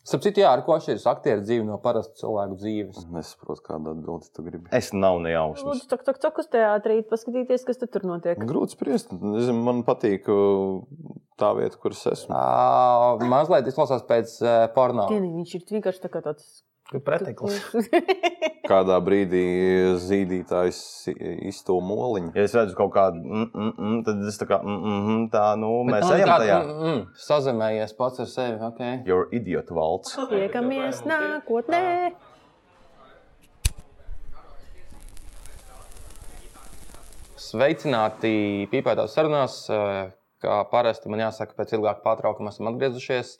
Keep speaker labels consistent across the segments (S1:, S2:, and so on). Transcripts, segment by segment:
S1: Sapratu, ar ko atšķiras aktieru dzīve no parasta cilvēku dzīves.
S2: Nesaprotu, kādu atbildi tu gribi.
S3: Es nav ne jausmas.
S4: Lūdzu, tok, tok, tok uz teātrī, paskatīties, kas tur notiek.
S2: Grūti spriest. Nezinu, Man patīk uh, tā vieta, kur es esmu.
S3: Ah.
S1: Uh, mazliet izklausās pēc uh, porno.
S4: Dienu, viņš ir vienkārši tā kā tāds
S5: Tur preteklis.
S2: Kādā brīdī zīdītājs izto moliņu.
S3: Ja es redzu kaut kādu, mm, mm, mm, tad es tā kā, mm, mm, mm, tā, nu, mēs
S1: Man
S3: ejam
S1: kāda-
S3: tajā.
S1: mm, mm, Sazemējies pats ar sevi. Okay.
S3: You're idiot valds.
S4: Tiekamies nākotnē.
S1: Sveicināti pīpētās sarunās. eh, Kā parasti man jāsaka, pēc ilgāka pārtraukuma esam atgriezušies.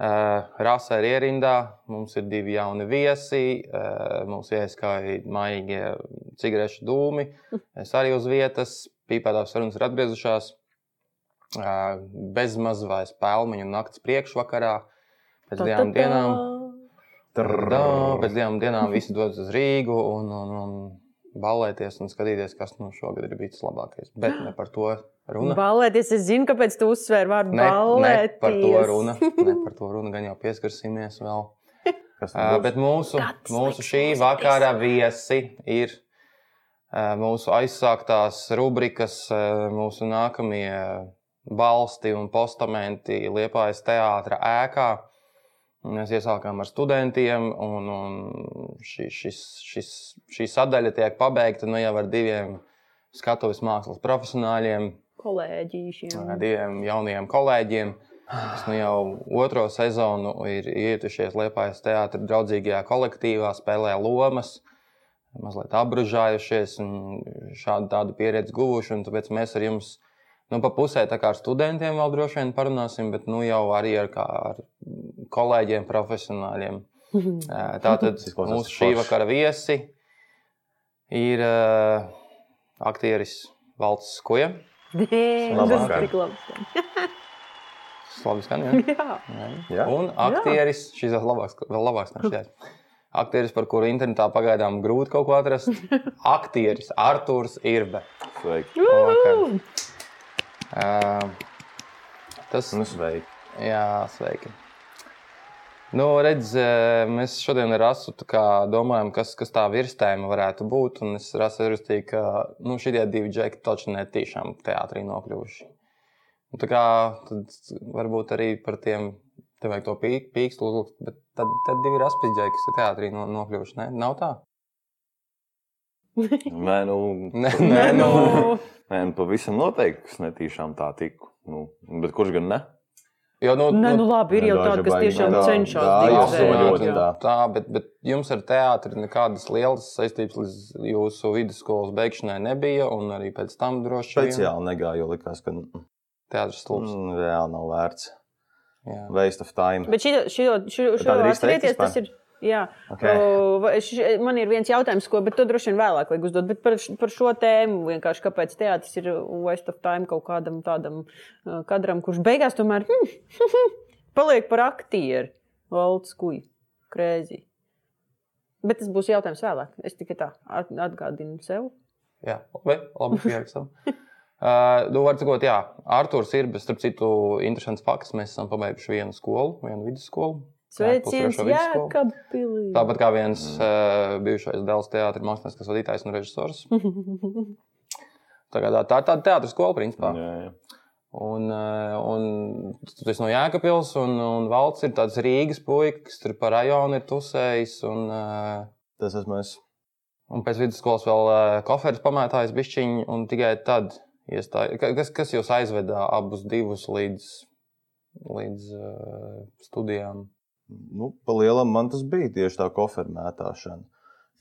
S1: Eh, Rasa ir ierindā, mums ir divi jauni viesi. eh, Mums ieskaitīja maigi cigarešu dūmi. Es arī uz vietas. Pīpētās sarunas ir atgriezušās. eh, Bezmaz vai spēlmeņu naktas priekšvakarā. Pēc divām dienām. Dā, pēc divām dienām visi dodas uz Rīgu un, un, un balēties un skatīties, kas no šogad ir bijis labākais. Bet ne par to runa.
S4: Balēties, es zinu, kāpēc tu uzsvēri vārdu
S1: Ne, ne
S4: balēties.
S1: par to runa. Ne par to runa gan jau pieskarsimies vēl.
S3: Kas
S1: Uh,
S3: tad būs?
S1: bet mūsu,
S4: Gads,
S1: mūsu
S4: laiks
S1: šī
S4: klausīties.
S1: vakara viesi ir uh, mūsu aizsāktās rubrikas, uh, mūsu nākamie balsti un postamenti Liepājas teātra ēkā. Un Mēs iesākām ar studentiem, un, un šī, šis, šis, šī sadaļa tiek pabeigta nu, jau ar diviem skatuves mākslas profesionāļiem
S4: Kolēģīšiem.
S1: ar diviem jauniem kolēģiem, kas nu jau otro sezonu ir ietušies Liepājas teātrī, draugīgajā kolektīvā, spēlē lomas, mazliet apbružājušies un šādu tādu pieredzi guvuši. un Tāpēc mēs ar jums nu, pa pusē tā kā ar studentiem vēl droši vien parunāsim, bet nu jau arī ar, kā, ar kolēģiem, profesionāļiem. Tātad
S3: Tas izklausās
S1: mūsu šī
S3: forši.
S1: vakara viesi ir uh, aktieris Valts Skoja.
S4: Tas ir
S3: Labvakar.
S4: tik labi.
S1: Labi, skan, jā?
S4: Jā.
S3: Jā.
S1: Un aktieris, šis vēl labāks, vēl labāks nekā šis. Aktieris, par kuru internetā pagaidām grūti kaut ko atrast. Aktieris Arthurs Irbe.
S2: Sveiki.
S1: Labvakar. Ā, Ehm, Tas
S3: Nu, sveiki.
S1: Jā, sveiki. Nu, redz, eh, mēs šodien ar Asu tā kā domājam, kas, kas tā virsēma varētu būt. Un es saprotu, ka nu, šie divi džekļi taču netīšām teātrī nokļuvuši. Un, tā kā tad varbūt arī par tiem te vajag to pī- pīkstlu uzlikt, bet tad, tad divi raspīgi džekļi, kas ir teātrī no, nokļuvuši. Ne? Nav tā?
S2: Nē, nu,
S1: Nē, nē, nu.
S2: nē, nu, pavisam noteikti, kas netīšām tā tiku. Nu, bet kurš gan ne?
S1: Jo, nu,
S4: Nē, nu
S1: nu,
S4: labi, ir jau
S3: Nedauži
S4: tādi, kas
S3: baigi.
S4: tiešām
S3: Tā,
S4: cenšas.
S3: tā,
S1: jā,
S4: divzēt,
S3: absolūti,
S4: jā.
S3: tā.
S1: Tā, bet, bet jums ar teātri nekādas lielas saistības līdz jūsu vidusskolas beigšanai nebija, un arī pēc tam droši vien
S3: Speciāli negāju, jo likās, ka mm,
S1: teātris slūdz.
S3: mm, reāli nav vērts.
S1: Mm.
S3: Waste of time.
S4: Bet šito, šito, šito,
S3: Tāda
S4: šito
S3: ir izteikta
S4: atcerieties,
S3: vispār?
S4: tas ir. Jā,
S3: Okay.
S4: O, vai š- man ir viens jautājums, ko, bet to droši vien vēlāk vajag uzdot. Bet par, š- par šo tēmu vienkārši kāpēc teātris ir waste of time kaut kādam tādam uh, kadram, kurš beigās tomēr hmm, paliek par aktieru. Valds kuģi, krēzi. Bet tas būs jautājums vēlāk. Es tikai tā at- atgādinu sev.
S1: Jā, labi, labi pierakstām. Uh, nu, var teikt, jā, Arthurs ir, bet starp citu, interesants fakts. Mēs esam pabeiguši vienu skolu, vienu vidusskolu. Jā,
S4: Sveiciens,
S1: pusotro vidusskolu.
S4: Jēkabīlī.
S1: Tāpat kā viens
S3: Mm.
S1: uh, bijušais Dēls teātris, mākslinieks, vadītājs un režisors. Tā kā tā tā ir tāda teātris skola, principā.
S2: Jā, jā.
S1: Un, eh, un tas no Jēkabils un, un Valts ir tāds Rīgas puisis, kas tur pa rajonu ir tusējis. Un, eh,
S3: Tas esmu es.
S1: un pēc vidusskolas vēl eh, koferis pamētājis bišķiņu, un tikai tad iestājās. Kas, kas jūs aizveda abus divus līdz, līdz eh, studijām?
S3: Nu, Palielam man tas bija tieši tā kofermētāšana.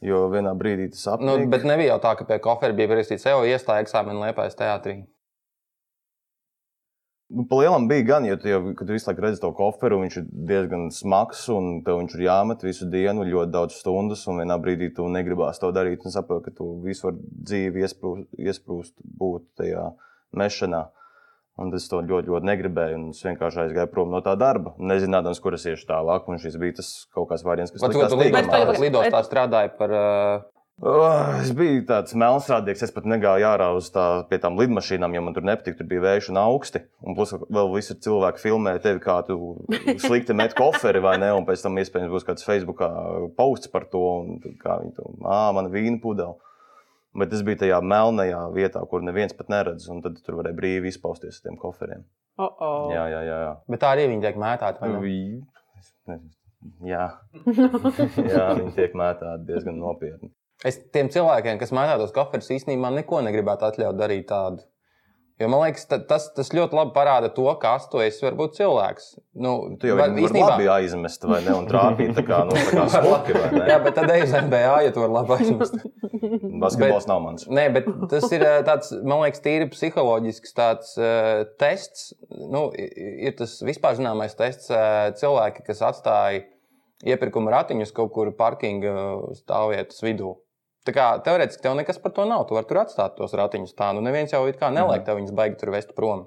S3: Jo vienā brīdī tas
S1: Nu,
S3: apnika.
S1: bet nebija jau tā, ka pie kofera bija pierakstīts, jau iestājās eksāmena liepais teātrī.
S3: Nu, pa lielam bija gan, jo tu jau kad tu visu laiku redzi to koferu, viņš ir diezgan smags un tev viņš ir jāmet visu dienu, ļoti daudz stundas. Un vienā brīdī tu negribās to darīt. Un saproti, ka tu visu var dzīvi iesprūst, iesprūst būt tajā mešanā. Un es to ļoti, ļoti negribēju. un Es vienkārši aizgāju prom no tā darba, nezinādams, kur es iešu tālāk. Un šis bija tas kaut kāds variants, kas
S1: Bet tu
S3: likās
S1: tur lidostā,
S3: tīkamākais.
S4: Bet-
S1: lidostā strādāji par, eh,
S3: Oh, es biju tāds melnsprādīgs, es pat negāju ārā uz tā, pie tām lidmašīnām, jo man tur nepatīk. Tur bija vējš un augsti. Un plus vēl visi cilvēki filmē tevi, kā tu slikti met koferi vai ne. Un pēc tam iespējams būs kāds Facebook posts par to, un tad kā viņi to māca, man vīna pudeli. Bet es biju tajā melnajā vietā, kur neviens pat neredz, un tad tur varēja brīvi izpausties ar tiem koferiem.
S4: Oh -oh.
S3: Jā, jā, jā. jā.
S1: Bet tā arī viņi tiek mētāti.
S3: Mm.
S1: vai ne?
S3: Vi- es nezinu. Jā, jā viņi tiek mētāti diezgan nopietni.
S1: Es tiem cilvēkiem, kas mētā tos koferus, īstenībā neko negribētu atļaut darīt tādu. Jo man liekas, ta- tas, tas ļoti labi parāda to, kas tu esi. Varbūt cilvēks. Nu,
S3: Tu jau
S1: var-
S3: viņu labi aizmest, vai ne? Un trāpīt tā kā, nu, tā kā smuki, vai ne?
S1: Jā, bet tad ej uz NBA, ja tu vari labi aizmest.
S3: Basketbols bet... nav mans.
S1: Nē, bet tas ir eh, tāds, man liekas, tīri psiholoģisks tāds, eh, tests. Nu, i- i- ir tas vispār zināmais tests, eh, cilvēki, kas atstāja iepirkuma ratiņus kaut kur parkinga stāvvietas vidū. Tā kā teorētiski tev nekas par to nav. Tu vari tur atstāt tos ratiņus tā, nu neviens jau it kā neliek tev viņus baigi tur vest prom.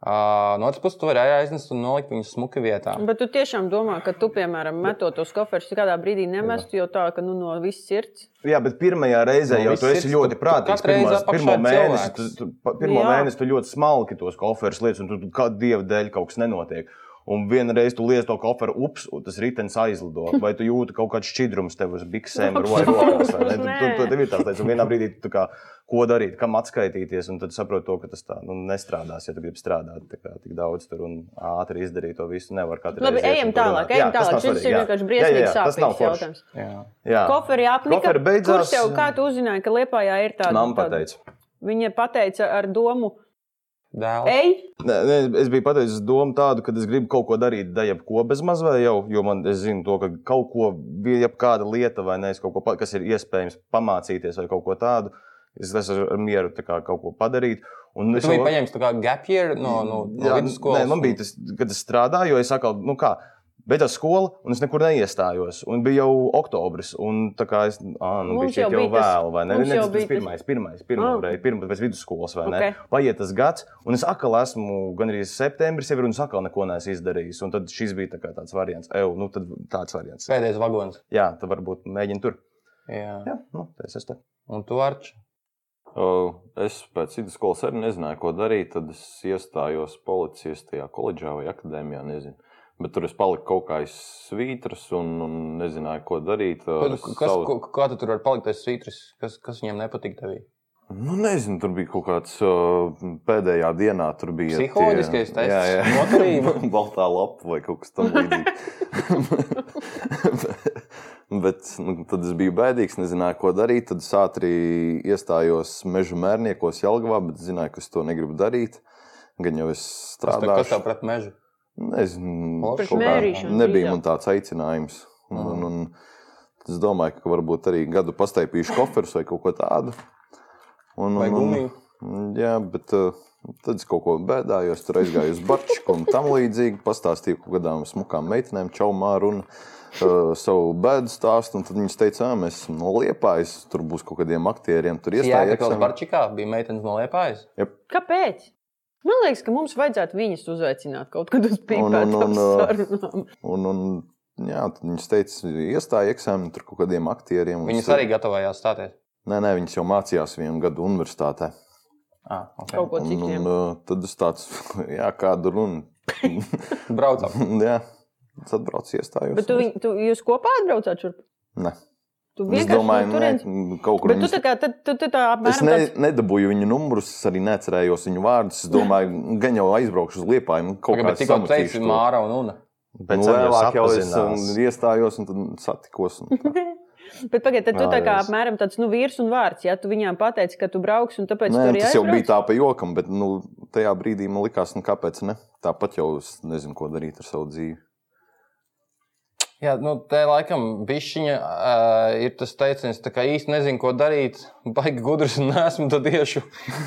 S1: Uh, no otras puses, tu vari aiznest un nolikt viņus smuki vietā.
S4: Bet tu tiešām domā, ka tu, piemēram, metot tos koferus, kādā brīdī nemestu jau tā, ka nu, no visas sirds.
S3: Jā, bet pirmajā reizē
S1: Nu,
S3: jau
S1: viss
S3: tu esi
S1: ir-
S3: ļoti
S1: tu- tu
S3: prātīgs.
S1: katru reizi
S3: Pirmās-
S1: apakšā
S3: Pirmo
S1: ir
S3: mēnesi tu,
S1: cilvēks.
S3: tu, pa- pirmo
S4: Jā.
S3: mēnesi tu ļoti smalki tos koferus lietas, un tu tu kā dieva dēļ kaut kas nenotiek. Un vienreiz tu liec to koferu, ups, un tas ritenis aizlido. Vai tu jūti kaut kādu šķidrumu tev uz biksēm,
S4: Nu,
S3: vai rokās? vai ne? Tu- tu- tu- Tev ir tāds lietas, un vienā brīdī tu kā, ko darīt, kam atskaitīties, un tad saproti to, ka tas tā nu, nestrādās, ja tu gribi strādāt tā kā, tik daudz tur un ātri izdarīt to visu. Nevar katru
S4: Labi,
S3: reizi iet
S4: ejam
S3: un turpināt.
S4: tālāk. Ejam
S3: Jā, tas
S4: tālāk.
S3: nav
S4: Šis
S3: svarīgi,
S4: ir
S3: jā.
S4: vienkārši
S3: Jā,
S4: briesmīgi
S3: jā, jā, tas nav
S4: sāpīgs
S3: forši.
S4: jautājums.
S1: Jā.
S3: Jā.
S4: Koferi apnika.
S3: Koferi beidzās.
S4: Kurš tev kā tu uzzināji, ka Liepājā ir tāda?
S3: Mamma
S4: tāda-
S3: pateica.
S4: Viņa pateica ar domu,
S1: Dēls.
S4: ej,
S3: Nē, nē, es biju pateicis domu tādu, ka es gribu kaut ko darīt, da jebko bezmaz vai jau, jo man es zinu to, ka kaut ko, jebkāda lieta vai nē, es kaut ko, pa- kas ir iespējams pamācīties vai kaut ko tādu, es esmu ar mieru tā kā kaut ko padarīt. Un
S1: Nu, Tu biji paņēmis tā kā gap year no, no, no
S3: Jā,
S1: vidusskolas.
S3: Nē, man bija tas, kad es strādāju, jo es atkal, nu kā, beidzās skola, un es nekur neiestājos. Un bija jau oktobris, un tā kā es, ah, nu, bija
S4: Mums jau
S3: šeit jau
S4: bija tas-
S3: vēlu, vai ne?
S4: mums
S3: Ne,
S4: jau
S3: tas- tas
S4: bija tas-
S3: pirmais, pirmais, pirmā
S4: Ah.
S3: reize, pirmā pēc vidusskolas, vai ne?
S4: Ok.
S3: Paiet tas gads, un es atkal esmu gan arī septembris, jau ir, un es atkal neko neesmu izdarījis. Un tad šis bija tā kā tāds variants, eju, nu tad tāds variants.
S1: pēdējais vagons.
S3: Jā, tad varbūt mēģini tur.
S1: Jā.
S3: Jā, nu, tas es te.
S1: Un tu arči.
S2: Uh, Es pēc vidusskolas arī nezināju, ko darīt. Tad es iestājos policijas tajā koledžā vai akadēmijā. Nezinu. Bet tur es paliku kaut kā aiz svītras un, un nezināju, ko darīt.
S1: Ko tu- Kas, ko, kā tu tur var palikt? Tas svītris, kas, kas viņam nepatīk tev?
S2: Nu, nezinu, tur bija kaut kāds uh, pēdējā dienā. Tur bija tie-
S1: Psiholoģiskais tests?
S2: Jā, jā.
S1: Motorība?
S2: Baltā lapa vai kaut kas tamlīdzīgs. Bet nu, tad es biju baidīgs, nezināju, ko darīt. Tad es ātri iestājos meža mērniekos Jālgavā, bet zināju, ka es to negribu darīt. Gan jau es
S1: Kas tev, kas tev
S2: strādāju.
S1: pret mežu?
S2: Nezinu,
S1: Forši.
S2: kaut kā-
S4: Mērīšana
S2: Nebija
S4: drīzāk.
S2: man tāds aicinājums. Un,
S1: Mhm.
S2: un, un, es domāju, ka varbūt arī gadu pastaipīšu koferus vai kaut ko tādu. Un,
S3: Nu,
S1: Vai
S2: un-
S1: gumiju?
S2: un- Jā, bet uh, tad es kaut ko bēdājos, tur aizgāju uz Barčiku un tam līdzīgi. Pastāstīju kaut kādām smukām meitenēm, čaumā runu. Uh, savu bēdu stāstu, un tad viņi teica, ka mēs esam no Liepājas, tur būs kaut kādiem aktieriem, tur
S1: Jā,
S2: iestājās.
S1: tā kā Barčikā bija meitenes no Liepājas.
S4: kāpēc? Man liekas, ka mums vajadzētu viņus uzaicināt kaut kad uz
S2: Nu, Un, un, un,
S4: pīpēm.
S2: Un, un, jā, tad viņi teica, iestāja eksāmenu tur kaut kādiem aktieriem. un
S1: Viņas
S2: tur-
S1: arī gatavojās stāties.
S2: Nē, nē, viņas jau mācījās vienu gadu universitātē.
S1: Ah, okay.
S4: Kaut ko
S2: Un, un,
S4: citiem.
S2: uh, tad es tāds, jā, kādu runu.
S1: Braucam.
S2: jā, tad atbraucu iestājos.
S4: Bet tu, viņ- tu, jūs kopā atbraucāt šurp?
S2: Nē,
S4: Tu
S2: es
S4: vienkārši
S2: domāju,
S4: no
S2: ka
S4: turienes-
S2: kaut kur
S4: Bet tu
S2: viņas...
S4: tā kā, tad, tu, tu tā apmēram.
S2: Es ne,
S4: tāds-
S2: nedabūju viņu numurus, es arī necerējos viņu vārdus. Es domāju, gan jau aizbraukšu uz liepām, kaut
S1: Tagad,
S2: kā
S1: bet tikko teici
S2: to.
S1: Māra un Una.
S2: Nu,
S3: Pēc tam jau
S2: vēlāk jau es
S3: sapazinās.
S2: um, iestājos un tad satikos. Un tā.
S4: Bet pagaid, tad tu tā kā
S3: Vēlreiz.
S4: apmēram tāds nu, vīrs un vārds. Ja tu viņām pateici, ka tu brauks un
S2: Nē,
S4: tāpēc tu arī
S2: tas jau bija
S4: aizbrauc?
S2: tā pa jokam, bet nu, tajā brīdī man likās, nu, kāpēc ne? Tāpat jau es nezinu, ko darīt ar savu dzīvi.
S1: Jā, nu, tā laikam bišķiņa uh, ir tas teiciens, tā kā īsti nezinu, ko darīt. Baigi gudrs un esmu tad tieši.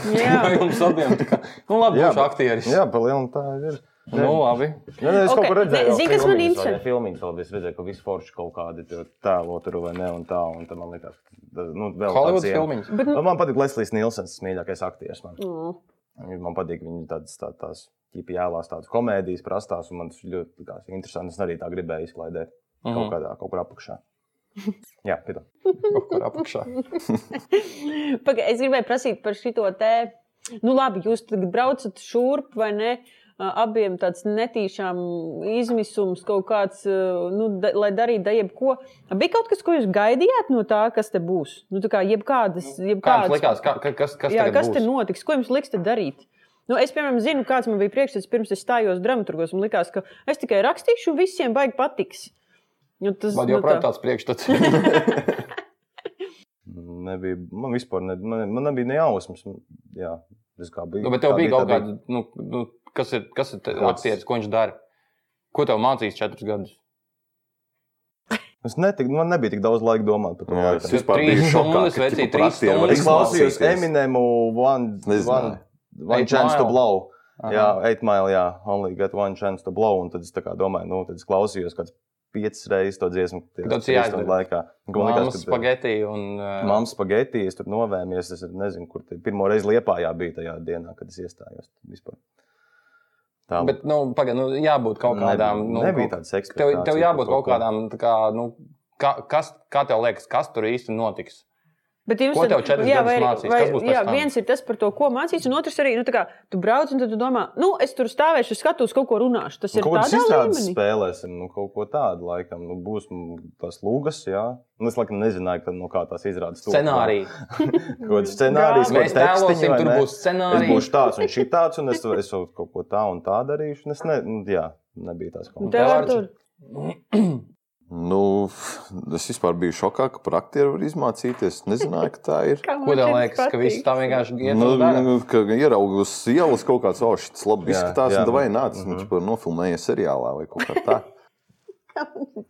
S1: Vai
S4: Jā.
S1: jums abiem? tā Kā, nu, labi,
S3: Jā,
S1: būšu
S3: bet-
S1: aktieris.
S3: Jā, palielina tā ir.
S1: Nu, labi.
S3: Nē, nē, es okay.
S4: Ok,
S3: kaut ko redzēju.
S4: ne,
S3: jau
S4: zini, kas man
S3: filmiņas, vai
S4: interesē?
S3: ne, Filmiņas vēl bija. Es redzēju, ka viss forši kaut kādi tur tēlo tur vai ne un tā. Un tad man liekas, ka nu, vēl
S1: Holivuds
S3: tāds iena.
S1: filmiņš.
S4: Bet, nu,
S3: Nu, Man patīk Leslijs Nilsons, tas mīļākais aktieris. Man,
S4: mm.
S3: man patīk viņa tādas tā, tās ķipi jālās tādas komēdijas prastās, un man tas ļoti likās interesanti. Es arī tā gribēju izklaidēt mm.
S1: Mhm.
S3: kaut kādā, kaut kur apakšā. Jā, piedod.
S1: kaut kur apakšā.
S4: Paga, es gribēju prasīt par šo te. Nu, labi, jūs tagad braucat šurp vai ne? A, Abiem tāds netīšām izmisums, kaut kāds, uh, nu, da, lai darītu da jebko. A, Bija kaut kas, ko jūs gaidījāt no tā, kas te būs? Nu, tā kā jebkādas,
S1: Nu, Kā jums
S4: jebkādas
S1: likās, kā, ka- kas, kas,
S4: Jā,
S1: tagad
S4: kas
S1: būs?
S4: te notiks? Ko jums liks te darīt? Nu, es, piemēram, zinu, kāds man bija priekšstats pirms es stājos dramaturgos. Man liekas, ka es tikai rakstīšu, un visiem baigi patiks. Nu, tas
S1: Man
S4: nu,
S1: joprojām
S4: tā.
S1: tāds priekšstats.
S3: Nebija, man vispār ne, man, man nebija ne jausmas. Jā, tas kā bija.
S1: nu, bet tev
S3: tā
S1: bija kaut
S3: tā
S1: kāda, nu, nu, kas ir, kas ir te-
S3: Kāds-
S1: aktieris, ko viņš dara? Ko tev mācīs četrus gadus?
S3: Es netik, man nebija tik daudz laika domāt par to.
S2: Jā,
S3: laikam.
S2: Nu, es vispār
S1: Trīs
S2: biju šokā,
S1: stundas,
S2: ka
S1: vecī,
S2: tiku par
S1: trīs
S2: aktieriem var
S1: stundas.
S3: Es klausījos
S2: izklausīties.
S3: Eminemu, One,
S2: Nezināju.
S3: one, one
S1: Eight
S3: Chance to
S1: Mile.
S3: Blow.
S1: Aha.
S3: Jā, 8 mile, jā, only got one chance to blow. Un tad es tā kā domāju, nu, tad es klausījos kāds piecas reizes to dziesmu. tajā
S1: Tad tas
S3: trīs
S1: jāizdara.
S3: stundu laikā. Un man
S1: Māmas
S3: liekas, ka- eh,
S1: spageti un eh, ā,
S3: Māmas spagetti, es tur novēmies. Es nezinu, kur tie pirmo reizi liepā bija tajā dienā, kad es iestājos. Vispār. Tā
S1: Bet, nu, pagaid, nu, jābūt kaut kādām.
S3: nebija,
S1: Nu,
S3: nebija
S1: kaut-
S3: tādas
S1: tev,
S3: eksperimentācijas.
S1: tev jābūt kaut kādām, tā kā, nu, kā, kas, kā tev liekas, kas tur īsti notiks?
S4: Bet jums
S1: Ko
S4: tad-
S1: tev četrus
S4: jā,
S1: gadus
S4: vai-
S1: mācīs?
S4: vai-
S1: Kas būs pēc
S4: jā,
S1: tam?
S4: viens ir tas par to, ko mācīs, un otrs arī, nu, tā kā tu brauc un tad tu domā, nu, es tur stāvēšu, skatos, kaut ko runāšu. Tas ir
S3: Nu, Kaut kādas
S4: tādā
S3: izstādes
S4: līmenī.
S3: spēlēsim, nu, kaut ko tādu, laikam, nu, būs mm, tās lūgas, jā. Nu, es, laikam, nezināju, ka, no kā tās izrādās.
S1: Scenārija.
S3: Kaut kāds scenārijs,
S4: Jā.
S3: kaut
S1: Mēs
S3: kāds tekstiņi,
S1: tēlosim,
S3: vai
S1: tur
S3: ne?
S1: būs
S3: Es
S1: scenārija.
S3: būšu tāds un šī tāds, un es, es vēl kaut ko tādu un tādu darīšu. un Es ne, nu, jā, nebija tās kaut
S4: Un Tev ar
S1: Vārds.
S4: tur.
S2: Nu, es vispār biju šokā, ka par aktieru var izmācīties. Es Nezināju, ka tā ir.
S4: Kā
S1: Ko
S4: man
S1: tev
S4: šis
S1: liekas, ka
S4: patīk?
S1: viss tā vienkārši iet
S2: Nu,
S1: un dara?
S2: nu, ka ieraugu uz ielas kaut kāds, oh, šis labi
S3: Jā,
S2: izskatās,
S3: jā.
S2: un vai nāc, mm
S3: Mhm.
S2: -hmm. nofilmējies seriālā vai kaut kā tā.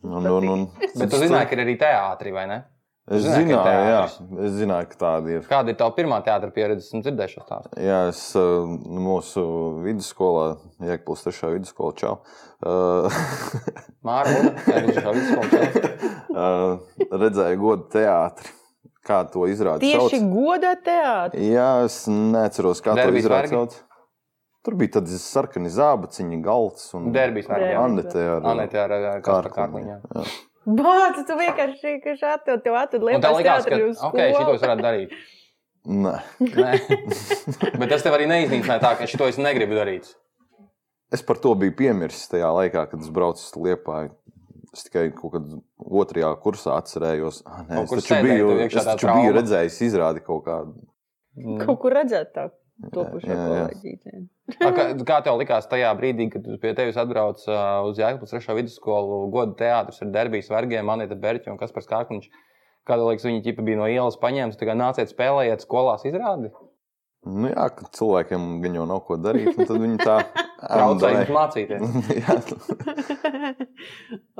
S2: Nu, Un, un, un,
S1: Bet tu zināji, ka ir arī teātris, vai ne?
S2: es
S1: zināji, ka ir
S2: zināju, jā, es zināju, ka tāda ir.
S1: Kāda ir tava pirmā teātris pieredze? Esmu dzirdējis šo stāstu.
S2: Jā, es uh, nu, mūsu vidusskolā, Jēkabūras 3. vidusskolā, čau. Uh,
S1: Mārcis,
S2: uh, redzēju godu teātri, kā to izrādīt.
S4: Tieši godā teātris.
S2: Jā, es neatceros, kā to
S1: Derbijas
S2: izrādīt.
S1: vergi?
S2: sauc. Tur bija tādi sarkani zābaciņi, galds un
S1: Derbijas vergi, jā.
S2: Anete ar
S1: Anete ar ā, Kaspar Kārliņu, jā.
S2: jā.
S4: Bācis, tu vienkārši šī- ka šādi tev- tev atved
S1: Un tā
S4: lietas
S1: likās, ka
S4: teātris.
S1: ok, šito es varētu darīt.
S2: Nē.
S1: Nē. Bet tas tev arī neiznīcināja tā, ka šito es negribu darīt.
S2: Es par to biju piemirsis tajā laikā, kad es braucu uz Liepāju. Es tikai kaut kādā otrajā kursā atcerējos, ka
S1: Kaut
S2: es
S1: kur
S2: taču
S1: sēdēji,
S2: biju,
S1: tev iekšā
S2: es
S1: tā
S2: taču biju
S1: trauma.
S2: redzējis, izrādīju kaut kādu.
S1: Mm.
S4: kaut kur redzēt tā topošā
S2: jā, jā.
S4: kolēģītē.
S1: Kā, kā- kā tev likās tajā brīdī, kad pie tevis atbrauc ā, uz Jāekapus 3. vidusskolu godu teātris ar derbijas vergiem, Anita Berķa un Kaspars Kārkliņš? Kā tev liekas, viņa ķipa bija no ielas paņēmusi, tagad nāciet spēlējiet skolās izrādi?
S2: Nu, jā, ka cilvēkiem gan jau nav ko darīt, un tad viņi tā
S1: Traucēja jums mācīties.
S2: jā,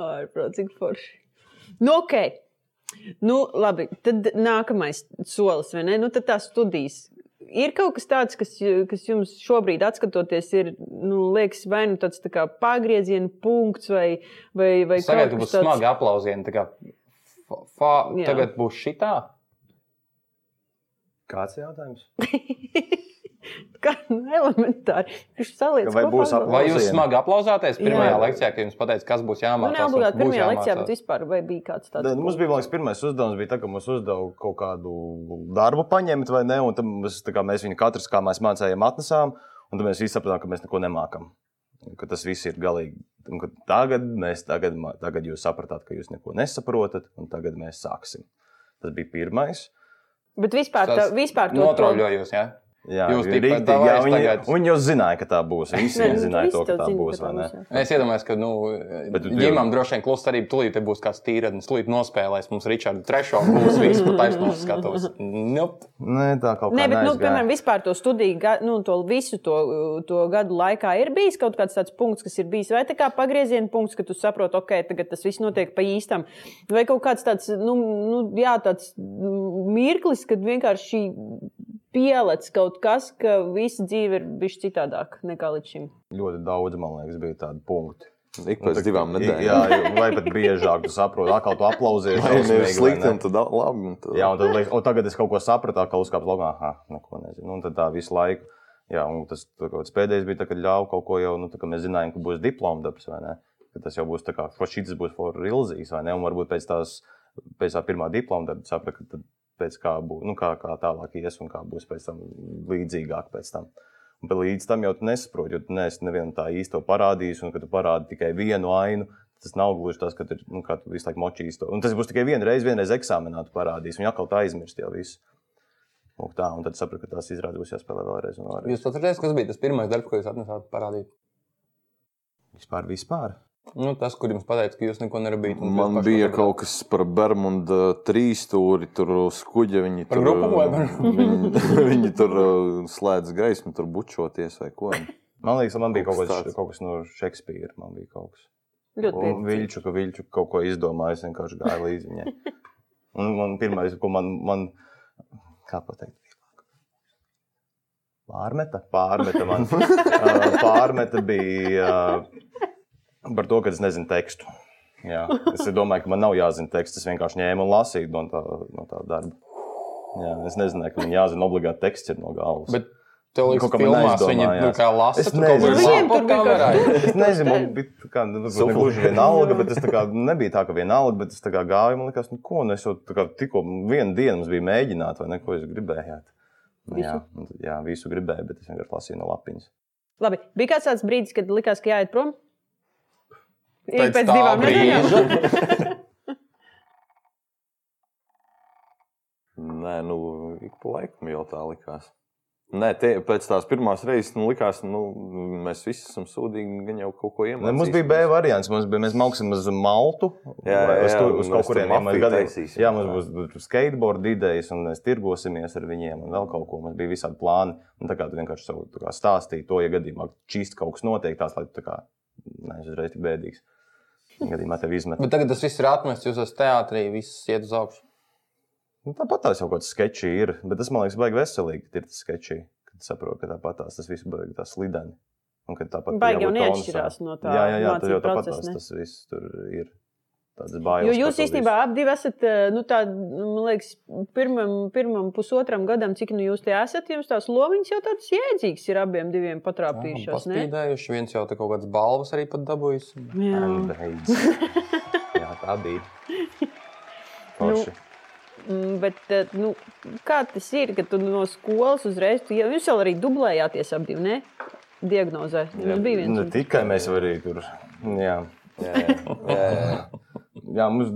S4: Ai, protams, cik forši. Nu, ok. Nu, labi, tad nākamais solis, vai ne? Nu, tad tā studijas. Ir kaut kas tāds, kas, ju- kas jums šobrīd, skatoties, ir nu, liekas, vai nu tāds tā kā pagrieziena punkts, vai, vai, vai
S1: Tagad
S4: kaut
S1: būs
S4: kas tāds.
S1: smagi aplausieni. tā kā fa- fa-
S4: Jā.
S1: Tagad būs šitā.
S3: kāds jautājums.
S4: Kā nu, elementāri. Viņš saliec
S3: Vai
S4: kopā
S3: būs
S4: vēl.
S1: Vai jūs
S3: Aplausieni.
S1: smagi aplausāties pirmajā
S4: Jā.
S1: lekcijā, kad jums pateica, kas būs
S4: Nu,
S1: jāmācās?
S4: ne obligāti
S1: un būs
S4: pirmajā lekcijā,
S1: jāmācās?
S4: bet vispār vai bija kāds tāds?
S3: Tad, nu, mums bija man liekas, pirmais uzdevums, bija tā, ka mums uzdeva kaut kādu darbu paņemt, vai ne? Un tad mēs, tā kā mēs viņu katrs, kā mēs mācījām, atnesām. Un tad mēs visi sapratām, ka mēs neko nemākam. Un Ka tas viss ir galīgi. Un ka Tagad, mēs, tagad, ma- tagad jūs sapratāt, ka jūs neko nesaprotat, un tagad mēs sāksim. Tas bija pirmais.
S4: Bet vispār, tā,
S1: Tas
S4: vispār to- to
S1: Notrauļojos, jā.
S3: Jā,
S1: Jūs
S3: bija
S1: tikpat
S3: rīktīgi,
S1: tā
S3: jā,
S1: vairs
S3: viņi,
S1: tagad.
S3: viņi jau zināja, ka tā būs. Visi
S4: Nē, nu,
S3: viņi zināja,
S4: visi
S3: to, ka
S4: jau
S3: tā
S4: zina,
S3: būs. vai ne?
S4: jā.
S1: Es iedomājos, ka, nu,
S3: Bet tu-
S1: ģimām droši vien klusa arī tūlīt te būs kāds tīradnis, tūlīt nospēlēs mums Ričardu trešo un būs viss pat taisnums skatos. Nu, Nope.
S3: Nē, tā kaut
S4: Nē,
S3: kā
S4: bet, nu,
S3: neaizgāja.
S4: piemēram, vispār to studiju, ga- nu, to visu to, uh, to gadu laikā ir bijis kaut kāds tāds punkts, kas ir bijis, vai tā kā pagrieziena punkts, ka tu saproti, ok, tagad tas viss notiek pa īstam, vai kaut kāds tāds, nu, nu jā, tāds nu, mirklis, kad vienkārši pielec kaut kas, ka visa dzīve ir bijusi citādāk nekā līdz šim.
S3: ļoti daudz, man liekas, bija tādi punkti.
S2: ik
S3: Un
S2: pēc
S3: tad-
S2: divām nedēļām.
S3: Jā, jo- vai pat biežāk, tu saproti, atkal tu aplausies.
S2: Vai
S3: drausmīgi,
S2: ne ir
S3: vai
S2: slikti,
S3: ne?
S2: un tad labi. Un tad...
S3: Jā, un tad liekas, o, tagad es kaut ko sapratu, atkal uzkāpu logā, ah, neko nezinu. Un tad tā visu laiku. Jā, un tas tā kā tas pēdējais bija, tā, kad ļāva kaut ko jau, nu, tā kā mēs zinājām, ka būs diploma dabas vai ne. Ka tas jau būs tā kā, ko šis būs for ilzijas vai ne. Un varbūt pēc tās pēc tā pirmā diploma, tad sapratu, ka tad pēc kā, bū, nu, kā, kā tālāk ies un kā būs pēc tam līdzīgāk pēc tam. Un pat līdz tam jau tu nesaproti, jo tu neesi nevienam tā īsto parādījis, un kad tu parādi tikai vienu ainu, tas nav gluži tas, ka tu, nu, kā tu visu laiku močīs to. Un tas būs tikai vienu reizi, vienreiz eksāmenā tu parādīsi, un atkal tā aizmirsti jau visu. Lūk, tā, un tad sapratu, ka tās izrādes būs jāspēlē vēlreiz. un vēlreiz.
S1: Jūs atcerieties, kas bija tas pirmais darbs, ko jūs atnesāt parādīt?
S3: Vispār, vispār.
S1: Nu, tas, kur jums pateica, ka jūs neko nerabījāt. un
S2: Man
S1: jūs paši
S2: bija
S1: to
S2: kaut kas par Bermuda trīs stūri, tur uz kuģa viņi
S1: Par
S2: tur
S1: grupu vai par-
S2: viņi, viņi tur uh, slēdz gaismu, tur bučoties vai ko.
S3: Man liekas, man bija
S2: Kaut
S3: kaut
S2: kas
S3: kas,
S2: tāds.
S3: kaut kas no Šekspīra. Man bija kaut kas.
S4: Ļoti
S3: Un
S4: pieredzējis.
S3: Viļņu, ka viņš kaut ko izdomāja, es vienkārši gāju līdzi viņai. Un man pirmā, ko man, man kā pateikt, bija pārmeta. Pārmeta, man, Ā, pārmeta bija ā, par to, ka es nezinu tekstu. Jā, es domāju, ka man nav jāzina teksts. Es vienkārši ņēmu un lasīju no tā, no tā darba. Jā, es nezināju, ka man jāzina obligāti teksts ir no galvas.
S1: Bet tev liekas,
S3: Kaut kā
S1: ka
S3: man
S1: filmās viņi
S3: aizdomājās.
S1: nu, kā lasa.
S3: Es
S1: tur kaut
S3: nezinu.
S1: kur
S3: Nu,
S4: viņiem tur
S1: laptop
S4: bija
S1: kamerā.
S3: Es nezinu, man bija tā kā, nu, varbūt ne
S2: Sufli.
S3: gluži vienalga, bet es tā kā, nu, nebija tā, ka vienalga, bet es tā kā gāju, man liekas, nu, ko, nu, es jau tā kā tikko vienu dienu mums bija mēģināt, vai ne, ko es gribēju. Nu, jā, un tad- jā, visu gribēju, bet es vienkārši lasīju no lapiņas.
S4: Labi, bija kāds tāds brīdis, kad likās, ka jāiet prom? Ir
S1: Pēc tā brīža.
S2: Nē, nu, ik pa laikam jau tā likās. Nē, tie, pēc tās pirmās reizes nu, likās, ka nu, mēs visi esam sūdīgi, gan jau kaut ko
S3: Ne,
S2: iemācījāmies.
S3: mums bija B variants, mums bija, mēs mauksim uz Maltu,
S2: Jā,
S3: vai
S2: jā,
S3: uz,
S2: jā,
S3: tur, uz
S2: un
S3: kaut
S2: mēs tur
S3: kuriem, ja mēs
S2: mafiju
S3: gadiem.
S2: taisīsim.
S3: Jā, mums būs skateboard idejas, un mēs tirgosimies ar viņiem, un vēl kaut ko, mums bija visādi plāni. Un tā kā tu vienkārši savu tā kā stāstīji to, ja gadījumā čīst kaut kas notiek, tās, lai tu tā kā, neesi uzreiz tik bēdīgs. Ja Gadījumā tev izmet.
S1: Bet tagad tas viss ir atmests, jūs esat teātrī, viss iet uz augšu.
S3: Nu, Tāpat tās jau kaut kādas sketči ir, bet tas man liekas, baigi veselīgi, ka ir tas sketči. Kad saprotu, ka tāpat tās tas viss baigi tā slideni. Un ka tāpat
S4: Baigi jau
S3: jābūt
S4: neatšķirās
S3: tonusam.
S4: no tā
S3: Jā, jā, jā tas
S4: mācību
S3: jau tāpat
S4: procesa,
S3: tās,
S4: ne?
S3: tas viss tur ir. Tādas bailes.
S4: Jo
S3: par
S4: jūs
S3: to
S4: īstenībā
S3: visu.
S4: abi esat, eh, nu, tā, man liekas, pirmam, pirmam pusotram gadam, cik nu jūs te esat, jums tās lomas jau tādas jēdzīgas ir abiem diviem patrāpījušās. ne?
S1: Paspīdējuši, viens jau te kaut kādas balvas arī pat dabūjis.
S4: Jā.
S3: And beidz. Jā, tā bija.
S4: Nu,
S3: Forši.
S4: Mm, Bet, eh, nu, kā tas ir, ka tu no skolas uzreiz, tu, jau- jūs jau arī dublējāties ap divi, ne? Diagnozē. Jums bija viens.
S3: Ne
S4: un-
S3: Nu, tikai mēs arī tur. Jā. Jā, jā, jā. jā, mums,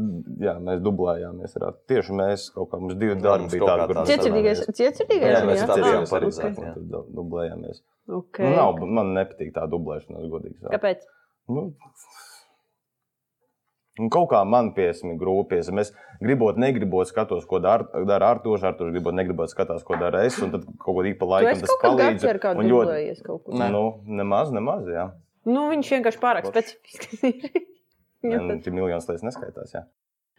S3: jā, mēs dublējāmies. ar- Tieši mēs kaut kā, mums divi
S2: Jā,
S3: darbi
S2: Nu, mums
S3: bija
S2: kaut
S3: tādi,
S2: kā
S3: kur
S2: tāds
S3: mēs
S4: Cietsirdīgais,
S3: sarunājāmies.
S4: cietsirdīgais.
S2: Jā,
S4: ir,
S2: mēs
S4: jā?
S2: tā
S4: Ah,
S2: bijām
S4: ok.
S2: paredzēti, jā.
S3: Tur du- dublējāmies.
S4: Ok.
S3: Nu, nav, man nepatīk tā dublēšanās, godīgi sakot.
S4: Kāpēc?
S3: Nu, un kaut kā man piesmi grūpies. Mēs gribot, negribot skatos, ko dara dar Artošs. Artošs gribot, negribot skatās, ko dara es. Un tad kaut ko īpa
S4: Tu
S3: laikam
S4: esi
S3: tas
S4: kaut kādā
S3: palīdz.
S4: gadījumā ar kādu
S3: un ļoti-
S4: dublējies kaut kur.
S1: Nē.
S3: Nu, nemaz, nemaz, jā.
S4: Nu, viņš vienkārši pārāk
S3: Forši.
S4: specifisks. ir. Jā,
S3: Nē,
S4: tad-
S3: nu, Tie miljonus lietas neskaitās, jā.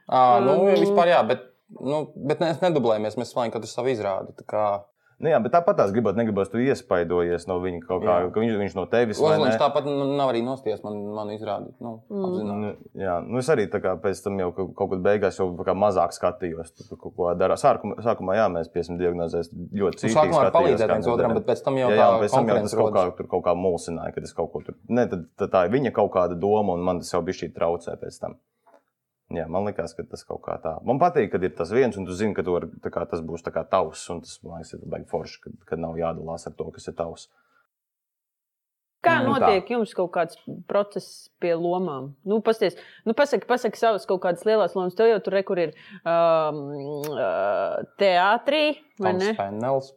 S1: À, nu,
S4: Mm.
S1: vispār jā, bet, nu, bet ne, es nedublējamies, mēs slēdzam katru savu izrādi. tā kā-
S3: Nu, jā, bet tāpat tās gribot, negribot, tu iespaidojies no viņa kaut kā,
S1: Jā.
S3: ka viņš, viņš no tevis. vai ne?
S1: Ozoliņš tāpat nu, nav arī nosties man, man izrādi. Nu,
S4: Mm.
S1: mm.
S3: Nu, Jā, nu es arī tā kā pēc tam jau kaut kaut kad beigās jau tā kā mazāk skatījos, tur kaut ko darīju. Sākumā, sākumā jā, mēs piesim diagnozēs ļoti cītīgi.
S1: Nu, Sākumā ar palīdzēt
S3: kā
S1: viens
S3: mēs
S1: otram,
S3: darām.
S1: bet pēc tam jau
S3: Jā, jā,
S1: tā
S3: un pēc tam jau tas
S1: konkurence
S3: kaut kā,
S1: rodas.
S3: tur kaut kā mulsināja, kad es kaut ko tur. Nē, tad, tad tā ir viņa kaut kāda doma, un man tas jau bija šī traucē pēc tam. Jā, man liekas, ka tas kaut kā tā. Man patīk, kad ir tas viens, un tu zini, ka tu var, tā kā, tas būs tā kā tavs, un tas man liekas, ir baigi forši, kad, kad nav jādalās ar to, kas ir tavs.
S4: Kā
S3: Nu, tā.
S4: notiek jums kaut kāds process pie lomām? Nu, pasties, nu pasaki, pasaki savas kaut kādas lielas lomas. Tev jau tur re, kur ir um, uh, teātrī, vai ne?
S1: Toms Fennels.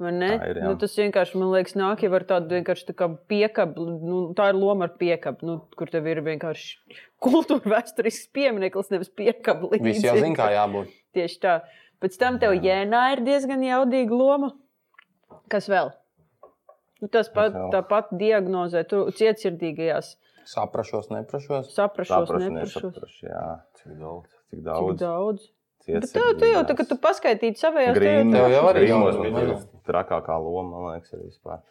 S4: Vai ne?
S3: Tā ir, jā.
S4: nu, tas vienkārši man liekas, nāk jau ar tādu vienkārši tā kā piekabu. Nu, tā ir loma ar piekabu, nu, kur tev ir vienkārši kultūra vēsturisks piemineklis, nevis piekabu līnija.
S1: Visi jau zina, kā jābūt.
S4: Tieši tā. Pēc tam tev jēnā ir diezgan jaudīga loma. Kas vēl? Nu, tas pat,
S3: vēl?
S4: tāpat diagnozē, tur cietsirdīgajās
S1: Saprašos, neprašos.
S4: saprašos,
S3: Saprašu,
S4: neprašos.
S3: nesaprašu. Jā,
S2: Cik daudz?
S3: cik
S4: Cik
S3: daudz.
S4: daudz? Bet
S3: cietsirdīgās.
S4: tev, tu jau tā, ka tu paskaitīji savējās tev jau
S3: Grīmos-
S1: Tev jau arī
S3: grīmos
S1: jau-
S3: bija
S1: jau-
S3: tur trakākā loma, man liekas, arī vispār.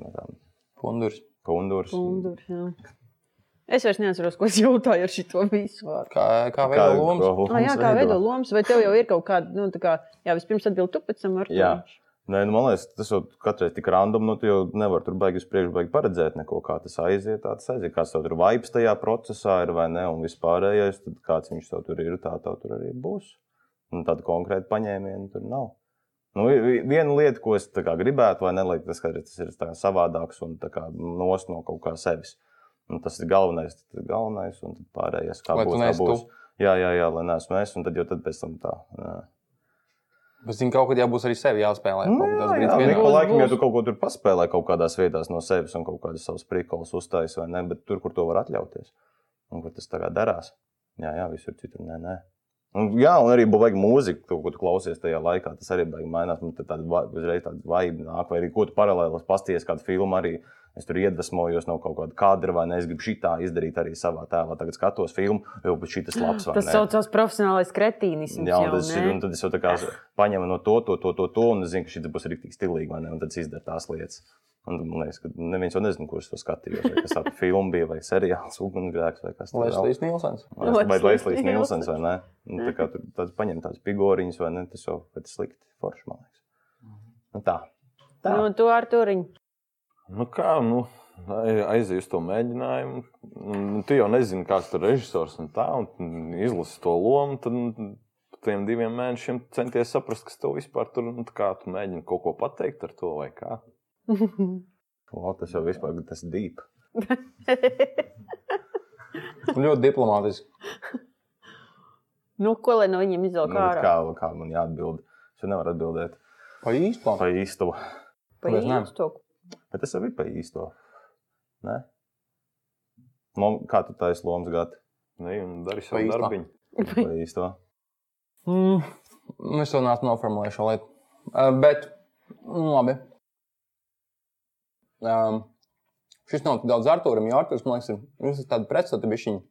S3: No tām
S1: Pundurs.
S3: Kundurs.
S4: Kundurs, jā. Es vairs neatceros, ko es jautāju ar šo visu. vārdu.
S1: Kā, kā veido lomas?
S4: Ah, jā, kā veido lomas, vai tev jau ir kaut kāda, nu, tā kā, jā, vispirms atbild tu, pēc tam ar to.
S3: Jā. Nē, nu, man liekas, tas jau katrai tik random, nu, tu jau nevar tur beigas priekšbeigās paredzēt, neko, kā tas aiziet. Tā tas aiziet, kāds tev tur vibes tajā procesā ir vai ne, un vispārējais, tad kāds viņš tev tur ir, tā tev tur arī būs. Nu, Un tāda konkrēta paņēmiena tur nav. Nu, vi- vi- viena lieta, ko es tā kā gribētu, vai ne, lai tas, ka tas ir tā kā savādāks un tā kā nos no kaut kā sevis. Un tas ir galvenais, tas ir galvenais, un tad pārējais, kā
S1: Lai tu
S3: būs, kā
S1: neesi
S3: būs.
S1: tu.
S3: Jā, jā, jā, lai neesmu es, un tad jau tad pēc tam tā. Jā.
S1: Bet, zinu, kaut kad jābūt arī sevi jāspēlē.
S3: Nu,
S1: kaut kāds
S3: jā,
S1: brīdis
S3: jā,
S1: pienāk.
S3: ik pa
S4: būs,
S3: laikam, ja
S4: būs.
S3: tu kaut ko tur paspēlē, kaut kādās vietās no sevis un kaut kādas savas prikals uztājas, vai ne, bet tur, kur to var atļauties un kur tas tā kā darās. Jā, jā, visur citur. Nē, nē. Un, jā, un arī baigi mūzika, to, ko tu klausies tajā laikā, tas arī baigi mainās. Man te tāda va- uzreiz tāda vibe nāk, vai arī ko tu paralēli pasties kādu filmu. Arī. Es tur iedvesmojos no kaut kāda kadra, vai ne? Es gribu šitā izdarīt arī savā tēlā. Tagad skatos filmu, jau pēc šī tas labs. vai
S4: Tas
S3: ne?
S4: saucās profesionālais kretīnisms.
S3: Jā,
S4: Jā,
S3: un, tas, ir, un
S4: jau,
S3: tad es jau tā kā paņēmu no to, to, to, to, to un es zinu, ka šī būs arī tik stilīga. vai ne, Un tad es izdaru tās lietas. Un tad man liekas, ka neviens jau nezina, kurš to skatījās. Vai tas tāds filmu bija, vai seriāls, ugunsgrēks, vai kas
S1: Lai
S3: tāds
S1: es līdz Nīlsens.
S4: Leslīs
S3: Vai Leslīs
S4: Nielsens.
S3: Nilsens, vai ne? Un tā kā tur tāds paņem tādas pigoriņas, vai ne, tas jau bet slikti forši, man liekas. Nu tā.
S4: tā. No to ar turiņu.
S2: Nu kā, nu, ai- aizej uz to mēģinājumu. Un Tu jau nezini, kāds tur ir režisors un tā, un izlasi to lomu. Tad nu, tiem diviem mēnešiem centies saprast, kas tev vispār tur ir. Kā tu mēģini kaut ko pateikt ar to vai kā.
S3: O, tas jau vispār tas deep.
S1: Ļoti diplomātiski.
S4: nu, ko lai no viņiem
S3: Nu,
S4: izvelk
S3: bet
S4: ārā?
S3: kā, kā man jāatbild? Es jau nevaru atbildēt
S1: Pa īstam.
S3: pa īsto.
S4: Pa
S1: Kāpēc ne?
S4: īsto.
S3: Bet tas jau ir pa īsto. Nē? Lom, kā tu taisīji lomas gadu? Nu,
S2: Ne, un dari
S1: Vai
S2: savu
S1: īstā?
S2: darbu.
S3: Pa īsto.
S1: Mm, es to neesmu noformulējis šo lietu. Eh, Bet, nu, labi. Um, šis nav tik daudz Arthūram, jo Arthurs, man liekas, ir, jums ir tāda pretstata bišķiņa.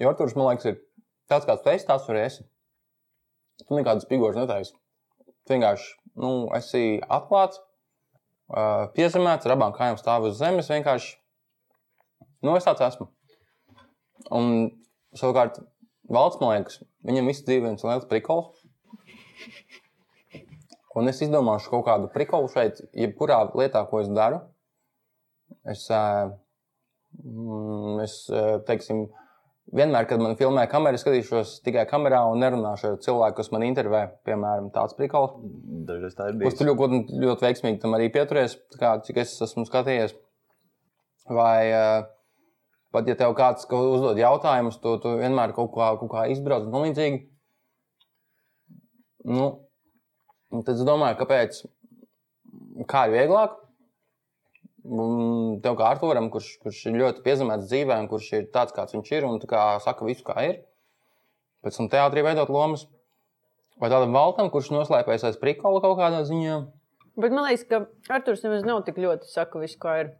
S1: Jo Arthurs, man liekas, ir tāds, kāds tu esi, tāds arī esi. Tu nekādas pigožas netaisi. Tu vienkārši, nu, esi atklāts, uh, piezemēts, ar abām kājām stāv uz zemes. Vienkārši, nu, es tāds esmu. Un, savukārt, Valsts, man liekas, viņam visu dzīvi ir viens liels prikols. Un es izdomāšu kaut kādu prikolu šeit, jebkurā lietā, ko es daru. Es, ā, mm, es ā, teiksim, vienmēr, kad man filmē kamerā, skatīšos tikai kamerā un nerunāšu ar cilvēku, kas man intervē. Piemēram, tāds prikols.
S3: Dažreiz tā ir
S1: Kurš
S3: bijusi.
S1: tur ļoti, ļoti veiksmīgi tam arī pieturies, tā kā, cik es esmu skatījies. Vai eh, pat ja tev kāds kaut uzdod jautājumus, to tu vienmēr kaut kā, kaut kā izbrauc un līdzīgi. Nu, un tad es domāju, kāpēc kā ir vieglāk. Un Tev kā Arthūram, kurš, kurš ir ļoti piezemēts dzīvē, un kurš ir tāds, kāds viņš ir, un tā kā saka visu, kā ir. Pēc tam teātrī veidot lomas. Vai tādam valtam, kurš noslēpjas aiz prikola kaut kādā ziņā?
S4: Bet man liekas, ka Arthurs nemaz nav tik ļoti saka, visu, kā ir.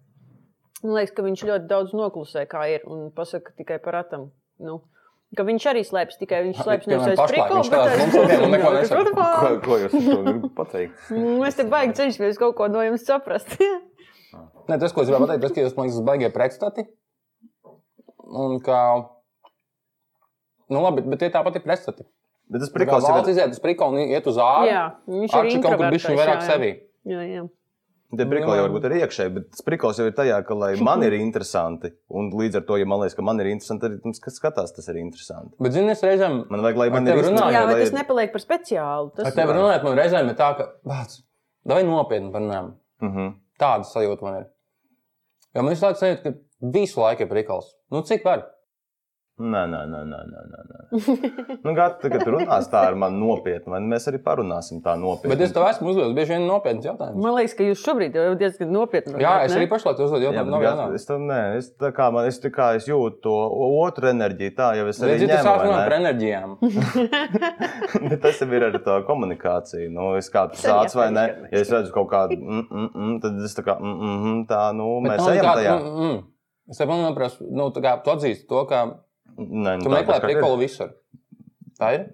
S4: Man liekas, ka viņš ļoti daudz noklusē, kā ir, un pasaka tikai par atam. Nu, ka viņš arī slēpjas tikai viņš slēpjas nevis
S1: piemēram,
S4: aiz
S1: pašlaik
S4: prikola,
S1: viņš
S4: bet
S1: tādā
S4: aiz
S1: mums vēl neko nesaka.
S2: Ko,
S4: prikola.
S2: ko jūs ar to gribat pateikt?
S4: Mēs te baigi cenšamies kaut ko no jums saprast.
S1: Nē, tas, ko es gribēju pateikt, tas, ka jūs man esat baigti pretstati. Un ka, nu, labi, bet tie tāpat ir pretstati.
S3: Bet tas
S1: Kā
S3: prikals
S1: valsts
S3: ir.
S1: iziet uz prikolu un iet uz ārā.
S4: jā, viņš ir
S1: Arčī kaut kur
S4: introvertais,
S1: bišķi vairāk
S4: jā, jā.
S1: sevi.
S4: Jā, jā.
S3: Tie
S1: Nu,
S3: prikali jau varbūt ir iekšēji, bet tas prikals jau ir tajā, ka lai man ir interesanti. Un līdz ar to, ja man liekas, ka man ir interesanti, arī tam, kas skatās, tas ir interesanti.
S1: Bet, zini, es reizēm
S3: Man vajag, lai
S1: Ar
S3: man
S1: tevi
S3: ir
S1: runāju,
S4: jā,
S1: Jā,
S4: jā
S3: lai
S4: bet tas
S3: ir-
S4: nepaliek par speciālu. Tas...
S1: ar tevi runājot, man reizēm ir tā, ka, vāc, vai nopietni parunājam.
S3: Mhm.
S1: Tāda sajūta man ir. Jo man visu laiku sajūta, ka visu laiku ir prikals. Nu, cik var?
S3: Nē, nē, nē, nē, nē, nē, nē. nu, gata, tagad runās tā ar mani nopietni, vai ne? mēs arī parunāsim tā nopietni.
S1: Bet es tev esmu uzdevis bieži vien nopietnas jautājumus.
S4: Man liekas, ka jūs šobrīd jau diezgan nopietni
S1: Jā,
S4: runājat,
S1: es
S4: ne?
S1: arī pašlaik uzdevu
S3: Jā, bet
S1: jautājumu. nav
S3: gata,
S1: jautājums.
S3: es tam nē, es tā kā, man, es tā kā es jūtu to o- otru enerģiju, tā jau es arī
S1: Redzi, tu
S3: ņemu,
S1: sāc
S3: vai
S1: runāt
S3: ne?
S1: par enerģijām.
S3: Bet tas jau ir ar to komunikāciju. Nu, es kā tāds
S4: Tas arī
S3: sāc, vai ne?
S4: jāsaka,
S3: Ja es redzu kaut kādu, mm, mm, mm, tad es tā kā, mm, mm, mm, tā, nu,
S1: Bet
S3: mēs
S1: man
S3: ejam
S1: kā-
S3: tajā.
S1: Mm, mm. Es tam nesaprotu, nu, tā kā tu atzīsti to, ka
S3: Nē, nu,
S1: tu
S3: tā,
S1: meklē
S3: tas kā
S1: prikolu visur. Tā ir.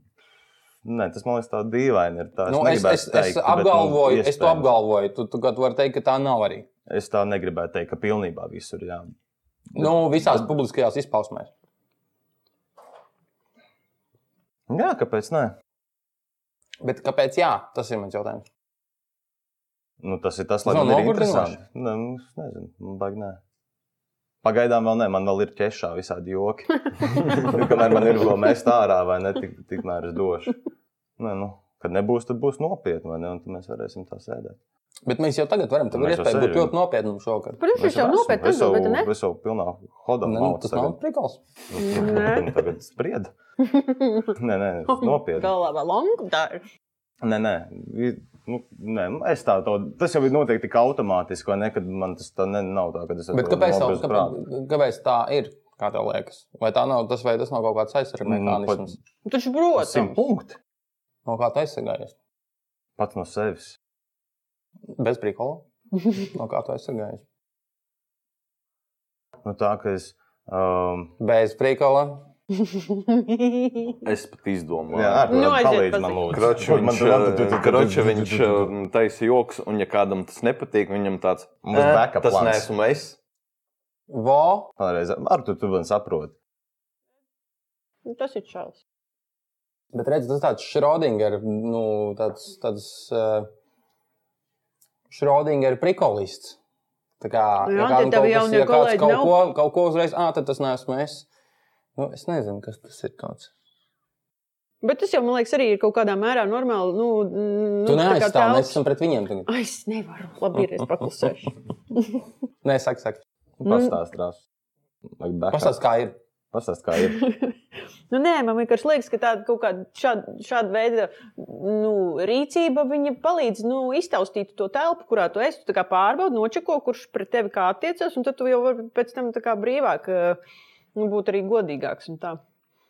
S3: ir- Nē, tas man liekas tā dīvaini ir. Tā,
S1: Nu, es,
S3: negribētu
S1: es, es
S3: teikt, bet, nu,
S1: apgalvoju, bet, nu, es to
S3: iespējams.
S1: apgalvoju. Tu, tu, tu vari teikt, ka tā nav arī.
S3: Es tā negribētu teikt, ka pilnībā visur, jā.
S1: Nu, visās publiskajās izpausmēs.
S3: Jā, kāpēc nē?
S1: Bet kāpēc? Jā, tas ir mans jautājums.
S3: Nu, tas ir tas, lai
S1: Tas
S3: man
S1: nav
S3: ir
S1: nogurdinoši?
S3: interesanti. Nē, nu, es nezinu, man baigi nē. Pagaidām vēl nē, man vēl ir ķešā visādi joki. Nu, Kamēr man ir ko mest ārā, vai ne, tik, tikmēr es došu. Nē, nu, kad nebūs, tad būs nopietni, vai ne, un tad mēs varēsim tā sēdēt.
S1: Bet mēs jau tagad varam, tev ir
S3: Mēs jau
S1: iespēja būt
S3: sēžam.
S1: ļoti nopietnam šogad.
S4: Protams, viņš jau nopietni atbildēja, ne?
S3: Es jau pilnā hodā
S1: Nē, nu, tas nav prikals.
S4: Nē.
S3: Nu, Tagad spried. Nē, nē, nopietni.
S4: Galā vēl longu dārgi.
S3: Nē, nē, vi- nu, nē nu, es tā to. Tas jau ir noteikti tik automātiski, vai ne? Kad man tas tā ne, nav tā, ka es
S1: Bet kāpēc, tā, kāpēc, kāpēc tā ir? Kā tev liekas? Vai tā nav tas, vai tas nav kaut kāds aizsardzības
S3: Nu, pat-
S1: mehānisms?
S4: Taču,
S3: Simt
S4: protams,
S3: punkti
S1: No kā tu aizsargājies?
S3: pats no sevis.
S1: Bez prikola. No kā tu aizsargājies?
S3: Nu, tā kā es. Um,
S1: Bez prikola.
S2: Es pat izdomāju.
S3: jā, ar,
S4: Nu,
S3: nu,
S4: aiziet
S3: palīdz
S4: pazīt.
S3: man lūdzu.
S2: Kroča
S3: Kur man
S2: viņš,
S3: tur-
S2: ā,
S3: tu- tu- tu-
S2: kroča
S3: tu- tu-
S2: viņš
S3: tu- tu- tu-
S2: ā, taisa joks, un ja kādam tas nepatīk, viņam tāds
S3: Mums backup
S2: tas
S3: plāns."
S2: neesmu es.
S1: Vo.
S3: Vēlreiz, Ar to tu man saproti.
S4: tas ir čels.
S1: Bet redz, tas tāds Schrödinger, nu, tāds, tāds uh, Schrödinger prikolists. Tā kā
S4: Nu Jā,
S1: kādam
S4: tie tavi
S1: kaut kas-
S4: jaunie
S1: ja kāds
S4: kolēģi
S1: kaut
S4: nav?
S1: ko, kaut ko uzreiz, ah, tad tas neesmu es. Nu, es nezinu, kas tas ir. Kāds.
S4: Bet tas jau, man liekas, arī ir kaut kādā mērā normāli. Nu, nu,
S1: Tu
S4: tā kā
S1: neaizstāvi, mēs
S4: telpas-
S1: esam pret viņiem tagad.
S4: Ai, es nevaru. Labi, ir, es paklusēšu.
S1: Nē, saka, saka.
S3: Nu,
S4: Mm.
S3: Pastāstās.
S1: Pastāst, kā ir.
S3: Pastāst, kā ir.
S4: Nu, nē, man vienkārši liekas, ka tāda kaut kāda šāda, šāda veida nu, rīcība viņa palīdz nu, iztaustīt to telpu, kurā tu esi. Tu tā kā pārbaudi, nočeko, kurš pret tevi kā attiecas, un tad tu jau vari pēc tam tā kā brīvāk eh, nu, būt arī godīgāks. un tā.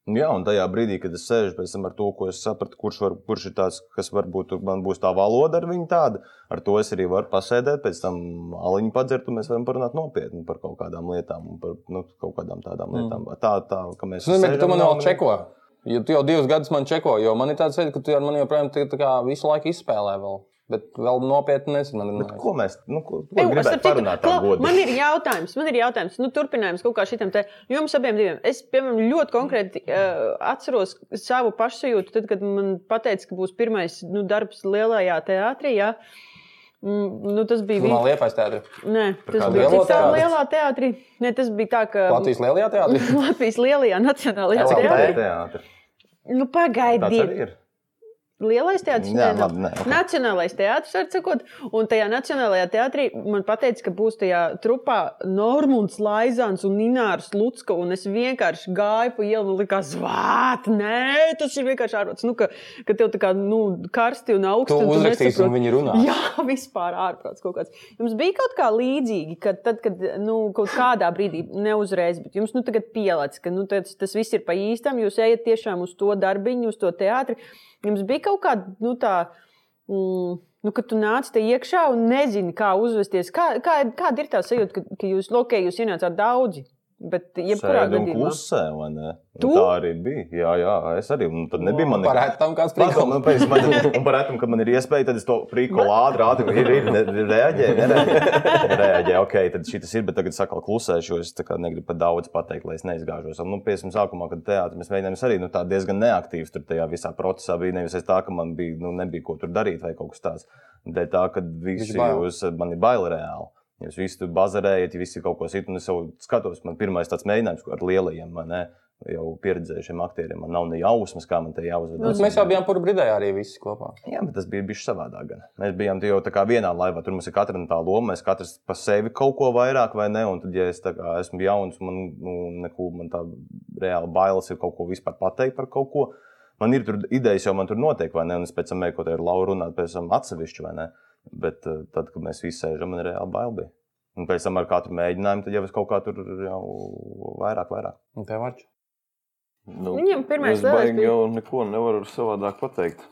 S3: Nu, Jā, un tajā brīdī, kad es sēžu pēc tam ar to, ko es sapratu, kurš, var, kurš ir tāds, kas varbūt tur man būs tā valoda ar viņu tāda, ar to es arī varu pasēdēt, pēc tam aliņu padzert, un mēs varam parunāt nopietni par kaut kādām lietām, un par nu, kaut kādām
S4: Mm.
S3: tādām lietām. Tā, tā, ka mēs.
S1: Es nezinu, bet Nu, tu
S3: sēžam
S1: man
S3: un-
S1: vēl čeko. Jo tu jau divus gadus man čeko, jo man ir tāds veids, ka tu ar mani joprojām tā, tā kā visu laiku izspēlē vēl. Bet vēl nopietni nesi man
S3: Bet
S1: runājis.
S3: ko mēs, nu, ko, ko
S4: Ej,
S3: Eju,
S4: starp
S3: gribētu
S4: citu,
S3: parunāt tā
S4: klau, Man
S3: godīgi?
S4: ir jautājums, man ir jautājums. Nu, turpinājums kaut kā šitam te. Jums abiem diviem. Es, piemēram, ļoti konkrēti uh, atceros savu pašsajūtu, tad, kad man teica, ka būs pirmais nu, darbs lielajā teātrī. Jā. Mm, Nu, tas bija
S1: Tu man
S4: viņa.
S1: liepais teātrī.
S4: Nē, tas
S3: kādu
S4: bija
S1: lielo
S4: cik tā
S1: teātri?
S4: lielā teātrī. Nē, tas bija tā, ka
S1: Latvijas lielajā teātrī.
S4: Latvijas lielajā nacionālajā
S1: LLT?
S4: teātrī.
S1: ir-
S3: teātris.
S4: Nu,
S3: Tāds
S4: pagaidiet,
S3: arī ir.
S4: Lielais teātris,
S3: Jā,
S4: nē, nu,
S3: labi, nē, ok.
S4: Nacionālais teātris, var sakot, un tajā Nacionālajā teātrī man teica, ka būs tajā trupā Normons, Laizāns un Ninārs Lutska. Un es vienkārši gāju pa ielu un likās, zvāt, nē, tas ir vienkārši ārprāts. Nu, ka, ka tev tā kā nu, karsti un augsti.
S1: Tu
S4: un tu
S1: uzrakstīsi,
S4: nesaproti.
S1: un viņi runā.
S4: Jā, vispār ārprāts kaut kāds. Jums bija kaut kā līdzīgi, ka tad, kad nu, kaut kādā brīdī, ne uzreiz, bet jums nu, tagad pielādes, ka nu, tas, tas viss ir pa īstam, jūs ejat tiešām uz to darbiņu, uz to teātri. Jums bija kaut kāda nu, tā. Mm, Nu, kad tu nāc te iekšā un nezini, kā uzvesties, kā, kā, kāda ir tā sajūta, ka, ka jūs lokē, jūs ienācāt daudzi. Bet, jebkurā
S3: Sēdi un
S4: gadījumā,
S3: klusē, vai ne? Un
S4: Tu?
S3: Tā arī bija. Jā, jā, es arī. un Tad nebija man nekā.
S1: Parādi tam kāds
S3: Prikol,
S1: prikals.
S3: man, pēc, man, un par atomu, kad man ir iespēja, tad es to prikolu ātri ātri ir, ir, ne- reaģē, nereaģē. Reaģē, ok, tad šis ir, bet tagad es atkal klusēšu, jo es tā kā negribu pat daudz pateikt, lai es neizgāžos. Un, nu, piesim, sākumā, kad teātris mēs mēģinājām, es arī nu, tā diezgan neaktīvs tur tajā visā procesā biju. Nevis es tā, ka man bija, nu, nebija ko tur darīt vai kaut kas tāds. Dēļ tā, ka visi
S1: Viņš bail.
S3: jūs, man ir bail reāli. Jūs visi tur bazarējat, visi kaut ko citu, un es jau skatos, man pirmais tāds mēģinājums ko ar lielajiem, vai ne, jau pieredzējušiem aktieriem, man nav ne jausmas, kā man te jāuzvedas.
S1: Nu, Mēs jau bijām purbridē arī visi kopā.
S3: Jā, bet tas bija bijis savādāk. gan. Mēs bijām tie jau tā kā vienā laivā. Tur mums ir katra tā loma. Mēs katrs par sevi kaut ko vairāk, vai ne? Un tad, ja es tā kā esmu jauns, man nu, neko, man tā reāli bailes ir kaut ko vispār pateikt par kaut ko. Man ir tur idejas, jau man tur notiek, vai ne? Un es pēc tam meklēju, ko te ir Laura runāt, pēc tam atsevišķi, vai ne? Bet eh, tad, kad mēs visi sēžam, man ir reāli bail. bija. Un pēc tam ar katru mēģinājumu, tad jau es kaut kā tur jau vairāk, vairāk.
S1: Un tev varču.
S2: Nu,
S4: Viņam pirmais
S2: es
S4: lielais
S2: baigi
S4: bija-
S2: jau neko nevaru savādāk pateikt.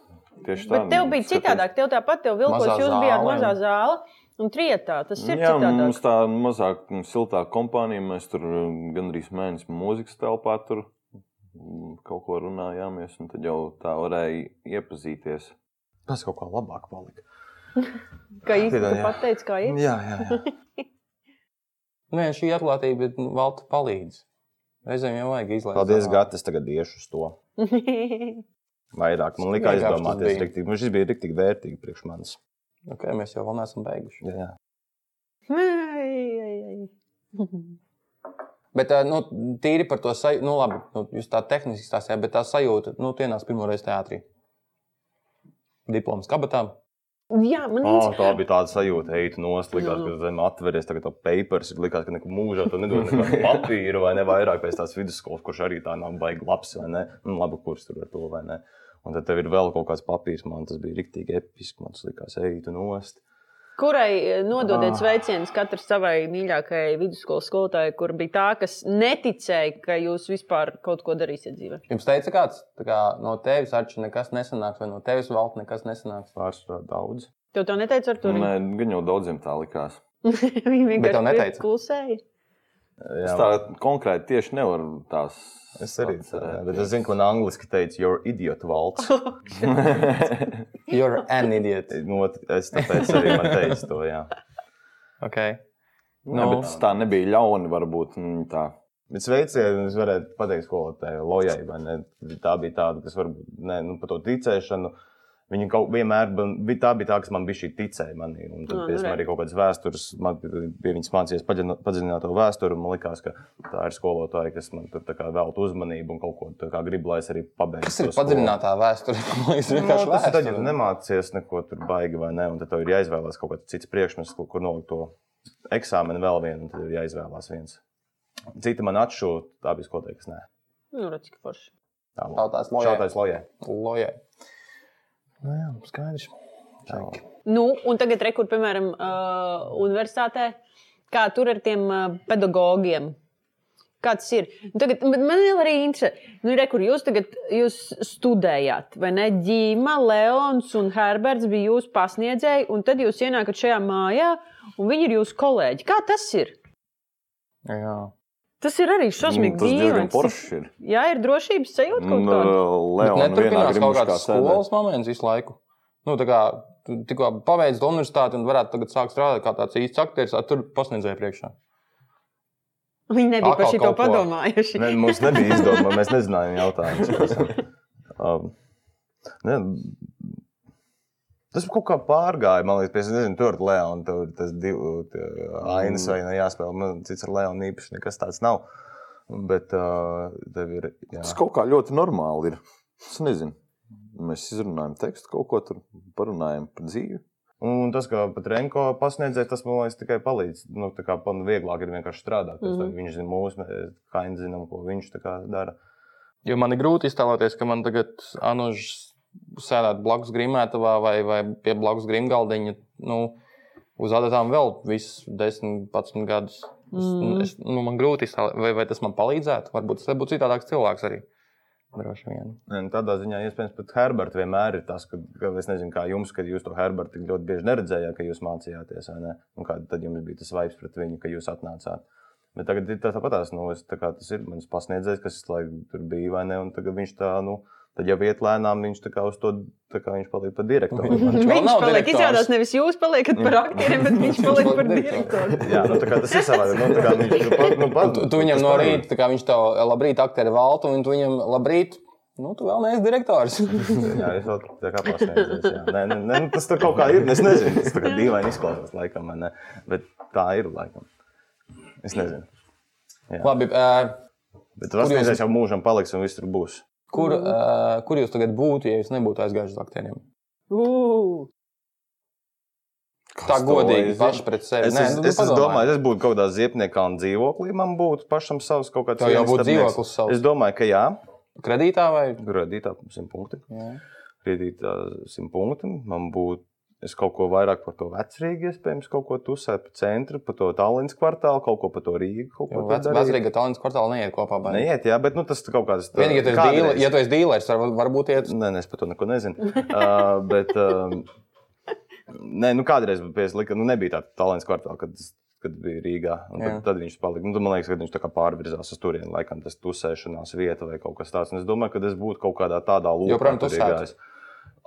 S2: Tieši tā. nu,
S4: bet tev bija citādāk, tev tāpat, tev vilkos,
S1: Mazā
S4: jūs bijāt
S1: zālē.
S4: mazā zāle un trietā. Tas ir
S2: Jā,
S4: citādāk.
S2: mums tā mazāk mm, siltā kompānija. Mēs tur mm, gandrīz mēnesi mūzikas telpā tur mm, kaut ko runājāmies, un tad jau tā varēja iepazīties.
S3: Tas kaut kā labāk palika.
S4: Kā īstenībā
S3: Piedod,
S4: tu
S3: jā.
S4: pateici, kā ir?
S3: Jā, jā, jā.
S1: Nē, šī atklātība nu, valta palīdz. Reizēm jau vajag izlaist.
S3: Paldies,
S1: ārā.
S3: Gat, es tagad iešu uz to. vairāk. Man liekas,
S1: Vienkārši tas
S3: aizdomāties,
S1: bija.
S3: riktīgi. Man šis bija rīktīgi vērtīgi priekš manis.
S1: Okay, mēs jau vēl neesam beiguši.
S3: Jā, jā.
S4: Ai, ai, ai.
S1: Bet ā, nu, tīri par to sajūtu, nu, labi, nu, jūs tā tehniski stāstījāt, bet tā sajūta, nu, tu ienāc pirmo reizi teātrī. Diploms kabatā.
S4: Jā, man
S3: Oh,
S4: īsti-
S3: tā bija tāda sajūta, ej, tu noslēgās,
S4: Jā.
S3: ka zem atveries tagad to papīrs. Likās, ka nekur mūžā tu nedod nekādu papīru vai ne vairāk pēc tās vidusskolas, kurš arī tā nav baigta labs vai ne. Nu, labi, kurš tur ar to vai ne. Un tad tev ir vēl kaut kāds papīrs, man tas bija riktīgi episki. Man tas likās, ej, tu nost.
S4: Kurai eh, nododiet
S3: Ah.
S4: sveicienus katrai savai mīļākajai vidusskolas skolotājai, kur bija tā, kas neticēja, ka jūs vispār kaut ko darīsiet dzīvē?
S1: Jums teica, kāds tā kā, no tevis arčs nekas nesanāks, vai no tevis valta nekas nesanāks.
S3: Pāris tā daudz.
S4: Tev to neteica ar to?
S2: Nē, gan jau daudziem tā likās.
S4: Viņa
S1: Bet tev
S4: vienkārši
S1: neteica?
S4: klusēja.
S2: Es
S3: Jā,
S2: tā konkrēti tieši nevaru tās.
S3: es arī tādu. Bet es zinu, ka man angliski teica, you're idiot valds.
S1: You're an idiot.
S3: Nu, es tāpēc arī man teicu to, jā.
S1: Okay.
S2: Nu,
S1: Nu.
S2: bet tas tā nebija ļauna, varbūt. mm, Tā.
S3: Bet sveicienu, es varētu pateikt, skolotājai, lojai, vai ne? Tā bija tāda, kas varbūt ne, nu, par to ticēšanu. Viņa kaut vienmēr ban- bija tā, bija tā, kas man bija šī ticēja manī. Un
S4: Ah,
S3: tad
S4: nu
S3: es
S4: re.
S3: arī kaut kādas vēstures, man bija viņas mācījies paģino- padziļināt to vēsturi. un Man liekas, ka tā ir skolotāja, kas man tur tā kā velta uzmanību un kaut ko tādu grib, lai es arī pabeigtu.
S1: Kas ir
S3: to skolu.
S1: padziļinātā vēsture? Man liekas,
S3: Nu,
S1: vienkārši
S3: tas ir tad, ja tu
S1: vēsture.
S3: nemācies neko tur baigi vai ne, un tad tev ir jāizvēlās kaut kāds cits priekšmets, kur- kur nolikt to eksāmenu vēl vienu, un tad ir jāizvēlās viens. Citi man atšūta, tā bija skolotāja, kas nē.
S4: Nu, redz, ka forši.
S3: Tā lo-
S1: Tautās lojai.
S3: Šautais lojē.
S1: Lojai. Nu jā, skaidrs. Čaki.
S4: Nu, un tagad, re, kur, piemēram, uh, universitātē, kā tur ar tiem uh, pedagogiem? Kāds ir? Nu, Tagad, bet man ir arī interesē, nu, re, kur jūs tagad jūs studējāt, vai ne? Dīma, Leons un Herberts bija jūsu pasniedzēji, un tad jūs ienākat šajā mājā, un viņi ir jūsu kolēģi. Kā tas ir?
S1: Jā.
S4: Tas ir arī
S1: Nu,
S4: šausmīgi.
S2: Mm, tas diezgan
S4: dīvains.
S2: poršs ir.
S4: Jā, ir drošības sajūta kaut
S2: Un,
S4: kāda.
S1: Bet
S2: Leona vienā
S1: neturpinās kaut
S2: gribuškā
S1: kāds skolas moments visu laiku. Nu, tā kā tu tikko pabeidz universitāti un varētu tagad sākt strādāt kā tāds īsts aktieris, ah, tur pasniedzēja priekšā.
S4: Viņi nebija
S1: atkal
S4: par šito
S1: Nu, kaut ko.
S4: padomājuši.
S3: Ne, mums nebija izdomāts, mēs nezinājām jautājumus. Um, ne, Tas kaut kā pārgāja, man liekas, es nezinu, tur ir Leona, tur ir tas divu tie ainas vai ne jāspēlē. Man cits ar Leonu īpaši nekas tāds nav. Bet uh, tev ir. Jā.
S2: Tas kaut kā ļoti normāli ir. Es nezinu. Mēs izrunājam tekstu, kaut ko tur parunājam par dzīvi.
S3: Un tas, ka pat Renko pasniedzēja, tas man liekas, tikai palīdz. Nu, tā kā man vieglāk ir vienkārši strādāt. Mm
S4: Mhm.
S3: -hmm. Viņš zina mūsu, mēs kaini zinām, ko viņš tā kā dara.
S1: Jo man ir grūti iztēloties, ka man tagad Anužs sēdētu blakus grimētavā vai, vai pie blakus grimgaldiņa. Nu, uz adatām vēl viss 10, 11 gadus. Es,
S4: Mm.
S1: mm. es, nu, man grūti iztēloties, vai, vai tas man palīdzētu. Varbūt tas būtu citādāks cilvēks arī. Droši vien.
S3: Un Tādā ziņā iespējams pat Herberta vienmēr ir tas, ka, ka es nezinu, kā jums, kad jūs to Herberta tik ļoti bieži neredzējāt, ka jūs mācījāties, vai ne? Un kā tad jums bija tas vibes pret viņu, ka jūs atnācāt. Bet tagad ir tā, tāpatās, nu, es, tā kā tas ir mans pasniedzējs, kas lai, tur bija, vai ne? Un tagad viņš tā, nu, tad jau iet lēnām, viņš tā kā uz to, tā kā viņš paliek par direktoru. vai ne?
S1: Viņš vēl
S4: Viņš
S1: nav
S4: paliek,
S1: direktors.
S4: izrādās, nevis jūs paliekat par aktieriem, bet viņš paliek par
S1: paliek direktors.
S4: direktoru.
S3: Jā, nu, tā kā tas ir savādāk. Nu, tā kā viņš nu, pat, nu, pat,
S1: Tu, tu viņam
S3: tas
S1: no
S3: palīdz.
S1: rīta, tā kā viņš tev labrīt, aktieri valtu, un tu viņam labrīt, nu, tu vēl neesi direktors.
S3: Jā, es vēl tā kā pasniedzēju. jā. Nē, nē, nē, nu, tas tur kaut kā ir. Es nezinu, tas tā kā dīvaini izklausās, laikam, vai ne? bet tā ir. Laikam. Es nezinu.
S1: Labi, ē,
S3: Bet tas
S1: jūs-
S3: pasniedzējs jau mūžam paliks un viss tur būs.
S1: Kur, uh, kur jūs tagad būtu, ja jūs nebūtu aizgājuši uz aktieriem?
S4: Ū,
S1: Tā
S2: Kas to lai
S1: godīgi,
S2: zina?
S1: paši pret sevi.
S3: Es, es,
S1: nu,
S3: es, es
S1: padomā.
S3: domāju, es būtu kaut kādā ziepniekā un dzīvoklī. Man būtu pašam savs kaut kāds
S1: Tev jau
S3: viens
S1: būtu
S3: darbnieks.
S1: dzīvoklis savs.
S3: Es domāju, ka jā,
S1: kredītā vai
S3: radītā simt punkti.
S1: Jā.
S3: Radītā simt punkti. Man būtu. Es kaut ko vairāk par to vecrīgu, iespējams, kaut ko tusēt pa centru, pa to Tallinas kvartālu, kaut ko pa to Rīgu. kaut ko
S1: Jo
S3: tur
S1: vec-
S3: darīt.
S1: vecrīga talants kvartāla neiet kopā. vai ne?
S3: Neiet, jā, bet nu, tas kaut kāds
S1: Vienīgi, ja tu esi dīle- ja tu esi dīlers, tad var, varbūt iet.
S3: Nē, nē, es par to neko nezinu. uh, bet, um, nē, nu kādreiz bija tas, nu, nebija tāds talants kvartāls, kad, es- kad bija Rīgā. un Tad,
S1: Jā.
S3: tad viņš palika. Nu, tad man liekas, ka viņš tā kā pārvirzās uz turieni, laikam tas tusēšanās vieta vai kaut kas tāds. Un es domāju, ka es būtu kaut kādā tādā lokā,
S1: Joprojām
S3: tur
S1: tusētu?
S3: iegājis.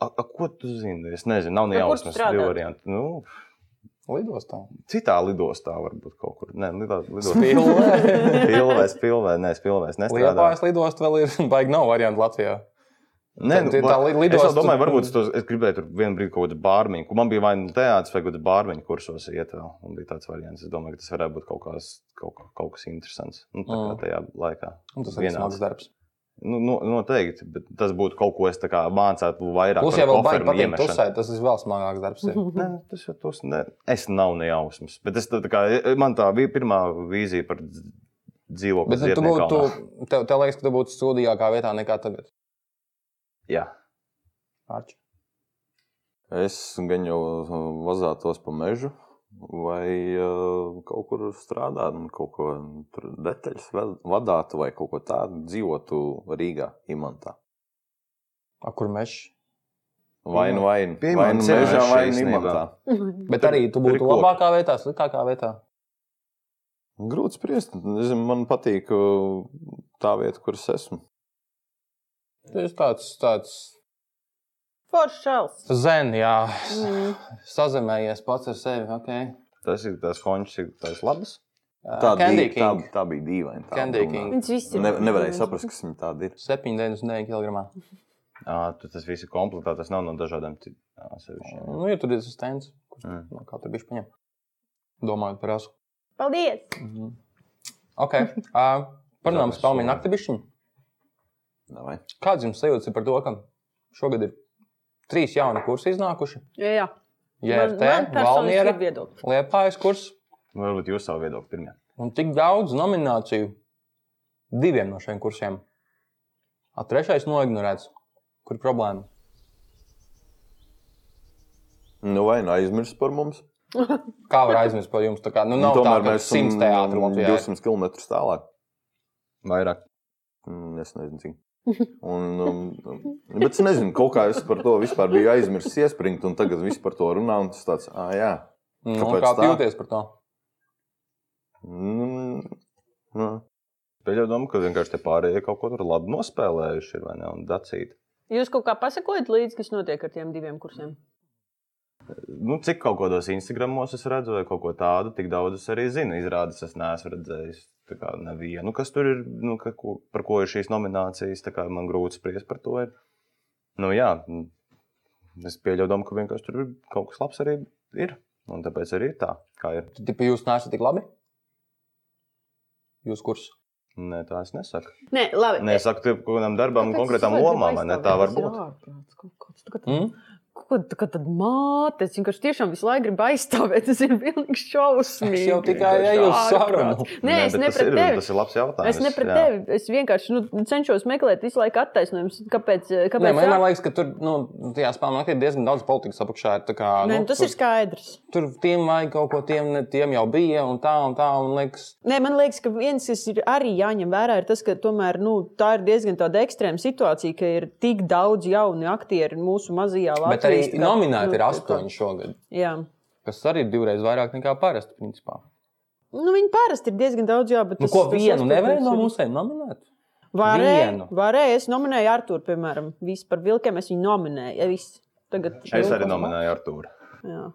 S3: A, a, ko tu zini? Es nezinu, nav ne
S4: Ar kur
S3: jausmas,
S4: strādāt?
S3: divi varianti. Nu,
S1: Lidostā.
S3: citā lidostā varbūt kaut kur. Nē, lido- lidostā.
S1: Pilnē.
S3: Pilvēs, pilvēs, nē, es pilvēs nestrādāju.
S1: Liepājas lidost vēl ir, baigi nav variantu Latvijā.
S3: Nē, nu,
S1: Tā- tā li-
S3: es vēl
S1: lidostu-
S3: domāju, varbūt es, to, es gribēju tur vienu brīdi kaut kādu bārmiņu. kur Man bija vai nu teātris, vai kaut kāda bārmiņa kursos iet vēl. Un bija tāds variants. Es domāju, ka tas varētu būt kaut, kās, kaut, kā- kaut kas interesants. Nu, tā kā
S1: Mm.
S3: tajā laikā.
S1: Un Tas ir
S3: Vienāds.
S1: smags darbs.
S3: Nu, nu, noteikti, bet tas būtu kaut ko, es tā kā mācētu vairāk.
S1: Plus,
S3: par
S1: ja vēl
S3: koferu
S1: baigi patīk
S3: iemešanu.
S1: tusēt, Mhm. tas ir vēl smagāks darbs. ir.
S3: Nē, tas jau tas ne. Es nav nejausmas. Bet es tā tā kā, e, man tā bija pirmā vīzija par dz- dzīvokli.
S1: Bet nu, tu būtu, tev, tev liekas, ka tu būtu sūdīgākā vietā nekā tagad.
S3: Jā,
S1: Arči.
S2: Es gan jau uh, vazātos pa mežu, vai uh, kaut kur strādātu, un kaut ko tur detaļas ved- vadātu, vai kaut ko tādu dzīvotu Rīgā, Imantā.
S1: A, kur mežs?
S2: Vai nu vai nu
S3: Pie
S2: vai nu
S3: Imanta
S2: mežā,
S3: ceļā
S2: vai nu
S3: šeit
S2: Imantā.
S1: Bet arī tu būtu
S3: koki.
S1: labākā vietā, sliktākā vietā.
S2: Grūti spriest. Nezinu, man patīk uh, tā vieta, kur es esmu.
S1: Tas ir tāds, tāds
S4: Foršs šals.
S1: zen, jā,
S4: Mm.
S1: sazemējies pats ar sevi. Okay.
S3: tas ir tas končs, ir tas labs.
S1: Uh,
S2: Tā,
S1: Candy
S2: dī-
S1: King.
S2: tā, tā bija dīvaina. tā
S1: Candy
S2: domāju.
S1: King.
S4: Viņš viss ir.
S2: Ne, nevarēja saprast, kas viņam tāda ir.
S1: 79 kg.
S3: À, tas viss ir komplektā, tas nav no dažādiem ci- ā, sevišķiem.
S1: Nu, ir tur ir stends, kurš
S3: Mm.
S1: no kā tur bija paņem. Domājot par asu.
S4: Paldies!
S1: Mhm. Ok. Uh, Parunājums
S3: Zavis
S1: par Palmīnu
S3: somu.
S1: Naktibišķiņu.
S2: Davai.
S1: Kāds jums sajūta ir par to, ka šogad ir trīs jauni kursi iznākuši?
S4: Jā, jā.
S1: JRT,
S4: man personīgi
S1: Valmiera,
S4: ir viedoklis.
S1: Liepājas kurs
S3: Nu, Varbūt jūs savu viedokli pirmie.
S1: un tik daudz nomināciju diviem no šiem kursiem. A, trešais noignorēts. Kur ir problēma?
S2: Nu, vai nu aizmirst par mums?
S1: Kā var aizmirst par jums? Tā kā, nu,
S2: Nu,
S1: nav tā, ka
S2: esam,
S1: simts teātris
S2: mm,
S1: Latvijā. ir.
S2: 200 km tālāk.
S3: Vairāk.
S2: Mm, Es nezinu, cik. Un, um, bet es nezinu, kaut kā es par to vispār biju aizmirsis iespringt, un tagad viss par to runā. un Tas tāds, ah, jā,
S1: Nu,
S2: Kāpēc
S1: kā
S2: tā?
S1: jūties par to?
S2: mm, nu,
S3: Pēļņu domu, ka vienkārši tie pārējie kaut ko tur labi nospēlējuši ir vai ne? Un dacīti.
S4: Jūs kaut kā pasakojat līdzi, kas notiek ar tiem diviem kursiem?
S3: Nu, cik kaut kādos Instagramos es redzu, vai kaut ko tādu, tik daudz es arī zinu. Izrādās, es neesmu redzējis tā kā nevienu, kas tur ir, nu, ka, ko, par ko ir šīs nominācijas. tā kā Man grūti spriest par to. Ir. Nu, jā, mm, es pieļauju, ka vienkārši tur ir kaut kas labs arī ir. Un tāpēc arī ir tā, kā ir.
S1: Tad, tipa, jūs neesat tik labi? Jūs kurs?
S3: Nē, tā es nesaku.
S4: Nē, labi.
S3: Nē, Nu, es saku, tur kaut kādam darbam, konkrētam lomām, vai ne? Tā var būt.
S1: Mm?
S4: Ko tā kā tad māte? Es vienkārši tiešām visu laiku gribu aizstāvēt. Tas ir pilnīgi šausmīgi.
S1: Es jau tikai
S4: Vienkārši
S1: eju uz
S4: ārprāts.
S1: sarunu.
S4: Nē, es
S3: bet
S4: ne
S3: tas
S4: pret
S3: ir-
S4: tevi.
S3: Tas ir labs jautājums.
S4: Es ne pret
S3: jā.
S4: tevi. Es vienkārši nu, cenšos meklēt visu laiku attaisnojumus. Kāpēc? kāpēc
S1: Nē, man
S4: tā?
S1: vienmēr liekas, ka tur nu, tajā spēlē ir diezgan daudz politikas apakšā. ir tā Kā,
S4: Nē,
S1: nu,
S4: nu, tas
S1: tur,
S4: ir skaidrs.
S1: tur tiem vajag kaut ko, tiem, ne, tiem jau bija un tā un tā. Un liekas,
S4: Nē, man liekas, ka viens, kas ir arī jāņem vērā, ir tas, ka tomēr, nu, tā ir diezgan tāda ekstrēma situācija, ka ir tik daudz jaunu aktieru mūsu mazajā Latvijā. Nu,
S1: bet arī nominēti ir astoņi šogad,
S4: Jā.
S1: kas arī ir divreiz vairāk nekā parasti. Principā.
S4: Nu, viņi parasti ir diezgan daudz, jā, bet.
S1: Nu,
S4: tas-
S1: ko
S4: tas
S1: vienu
S4: astoņi
S1: nevarēja no
S4: ir-
S1: mūsiem nominēt?
S4: Varēja,
S1: Vienu.
S4: varēja. Es nominēju Arthuru, piemēram, visu par vilkiem. Es viņu nominēju. Ja viss. Tagad,
S3: Es arī nominēju Artūru.
S4: Jā.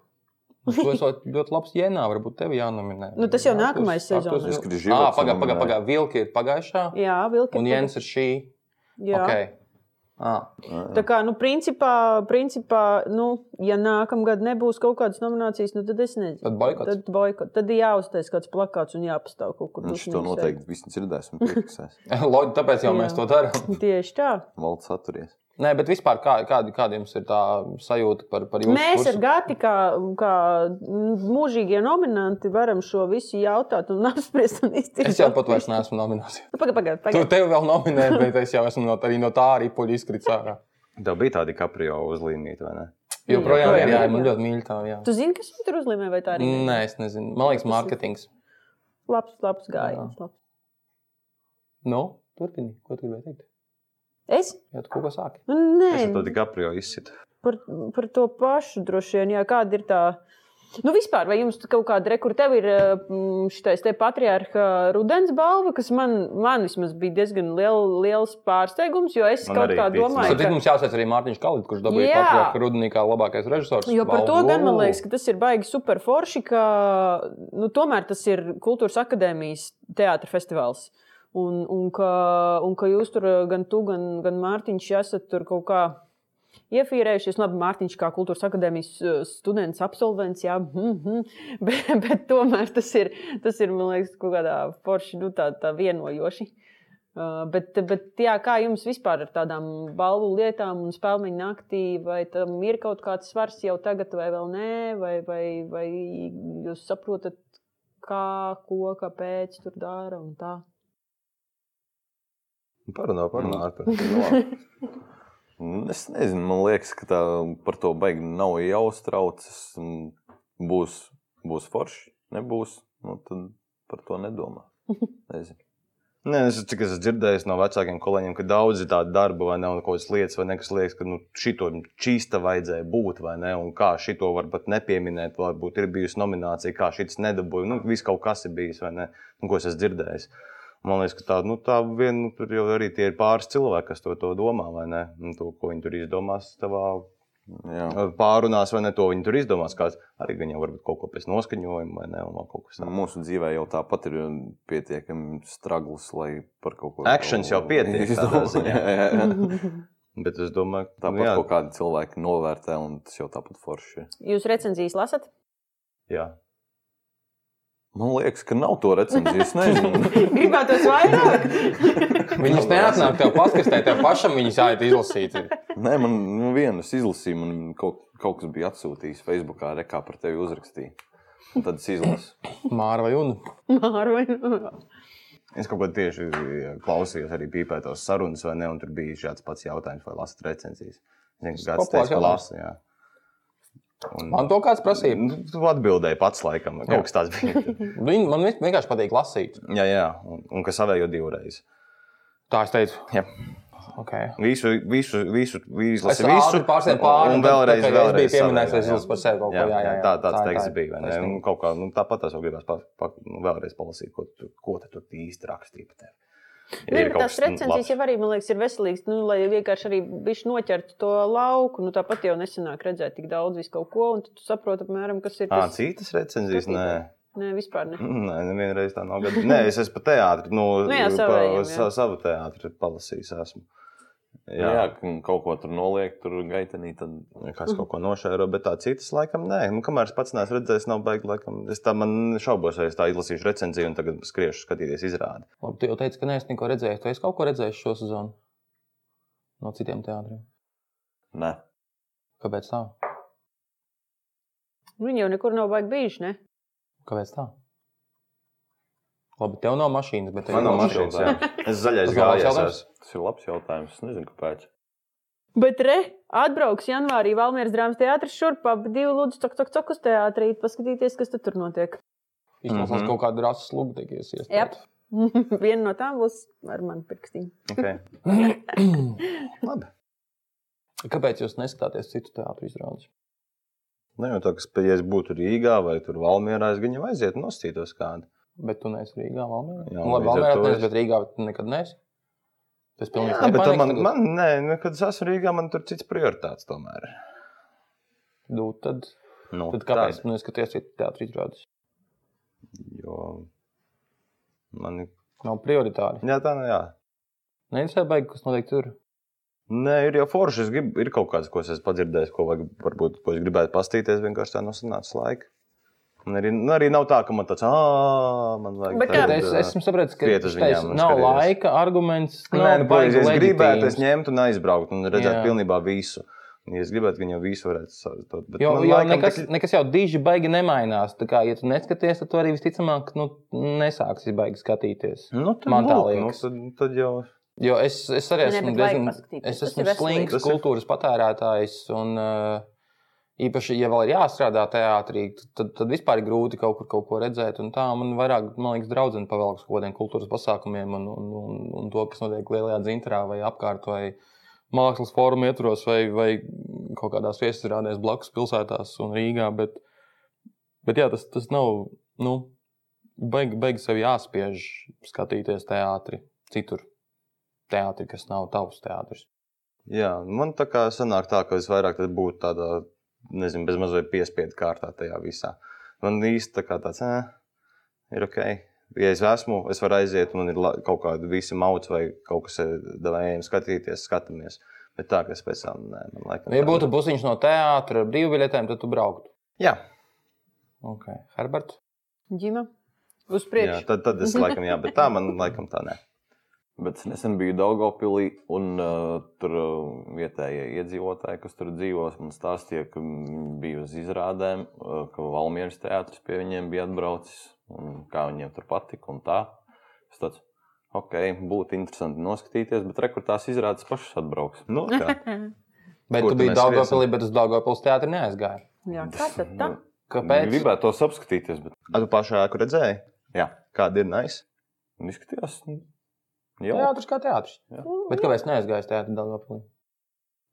S1: Nu, Tu esi ļoti labs jēnā, varbūt tev jānominē.
S4: Nu, tas jau nākamais sezonā.
S2: Es gribu
S1: Jā,
S2: život
S1: pagaidi,
S2: nominēt.
S1: pagaidi, pagaidi. Vilki ir pagājušā,
S4: jā, vilki.
S1: un Jens ir šī.
S4: Jā.
S1: Okay. Ah,
S4: Tā kā, nu, principā, principā nu, ja nākamgad nebūs kaut kādas nominācijas, nu, tad es nezinu.
S1: Tad boikots.
S4: Tad, boikot. tad ir jāuztais kāds plakāts un jāpastāv kaut
S1: Nu,
S4: kur.
S2: viņš to
S4: dusmīgs.
S2: noteikti viss dzirdēs un pieraksēs.
S1: Loģiski, tāpēc jau
S4: Jā.
S1: mēs to darām.
S4: Tieši tā.
S2: Valds atturies.
S1: Nē, bet vispār kā, kāda, kāda jums ir tā sajūta par, par jūsu
S4: Mēs
S1: kursu?
S4: ar Gati, kā, kā mūžīgie nominanti, varam šo visu jautāt un apspriest. Un iztirzāt.
S1: Es jau pat vairs neesmu nomināts.
S4: Nu, Pagaid, pagaid,
S1: Tu
S4: pagaid.
S1: tevi vēl nominēji, bet es jau esmu no, arī no tā arī poļu izkrits ārā.
S3: Tev bija tādi kaprio uzlīmīti, vai ne?
S1: Jo projām ir
S4: joprojām
S1: jā,
S4: ir,
S1: man
S4: jā.
S1: ļoti mīļi tā. Jā.
S4: Tu zini, kas viņu tur uzlīmē, vai tā arī? ne?
S1: Nē, es nezinu. Man liekas, mārketings.
S4: Labs, labs gājiens. labs.
S1: Nu, turpini, ko tu gribēji teikt?
S4: Es?
S1: Jā, tu kaut ko sāki.
S4: Nu,
S3: Es ar
S4: Nē,
S3: tādu kaprio izsitu.
S4: par, par to pašu droši vien. Jā, kāda ir tā? Nu, vispār, vai jums kaut kāda rekurta, tev ir šis te patriarcha rudens balva, kas man, man vismaz bija diezgan liel, liels pārsteigums, jo es
S3: Man
S4: kaut
S3: arī
S4: kā
S3: bija,
S4: domāju,
S1: Tad
S4: ka.
S1: mums jāsaka arī Mārtiņš Kalniņš, kurš dabūja
S4: Jā.
S1: patriarcha rudenī kā labākais režisors.
S4: Jo par to
S1: Balvu.
S4: gan man liekas, ka tas ir baigi superforši, ka nu, tomēr tas ir Kultūras akadēmijas teātris festivāls. Un, un, ka, un ka jūs tur, eh, gan tu, gan, gan Mārtiņš, esat tur kaut kā iefīrējušies. Labi, Mārtiņš, kā kultūras akadēmijas eh, students, absolvents, jā, mm -hmm. bet, bet tomēr tas ir, tas ir, man liekas, kaut kādā forši, nu, tā, tā vienojoši. Uh, Bet, bet jā, kā jums vispār ar tādām balvu lietām un spēļu naktī, vai tam ir kaut kāds svars jau tagad, vai vēl nē, vai, vai, vai jūs saprotat, kā, ko, kāpēc tur dara un tā?
S3: Parunā, parunā Nu, ar to.
S2: Mm, Es nezinu, man liekas, ka tā,
S3: um,
S2: par to baigi nav jāuztraucas. Mm, Būs, būs forši, nebūs. Nu, tad par to nedomā. Nezinu.
S3: Nē, es cik es esmu dzirdējis no vecākiem kolēģiem, ka daudzi tādi darbi vai ne, un kaut kādas lietas, vai ne, kas liekas, ka nu, šito čīsta vajadzēja būt, vai ne, un kā šito var pat nepieminēt, varbūt ir bijusi nominācija, kā šis nedabūja. Nu, viss kaut kas ir bijis, vai ne, nu, ko es esmu dzirdējis. Man liekas, ka tā, nu, tā vien, nu, tur jau arī tie ir pāris cilvēki, kas to, to domā, vai ne, un to, ko viņi tur izdomās savā eh,
S2: Jā.
S3: pārunās, vai ne, to viņi tur izdomās. Kāds arī viņam varbūt kaut ko pēc noskaņojuma, vai ne, un vēl kaut kas
S2: Nu,
S3: tāds.
S2: Mūsu dzīvē jau tāpat ir pietiekami strūklas, lai par kaut ko
S3: Actions jau pietiek tādā
S2: Izdomā-
S3: ziņā.
S2: Jā, jā, jā.
S3: Bet es domāju, nu, ka
S2: Tāpat kaut kādi cilvēki novērtē, un tas jau tāpat forši. ir.
S4: Jūs recenzijas lasat?
S3: jā.
S2: Man liekas, ka nav to recenzijas. Es nezinu.
S4: Gribētu tos vairāk!
S1: Viņas neatnāk tev paskatīt, tev pašam viņas jāiet izlasīt. ir.
S2: Nē, man nu, vienu es izlasīju, man kaut, kaut kas bija atsūtījis Facebookā, re, kā par tevi uzrakstīja. Un Tad es izlasu.
S1: Māra vai un?
S4: Mārvai.
S3: Es kaut ko tieši eh, klausījos arī pīpētos sarunas, vai ne? Un tur bija šāds pats jautājums, vai lasīt recenzijas. Es vienkārši kāds
S1: Populārs
S3: teica, ka
S1: jautājums.
S3: lasa. Jā. Un,
S1: Man to kāds prasīja.
S3: Nu, tu atbildēji pats, laikam,
S1: Jā.
S3: kaut kas tāds bija.
S1: Viņi- Man vi- vienkārši patīk lasīt.
S3: jā, jā, un, un ka savējo divreiz.
S1: Tā es teicu.
S3: Jā.
S1: Okay.
S3: Visu, visu, visu, visu,
S1: Es
S3: visu,
S1: visu pārspēju pāri.
S3: un vēlreiz,
S1: tā,
S3: vēlreiz.
S1: Es biju pieminējis,
S3: savējo,
S1: es
S3: jā.
S1: jūsu par sevi kaut ko.
S3: Jā, jā, jā, tā, tāds
S1: ir
S3: teiks bija. vai Ne?
S1: taisnība.
S3: Un Kaut kā, nu, tāpat es gribēju pa, pa, nu, vēlreiz palasīt, ko tu, ko tu tur īsti rakstīji par tevi.
S4: Nē, bet Nu,
S3: nu
S4: tās recenzijas jau
S3: jau ir.
S4: arī, man liekas, ir veselīgas. Nu, lai vienkārši arī viņš noķertu to lauku. Nu, tāpat jau nesenāk redzēt tik daudz visu kaut ko, un tad tu saproti, apmēram, kas ir
S3: Ah,
S4: tas.
S3: citas recenzijas? Nē.
S4: Skatītāji. Nē, vispār ne.
S3: Nē, nevienreiz tā nav. Gadu. Nē, es esmu pa teātri. Nu,
S4: Nu jā,
S3: pa-
S4: savējiem, jā.
S3: sa- savu teātri palasījis. Esmu.
S2: Nu Jā,
S3: Jā,
S2: jā kaut ko tur noliek, tur gaitenī. Tad...
S3: jā. kāds kaut ko nošēro, bet tā citas laikam nē. Nu, kamēr es pats neesmu redzējis, nav baigts. laikam. Es tā man šaubos, vai es tā izlasīšu recenziju un tagad skriešu skatīties izrādi.
S1: Labi, tu jau teici, ka neesi neko redzējis. Tu esi kaut ko redzējis šo sezonu no citiem teātriem.
S2: Nē,
S1: Kāpēc tā?
S4: Viņi jau nekur nav baigi bijuši. Ne?
S1: Kāpēc tā? Labi, tev nav mašīnas, bet tev
S2: Man
S1: ir
S2: nav
S1: labs
S2: mašīnas,
S1: jautājums.
S3: jā. Es zaļais
S1: Tas labs
S3: gājies.
S1: jautājums.
S3: esmu.
S2: tas ir labs jautājums. Es nezinu, kāpēc.
S4: Bet re, atbrauks janvārī Valmieras drāmas teātris šurp ap divu lūdzu cok, cok, cok uz teātrī, paskatīties, kas tad tur notiek.
S1: Izklausās
S3: Mhm.
S1: kaut kāda rasa slugdegies.
S4: Jep. Viena no tām būs ar mani pirkstiņu.
S3: Okay. Labi.
S1: Kāpēc jūs neskatāties citu teātrus izrādes?
S3: Nu, jau tā, kas, ja es būtu Rīgā vai tur Valmierā, es gan jau aizietu un nostītos kādu.
S1: Bet tu neesi Rīgā, Valmērā.
S3: Jā,
S1: Jā, labi,
S3: līdz ar
S1: Valmērā
S3: to
S1: tu
S3: es-
S1: neesi, bet Rīgā tu nekad neesi. Tas pilnīgi
S3: Jā, bet tā
S1: nepaniks
S3: man,
S1: tagad.
S3: man nē, nu, kad es esmu Rīgā, man tur cits prioritāts tomēr. ir.
S1: Nu, tad,
S3: Nu,
S1: tad
S3: tāda.
S1: kāpēc tu neskaties citu teātrus izrādes?
S3: Jo man ir.
S1: Nav prioritāri.
S3: Jā, tā nav. Jā.
S1: Neinteresē baigi, kas notiek tur.
S3: Nē, ir jau forši. Es gribu, ir kaut kāds, ko es esmu dzirdējis, ko, vajag, varbūt, ko es gribētu pastīties. Vienkārši tā nav sanāca laika. Un arī, nu, arī nav tā, ka man tāds - ah, man vajag.
S4: Bet
S1: Bet
S3: tagad,
S1: es
S3: ā,
S1: esmu sapratis, ka
S3: skriet uz
S1: tas teiks,
S3: viņām un
S1: nav
S3: skaties.
S1: laika arguments.
S3: Nē,
S1: nav
S3: nu, pareizi,
S1: baigi
S3: es gribētu, es
S1: leģitīms.
S3: ņemtu un aizbrauktu un redzētu
S1: Jā.
S3: pilnībā visu. Un, Ja es gribētu, viņi jau visu varētu savietot.
S1: Jo, jo nekas, tik... nekas jau diži baigi nemainās. Tā kā, ja tu neskaties, tad tu arī visticamāk nu, nesāksi baigi skatīties.
S3: Nu, tad,
S1: Man tā
S3: lūk, nu,
S1: liekas.
S3: tad, tad jau
S1: Jo es, es arī
S4: Nē,
S1: esmu
S4: bet vajag
S1: diezgan
S4: paskatīties.
S1: es
S4: Tas
S1: esmu
S4: ir veselīgi.
S1: slinks
S3: Tas ir-
S1: kultūras patērētājs. Un, ā, Īpaši, ja vēl ir jāstrādā teātrī, tad, tad vispār ir grūti kaut kur kaut ko redzēt. Un tā man vairāk, man liekas, draudzene pavelk uz kaut kādiem kultūras pasākumiem un, un, un, un to, kas notiek lielajā dzinterā vai apkārt, vai mākslas fóruma ietvaros, vai, vai kaut kādās viesizrādēs blakus pilsētās un Rīgā. Bet, bet jā, tas, tas nav, nu, baigi baig sev jāspiež skatīties teātrī citur teātris, kas nav tavs teātris.
S3: Jā, man tā kā sanāk tā, ka es vairāk tad būtu tādā, nezinu, bezmazliet piespiedu kārtā tajā visā. Man īsti tā kā tāds, eh, ir ok, Ja es esmu, es varu aiziet, un man ir la- kaut kāda visi mauca vai kaut kas tāds, skatīties, skatāmies. Bet tā, ka es pēc tam, nē, man laikam.
S1: Ja
S3: tā-
S1: būtu busiņš no teātra ar brīvbiļetēm, tad tu brauktu.
S3: Jā,
S1: Ok, Herbert.
S4: Ģima. Uz
S3: jā
S4: priekšu.
S3: tad, tad es laikam, jā, bet tā man laikam tā nē.
S2: Bet es nesen biju Dārgopilī, un uh, tur uh, vietējie iedzīvotāji, kas tur dzīvo, man stāstīja, ka viņi bija uz izrādēm, uh, ka Valmīras teātris pie viņiem bija atbraucis, un kā viņiem tur patika. un tā. Es Tāds, ok, būtu interesanti noskatīties, bet rekrutās izrādes pašas atbrauks.
S3: Nu, tā.
S1: Bet
S3: Kur
S1: tu
S3: tu
S1: biji
S3: mēs
S1: Dārgopilī, bet uz Dārgopils teātri neaizgāji.
S4: Jā, kā tad tā?
S1: Kāpēc?
S2: Gribētu tos apskatīties, bet
S3: A, tu pašā ēku redzēji?
S2: Jā.
S3: Kāda ir nice?
S2: izskatījās. nu, Jau.
S1: Teātris kā teātris.
S2: Jā.
S1: Bet kāpēc neaizgāji uz teātri Dārgopilī?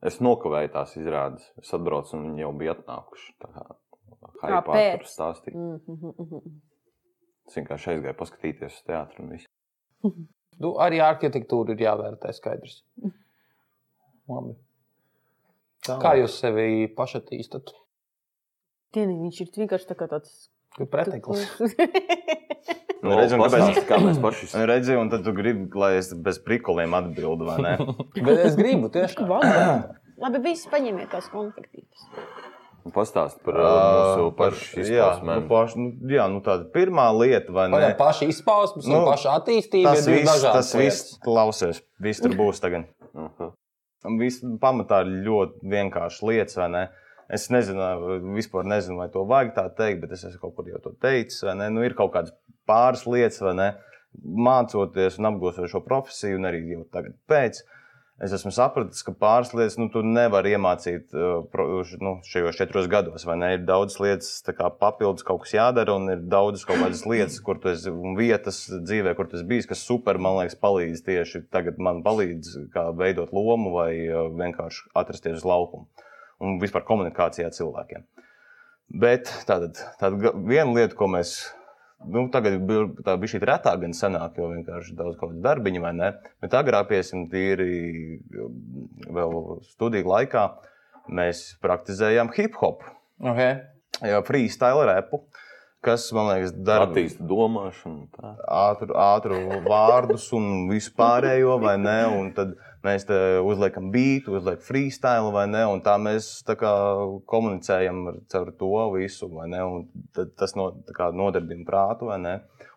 S2: Es nokavēju tās izrādes. Es atbraucu, un viņi jau bija atnākuši. Tā kā
S4: Kāpēc?
S2: haipā tur stāstīja.
S4: Mhm, mhm, mhm.
S2: Es vienkārši aizgāju paskatīties uz teātru. un viss.
S1: Nu, arī arhitektūra ir jāvērtē skaidrs. Labi. Kā jūs sevi pašatīstat?
S4: Tienī, viņš ir vienkārši tā kā tāds
S1: Tur preteklis.
S3: Nu, redzi, un kāpēc-
S2: Pastāsti, kā mēs paši
S3: Un Redzi, un tad tu gribi, lai es bez prikoliem atbildu, vai ne?
S1: Bet es gribu tieši tādu.
S4: Vanda. Labi, visi paņemiet tās konfektītes.
S2: pastāstām par uh, mūsu
S3: Ā,
S2: pašu
S3: Ah, jā, nu,
S2: izpausmēm.
S3: paš, nu, jā, nu tāda pirmā lieta, vai ne?
S1: Pašā paša izpausmes, nu,
S3: Nu,
S1: paša attīstība.
S3: Tas
S1: ir divas
S3: viss,
S1: dažādas
S3: tas
S1: lietas.
S3: viss klausies. Viss tur būs tagad.
S2: Mhm.
S3: Viss pamatā ir ļoti vienkārši lietas, vai ne? Es nezinu, vispār nezinu, vai to vajag tā teikt, bet es esmu kaut kur jau to teicis. vai ne? Nu, ir kaut kādas pāris lietas, vai ne? Mācoties un apgūstot šo profesiju, un arī jau tagad pēc. Es esmu sapratis, ka pāris lietas nu, tu nevari iemācīt uh, pro- š- nu, šajos četros gados. vai ne? Ir daudz lietas, tā kā papildus kaut kas jādara, un ir daudz kaut kādas lietas, kur tu esi un vietas dzīvē, kur tas bijis, kas super, man liekas, palīdz tieši tagad man palīdz kā veidot lomu vai uh, vienkārši atrasties uz laukuma un vispār komunikācijā cilvēkiem. Bet tātad, tātad ga- viena lieta, ko mēs nu, tagad bi- tā bija šī retāk, gan senāk, jo vienkārši daudz kaut kāda darbiņa vai ne. Bet agrāk, piesim, tīri um, vēl studiju laikā, mēs praktizējām hip hop,
S1: Okay.
S3: jau freestyle repu, kas man liekas, darbs
S2: Attīstīt domāšanu. Tā.
S3: ātru, ātru vārdus un vispārējo, vai ne? Un tad mēs te uzliekam beigtu, uzliekam freestyle, vai ne? Un tā mēs tā kā, komunicējam ar caur to visu, vai ne? Un tad tas no, tā kā nodarbina prātu, vai ne?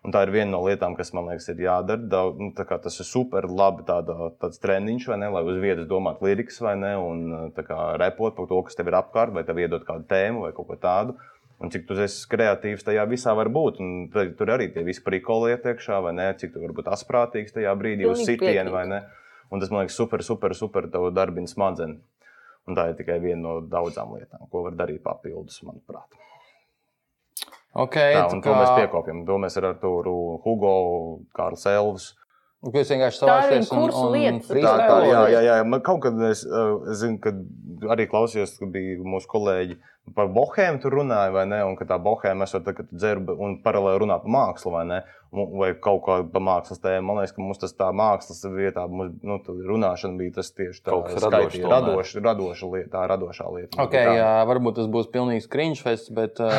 S3: Un tā ir viena no lietām, kas man liekas, ir jādara. Daudz, nu, tā kā tas ir super labi, tāda, tāds treniņš, vai ne? Lai uz vietas domātu lirikas, vai ne? Un e, tā kā repot par to, kas tev ir apkārt, vai tev iedod kādu tēmu vai kaut ko tādu. Un cik tas ir kreatīvs, tajā visā var būt. Un tad, tur arī tie visi prikoli iet iekšā, vai ne? Cik tu vari būt asprātīgs tajā brīdī, uz
S4: Pilnīgi
S3: sitienu vai
S4: piekrītu.
S3: ne. Un tas man liekas super, super, super tavu darbiņu smadzenes. Un tā ir tikai viena no daudzām lietām, ko var darīt papildus, manuprāt.
S1: Okay,
S3: Tā, un to mēs piekopjam. To mēs ar Arturu Hugo, Kārls Elvis.
S1: Jūs vienkārši
S4: Tā ir
S1: savācies
S4: viņa kursu lieta. Tā-
S3: Tā, tā,
S1: freestylojies?
S3: jā, jā, jā. Man kaut kad es, uh, zinu, kad arī klausījos, ka bija mūsu kolēģi par bohēmu tur runāja, vai ne? Un ka tā bohēma esot tā, ka tu dzerbi un paralēli runā par mākslu, vai ne? Un- Vai kaut kā par mākslas tēmu. Man liekas, ka mums tas tā mākslas vietā, mums, nu, tā runāšana bija tas tieši tā,
S2: Kaut kas radošs
S3: skaitīja,
S2: tomēr.
S3: radoša, radoša lieta, tā radošā lieta.
S1: Okay,
S3: tā.
S1: jā, varbūt tas būs pilnīgs cringe-fest, bet uh,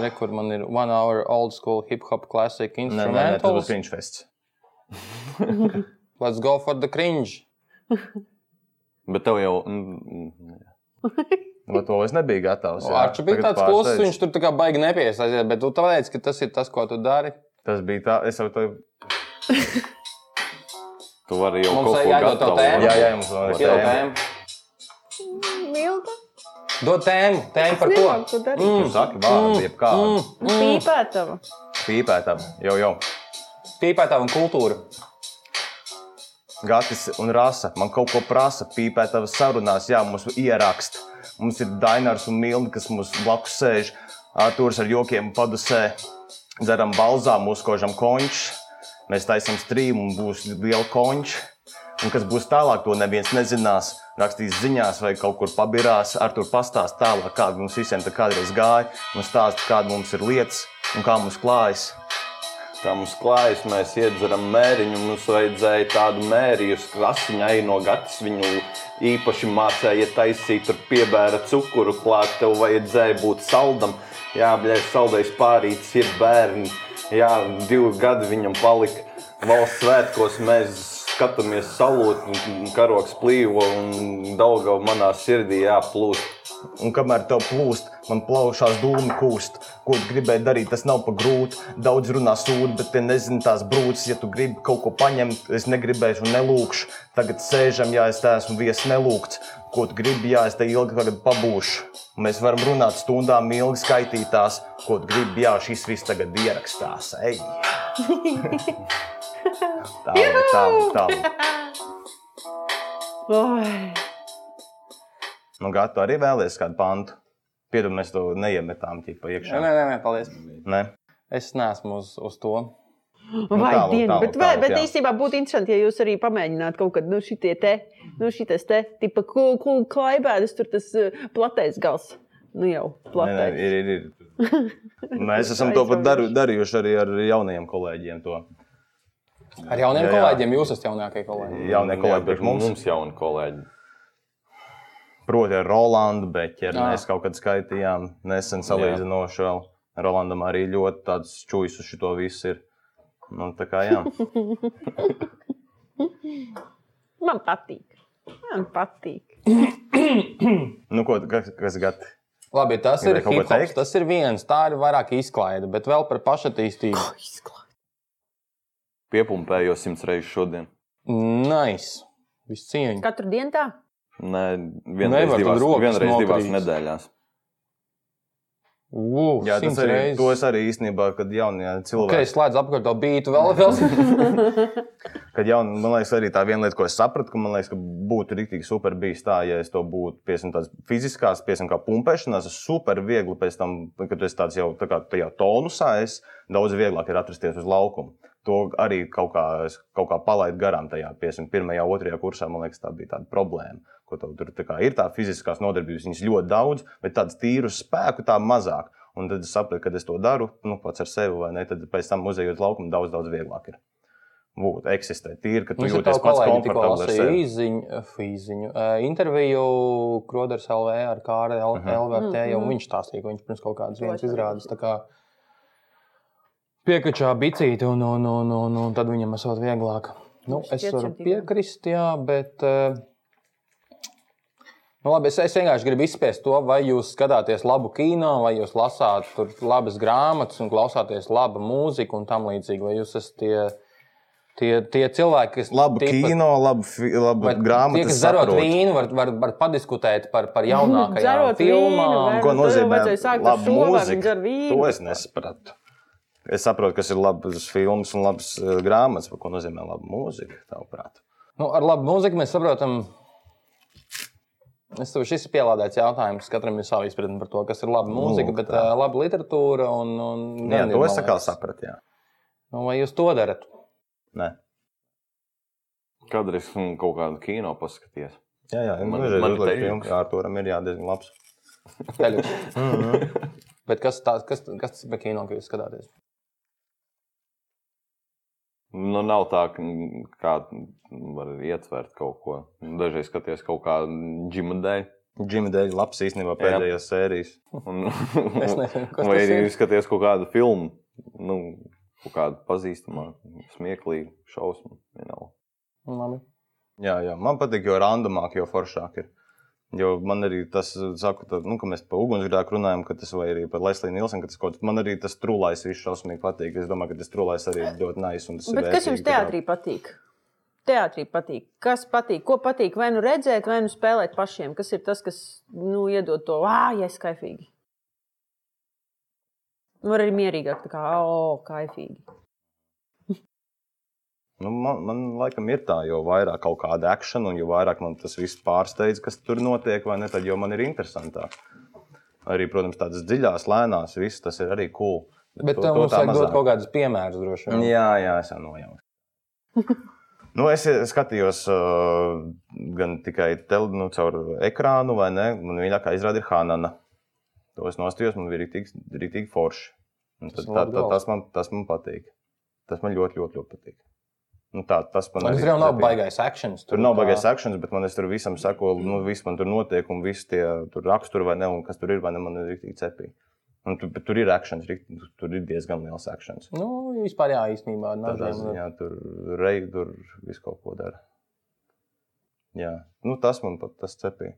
S1: re, kur man ir one hour old school hip hop classic
S3: Nē, nē, nē, tas būs
S1: instrumentals.
S3: cringe fests.
S1: Let's go for the cringe.
S2: Bet tev jau. mm, mm,
S3: Bet to es nebiju gatavs. jā.
S1: Arčs bija
S3: Tagad
S1: tāds kluss,
S3: pārsteidz.
S1: viņš tur tā kā baigi nepiesaistīja, bet tu teici, ka tas ir tas, ko tu dari.
S3: Tas bija tā, es jau to
S2: Tu vari jau
S1: Mums
S2: kaut
S1: ir
S2: ko
S1: jādod tev
S2: gatavu.
S1: tēma.
S3: Jā, jā, mums vēl ir
S1: Dod
S3: tēma.
S1: tēmu,
S4: Milda.
S1: dod tēmu, tēmu par to. Mm.
S4: Ko Nu, darīt?
S3: Tu saki vārdu, jebkādu.
S4: Pīpētava.
S3: Pīpētam, jau, jau.
S1: Pīpētā un kultūra.
S3: Gatis un Rasa man kaut ko prasa, pīpētavas sarunās, jā, mums ierakst. Mums ir Dainārs un Milna, kas mums blakus sēž. Artūrs ar jokiem padusē, dzeram balzām, uzkožam končs. Mēs taisam strīmu un būs liela končs. Un kas būs tālāk, to neviens nezinās. Rakstīs ziņās vai kaut kur pabirās. Ar tur pastāst tālāk, kā mums visiem tā kādreiz gāja. Un stāst, kāda mums ir lietas un kā mums klājas.
S2: Tā mums klājas, mēs iedzeram mēriņu. Mums vajadzēja tādu mēriju, krasiņai no gatas. Viņu īpaši mācīja taisīt, tur piebēra cukuru klāt. Tev vajadzēja būt saldam. Jā, bļē, saldais pārīts ir bērni. Jā, divi gadi viņam palika. Valsts svētkos mēs skatāmies salūtu, un karoks plīvo un daudzā manā sirdī jāplūst.
S3: Un kamēr tev plūst, man plaušās dūmi kūst. Ko tu gribēji darīt, tas nav pa grūti. Daudz runā sūdi, bet tie nezina tās brūces. Ja tu gribi kaut ko paņemt, es negribēšu un nelūkšu. Tagad sēžam, ja es te esmu viesis nelūgts. Ko tu gribi, ja es te ilgi tagad pabūšu. Mēs varam runāt stundām ilgi skaitītās. Ko tu gribi, ja šis viss tagad ierakstās. Ej! Tā, tā, tā.
S4: Oi.
S3: Nu, gātu arī vēlēties kādu pantu. Piedod, mēs to neiemetām ķipa
S1: Nē,
S3: iekšā.
S1: nē, nē, paldies.
S3: Ne?
S1: Es neesmu uz, uz to.
S4: Vai
S3: tālāk,
S4: diena,
S3: tālāk,
S4: bet, vai,
S3: tālāk,
S4: bet
S3: jā.
S4: īstenībā būtu interesanti, ja jūs arī pamēģinātu kaut kad, nu, šitie te, nu, šitas te, tipa, ko, ko klaibēdas, tur tas uh, platais gals. Nu, jau
S3: Nē, nē,
S4: platais.
S3: ir, ir, ir. Mēs esam to pat daru, darījuši arī ar jaunajiem kolēģiem. To.
S1: Ar jauniem
S3: Jā,
S1: jā,
S3: jā.
S1: jā. kolēģiem jūs esat jaunākie kolēģi.
S3: Jaunie kolēģi
S2: bet
S3: priekš mums,
S2: mums jauni kolēģi.
S3: proti, ar Rolandu Beķeru.
S1: Jā.
S3: Mēs kaut kad skaitījām, nesen salīdzinoši vēl. Rolandam arī ļoti tāds čūjas uz šo visu ir. Nu, tā kā jā.
S4: Man patīk. Man patīk.
S3: Nu, ko, kas, kas gati?
S1: Labi, tas ir
S3: Gribēji kaut ko
S1: hip-hops,
S3: teikt?
S1: tas ir viens, tā ir vairāk izklaide, bet vēl par pašatīstību.
S2: Piepumpēju simts reizes šodien.
S1: Nice! Viss cieņa.
S4: Katru dienu tā?
S2: Nē, vienreiz
S1: Nevar, tad
S2: divās,
S1: rokas
S2: vienreiz divās
S1: nokrīt.
S2: nedēļās.
S1: Ugh,
S3: Jā, tas arī, to es
S1: reizes.
S3: arī īstenībā, kad jaunie cilvēki.
S1: Kad es slēdzu apkārt to beidu, vēl vēl.
S3: Kad jau, man liekas, arī tā viena lieta, ko es sapratu, ka, man liekas, ka būtu rīktīgi super bijis tā, ja es to būtu piesim, tāds fiziskās, piesim, kā pumpēšanās, es super viegli pēc tam, kad tu esi tāds jau tā kā tajā tonusā, es daudz vieglāk ir atrasties uz laukuma. To arī kaut kā, es kaut kā palaidu garām tajā, piesim, pirmajā, otrajā kursā, man liekas, tā bija tāda problēma. Ko tev tur tā kā ir tā fiziskās nodarbības, viņas ļoti daudz, bet tādas tīras spēku tā mazāk. Un tad es sapratu, ka es to daru nu, pats ar sevi, vai ne? Tad pēc tam uzejot laukumu daudz, daudz vieglāk ir būt, eksistēt. Tīri, ka tu
S1: Mums ir
S3: jūties
S1: tāds
S3: pats
S1: kolēģis, tikko
S3: komfortabls ar
S1: lasīja
S3: sevi.
S1: īziņu, īziņu, interviju Kroders LV ar Kāru L-
S3: Mhm.
S1: LVT, jau
S4: Mhm.
S1: viņš stāstīja, ka viņš pirms kaut kādas
S4: To es
S1: vienas
S4: arī
S1: izrādes tā kā piekačā bicīti, un, un, un, un, un tad viņam esot vieglāk. Nu,
S4: Mums
S1: es
S4: šķiet
S1: varu
S4: centīgi.
S1: piekrist, jā, bet... eh, Nu, labi, es, es vienkārši gribu izspiest to, vai jūs skatāties labu kino, vai jūs lasāt tur labas grāmatas un klausāties labu mūziku un tam līdzīgi. Vai jūs esat tie, tie, tie cilvēki, kas
S3: Labu
S1: tipa-
S3: kino, labu, fi- labu
S1: Vai
S3: grāmatu.
S1: Tie, kas dzerot vīnu, var, var, var padiskutēt par, par jaunākajām
S4: Dzerot vīnu,
S1: filmām.
S4: vai-
S3: Ko
S4: Nu, tev
S3: nozīmē
S4: vajadzēja sākt ar
S3: laba
S4: šo, vai viņi
S3: mūzika?
S4: dzer vīnu?
S3: To es nesapratu. Es saprotu, kas ir labs filmas un labs eh, grāmatas, bet ko nozīmē laba mūzika, tavuprāt.
S1: Nu, ar labu mūziku mēs saprotam. Es tev šis ir pielādēts jautājums. Katram ir sava izpratne par to, kas ir laba mūzika,
S3: Nu, Lūk,
S1: bet
S3: tā.
S1: uh, laba literatūra un, un
S3: Jā,
S1: gan ir,
S3: to es
S1: man
S3: tā kā
S1: liekas.
S3: sapratu, jā.
S1: Nu, vai jūs to darat?
S3: Nē.
S2: Kādreiz mm, kaut kādu kino paskaties.
S3: Jā, jā,
S2: Man-
S3: man, dažreiz
S2: man
S3: uzliek
S2: teļuks.
S3: filmu, kā Arturam ir jā, diezgan labs.
S1: Teļus. bet kas, tā, kas, kas tas ir par kino, ko jūs skatāties?
S2: Nu, nav tā, ka mm, kā var ietvert kaut ko. Dažreiz skaties kaut kādu džina dēļ.
S3: Džimmy Dēļ, labs īstenībā pēdējās sērijas.
S2: Un,
S1: Es nezinu, kas
S2: vai
S1: tas
S2: arī
S1: ir.
S2: skaties kaut kādu filmu, nu, kaut kādu pazīstamu, smieklīgu, šausmu. vienalga.
S1: Labi.
S3: Jā, jā, man patīk, jo randomāk, jo foršāk ir. Jo man arī tas, saku, tā, nu, ka mēs par ugunsgrēku runājam, ka tas vai arī par Lesliju Nilsenu, ka tas kaut kas man arī tas trūlais viss šausmīgi patīk. Es domāju, ka tas trūlais arī ir ļoti nais. un tas ir
S4: Bet kas
S3: vērtīgi,
S4: jums
S3: tā kā-
S4: teātrī patīk? Teātrī patīk. Kas patīk? Ko patīk? Vai nu redzēt, vai nu spēlēt pašiem? Kas ir tas, kas nu, iedod to vāju, skaifīgi? Nu, Var arī mierīgāk, tā kā, o, kaifīgi.
S3: Nu, man, man laikam ir tā, jo vairāk kaut kāda akcija, un jo vairāk man tas viss pārsteidz, kas tur notiek, vai ne, tad jau man ir interesantāk. Arī, protams, tādas dziļās, lēnās, viss tas ir arī cool.
S1: Bet to, mums
S3: tā
S1: vajag dot
S3: mazāk.
S1: kaut kādus piemērus droši vien.
S3: Jā, jā, es jau nojaucu. Nu, es skatījos uh, gan tikai tele, nu, caur ekrānu, vai ne? Man mīļākā izrāda ir Hanana. To es nostājos, man bija rītīgi forši. Un
S1: Tas
S3: Tad,
S1: ir
S3: tā,
S1: labi
S3: tā,
S1: galvas.
S3: tas, man, tas man patīk. Tas man ļoti, ļoti, ļoti patīk. Nu, tā, tas man
S1: Tas
S3: arī
S1: jau nav
S3: patīk.
S1: baigais akcents.
S3: Tur nav baigās akcents, bet man es tur visam saku, nu, viss man tur notiek, un viss tie tur raksturi vai ne, un kas tur ir, vai ne, man ir rīktīgi cepīgi. Un tu, bet tur ir akcents, tur ir diezgan liels akcents.
S1: Nu, vispār jā, īstenībā.
S3: Tādā
S1: Dažiem,
S3: ziņā tur reizē tur visu kaut ko dara. Jā, nu, tas man pat tas cepīja.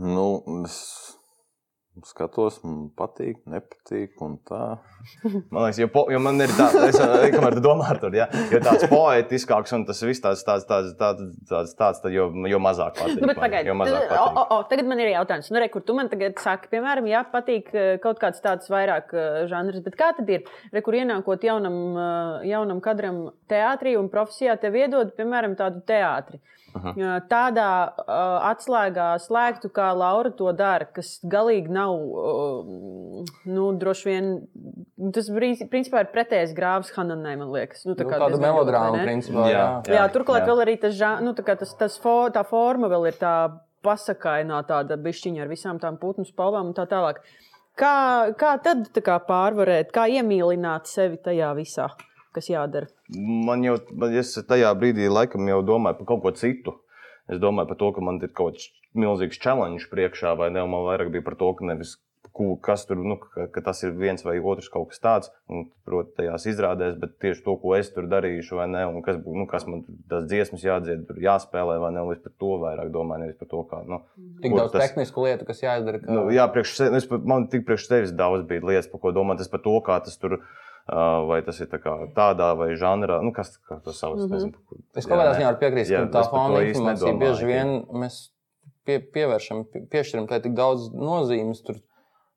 S2: Nu, es skatos, man patīk, nepatīk. un tā.
S3: Man liekas, jo, po, jo man ir tāds, es eh, kamēr tu domā, tur ir ja? tāds poetiskāks un tas viss tāds, tāds, tāds, tāds, tāds, tāds tad jo, jo mazāk patīk.
S4: Nu, bet
S3: man,
S4: pagaidi,
S3: jo mazāk
S4: o, o,
S3: patīk.
S4: o, tagad man ir jautājums, nu, re, kur tu man tagad saki, piemēram, jā, patīk eh, kaut kāds tāds vairāk eh, žanrs, bet kā tad ir, re, kur ienākot jaunam, eh, jaunam kadram teātrī un profesijā, tev iedod, piemēram, tādu teātri.
S3: Aha.
S4: Eh, Tādā eh, atslēgā slēgtu, kā Laura to dara, kas galīgi nav, eh, nu, droši vien, tas brīz- principā ir pretējs grāvs Hananai, man liekas. Nu, tā
S1: nu,
S4: kā
S1: tāda
S4: diezgan ļoti, vai
S1: melodrāma,
S4: ne?
S1: principā. Jā.
S3: Jā.
S1: jā.
S4: Jā, turklāt
S3: jā.
S4: jā. vēl arī tas, ža- nu, tā, kā tas, tas fo, tā forma vēl ir tā pasakainā, tāda bišķiņa ar visām tām putnu spalvām un tā tālāk. Kā, kā tad tā kā pārvarēt, kā iemīlināt sevi tajā visā, kas jādara?
S3: Man jau, man, es tajā brīdī laikam jau domāju par kaut ko citu. Es domāju par to, ka man ir kaut kāds milzīgs challenge priekšā, vai ne? un Man vairāk bija par to, ka nevis ku- kas tur, nu, ka, ka tas ir viens vai otrs kaut kas tāds, un, protams, tajās izrādēs, bet tieši to, ko es tur darīšu, vai ne, un kas, bū- nu, kas man tur tas dziesmas jādzied, tur jāspēlē, vai ne, un es par to vairāk domāju, nevis par to, kā, nu,
S1: Tik
S3: Kur
S1: daudz
S3: tas-
S1: tehnisku lietu, kas jāizdara. Ka...
S3: Nu, jā, priekš, se- nu, es, pa- man tik priekš tevis daudz bija lietas, par ko domāt. Es par to, kā tas tur, uh, vai tas ir tā kā tādā vai žanrā, nu, kas kā to sauc.
S4: Mhm.
S3: Mm -hmm.
S1: Es kaut kādā ziņā varu piekrist,
S3: Jā,
S1: ka tā
S3: es par to
S1: fona
S3: īsti
S1: informācija
S3: nedomāju,
S1: bieži
S3: ka-
S1: vien mēs pie, pievēršam, pie- piešķiram tai tik daudz nozīmes. Tur.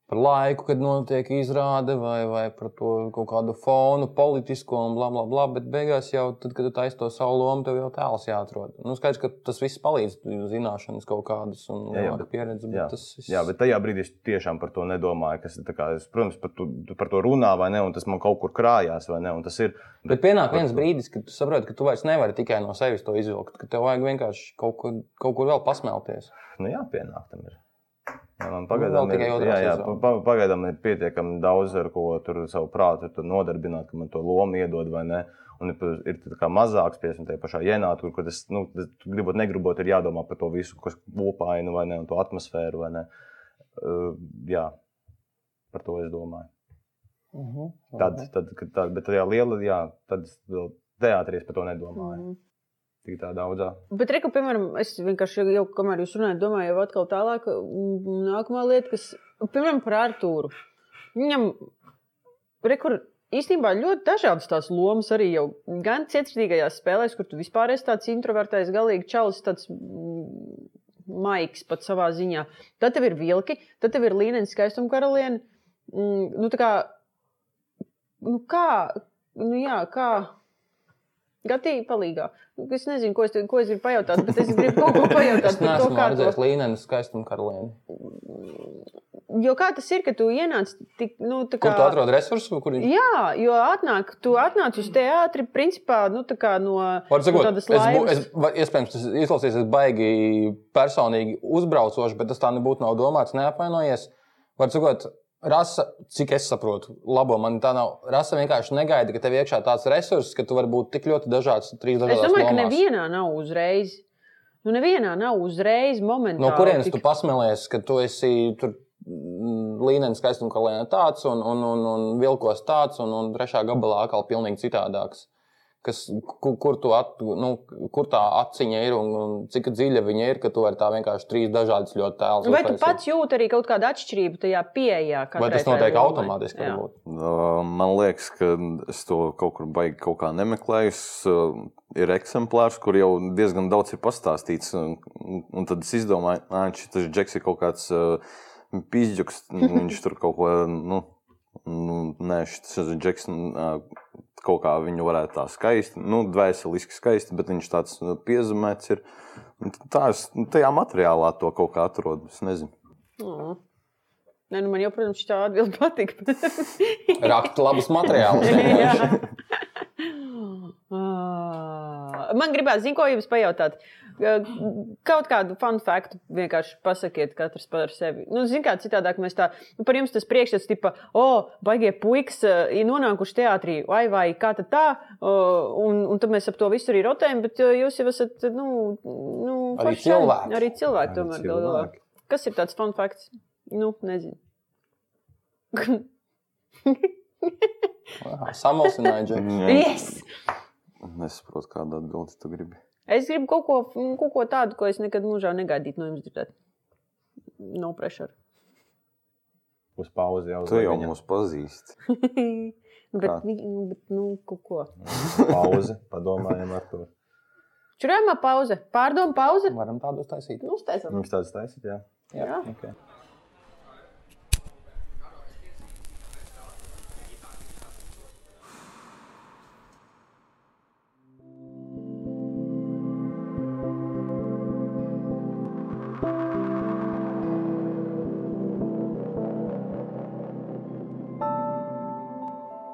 S1: Par laiku, kad notiek izrāde, vai, vai par to kaut kādu fonu, politisko un bla, bla, bla. Bet beigās jau, tad, kad tu taisi to savu lomu, tev jau tēls jāatrod. Nu, skaidrs, ka tas viss palīdz, tu zināšanas kaut kādas un
S3: Jā, jā,
S1: lielāka pieredze. Bet
S3: jā,
S1: tas viss...
S3: Jā, bet tajā brīdī es tiešām par to nedomāju. Kas, ir tā kā, es, protams, par, tu, par to runā, vai ne, un tas man kaut kur krājās, vai ne, un tas ir.
S1: Bet pienāk viens brīdis, kad tu saproti, ka tu vairs nevari tikai no sevis to izvilkt, ka tev vajag vienkārši kaut kur, kaut kur vēl pasmelties.
S3: Nu, jā, pienāk tam ir. Jā, man
S1: Nu, vēl
S3: pagaidām, ir,
S1: tikai
S3: jā,
S1: otrā
S3: jā,
S1: sezona.
S3: pa- pagaidām ir pietiekami daudz, ar ko tur savu prātu tur nodarbināt, ka man to lomu iedod vai ne. Un ir pa- ir tā kā mazāks piesim tajā pašā ienākt, kur, kur tas, nu, tas gribot, negribot, ir jādomā par to visu, kas kopainu vai ne, un to atmosfēru vai ne. Uh, jā, par to es domāju.
S1: Uh -huh.
S3: Tad, tad, kad tā, bet tajā lielā, jā, tad es vēl teātrī es par to nedomāju. Mm.
S4: Mhm.
S3: Tik tā daudzā.
S4: Bet, reku, piemēram, es vienkārši jau, kamēr jūs runājat, domāju, jau atkal tālāk, mm, nākamā lieta, kas, Nu, piemēram, par Artūru. Viņam, reku, īstenībā ļoti dažādas tās lomas arī jau gan cietsirdīgajās spēlēs, kur tu vispār esi tāds introvertais, galīgi čalis, tāds mm, maigs pat savā ziņā. Tad tev ir vilki, tad tev ir līnijas skaistuma karaliene. Mm, Nu, tā kā, nu, kā, nu, jā, kā. Gatīgi palīgā. Es nezinu, ko es, te- ko es gribu pajautāt, bet es gribu kaut ko pajautāt
S1: Es
S4: par to,
S1: neesmu
S4: kā to
S1: redzējis līnijas skaistumu karalieni.
S4: Jo kā tas ir, ka tu ienāc tik, nu, tā kā.
S1: Kur tu atrod resursu? Kur... viņš-
S4: Jā, jo atnāk, tu atnāc uz teātri, principā, nu, tā kā no.
S1: Var
S4: no
S1: Sakot, es,
S4: tādas
S1: bū,
S4: laimes.
S1: es, va- iespējams, tas izklausīsies baigi personīgi uzbraucoši, bet tas tā nebūtu nav domāts, neapvainojies. Var sakot, rasa, cik es saprotu, labo man tā nav. Rasa vienkārši negaida, ka tev iekšā tāds resurss, ka tu vari būt tik ļoti dažāds, trīs
S4: Es
S1: dažādas
S4: domāju, ka
S1: lomās.
S4: nevienā nav uzreiz. Nu, nevienā nav uzreiz momentā.
S1: No kurienes
S4: tik-
S1: tu pasmēlies, ka tu esi tur mm, līnijas skaistuma kalēnā tāds un, un, un, un vilkos tāds, un, un trešā gabalā atkal pilnīgi citādāks? Kas, kur, kur, tu at, nu, kur tā atziņa ir un, un cik dziļa viņa ir, ka tu vari tā vienkārši trīs dažādas ļoti tēlus.
S4: Vai tu
S1: uztaisīt?
S4: pats jūti arī kaut kādu atšķirību tajā pieejā?
S1: Vai
S4: katrai
S1: tas
S4: tai
S1: notiek
S4: lomai?
S1: automātiski?
S4: Jā.
S1: varbūt?
S2: Uh, Man liekas, ka es to kaut kur baigi kaut kā nemeklēju. Es, uh, Ir eksemplārs, kur jau diezgan daudz ir pastāstīts. Un, un tad es izdomāju, ka tas džeks ir kaut kāds pīzdžoks. Viņš tur kaut ko. Nu, nu, nē, šis džeks ā, kaut kā viņu varētu tā skaisti, nu, dvēseliski skaisti, bet viņš tāds nu, piezemēts ir. Un Tā es nu, tajā materiālā to kaut kā atrodu. Es nezinu.
S4: Mm. Nē, nu man jau, protams, šī atbilde patīk.
S1: Rakt labus materiālus. vienkārši.
S4: Jā. Ah, Man gribās, zinu, ko jums pajautāt. Eh, Kaut kādu fun faktu vienkārši pasakiet, katrs par sevi. Nu, zinu, kā citādāk mēs tā, nu, par jums tas priekšstats, tipo, o, baigie puikas eh, ir nonākuši teātrī, vai, vai kā tad tā, O, un, un tad mēs ap to visu arī rotējam, bet eh, jūs jau esat, nu, nu
S1: Arī
S4: forši čali.
S1: cilvēki.
S4: Arī cilvēki,
S3: Arī
S4: tomēr, galu galā.
S3: cilvēki.
S4: Kas ir tāds fun fakts? Nu, nezinu.
S1: Samalsināju, Džek.
S4: Yes!
S2: Nesaprotu, kādu atbildi tu gribi.
S4: Es gribu kaut ko, mm, kaut ko tādu, ko es nekad mūžā negaidītu no jums dzirdēt. No pressure.
S3: Uz pauzi jau
S2: Tu jau mūs pazīsti.
S4: nu, bet,
S2: Kā?
S4: vi- nu, bet, nu, kaut ko.
S3: pauzi. Padomājam, ar to.
S4: Čurējumā pauze. Pārdomu pauze.
S1: Varam tādu uztaisīt.
S4: Nu, uztaisam.
S3: Mums tāds taisīt, Mm. jā.
S4: Jā.
S3: Okay.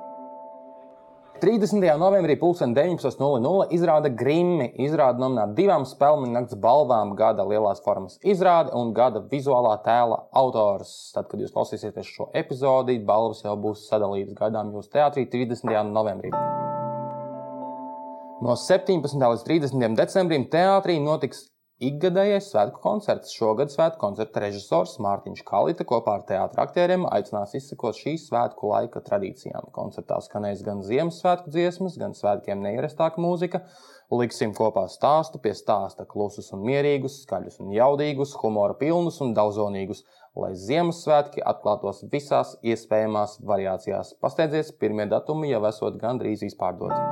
S1: Jā. 30. novembrī 19.00 izrāda Grimmi. Izrāda nominēta divām spēļu nakts balvām gada lielās formas izrāde un gada vizuālā tēla autors. Tad, kad jūs klausīsieties šo epizodi, balvas jau būs sadalītas gaidām jūsu teātrī 30. novembrī. No 17. līdz 30. decembrim teātrī notiks ikgadējais svētku koncerts. Šogad svētku koncerta režisors Mārtiņš Kalita kopā ar teātriem aktieriem aicinās izsekot šīs svētku laika tradīcijām. Koncertā skanēs gan Ziemassvētku dziesmas, gan svētkiem neierastāka mūzika. Liksim kopā stāstu pie stāsta klusus un mierīgus, skaļus un jaudīgus, humora pilnus un daudzonīgus, lai Ziemassvētki atklātos visās iespējamās variācijās. Pasteidzies, pirmie datumi jau esot gandrīz izpārdoti.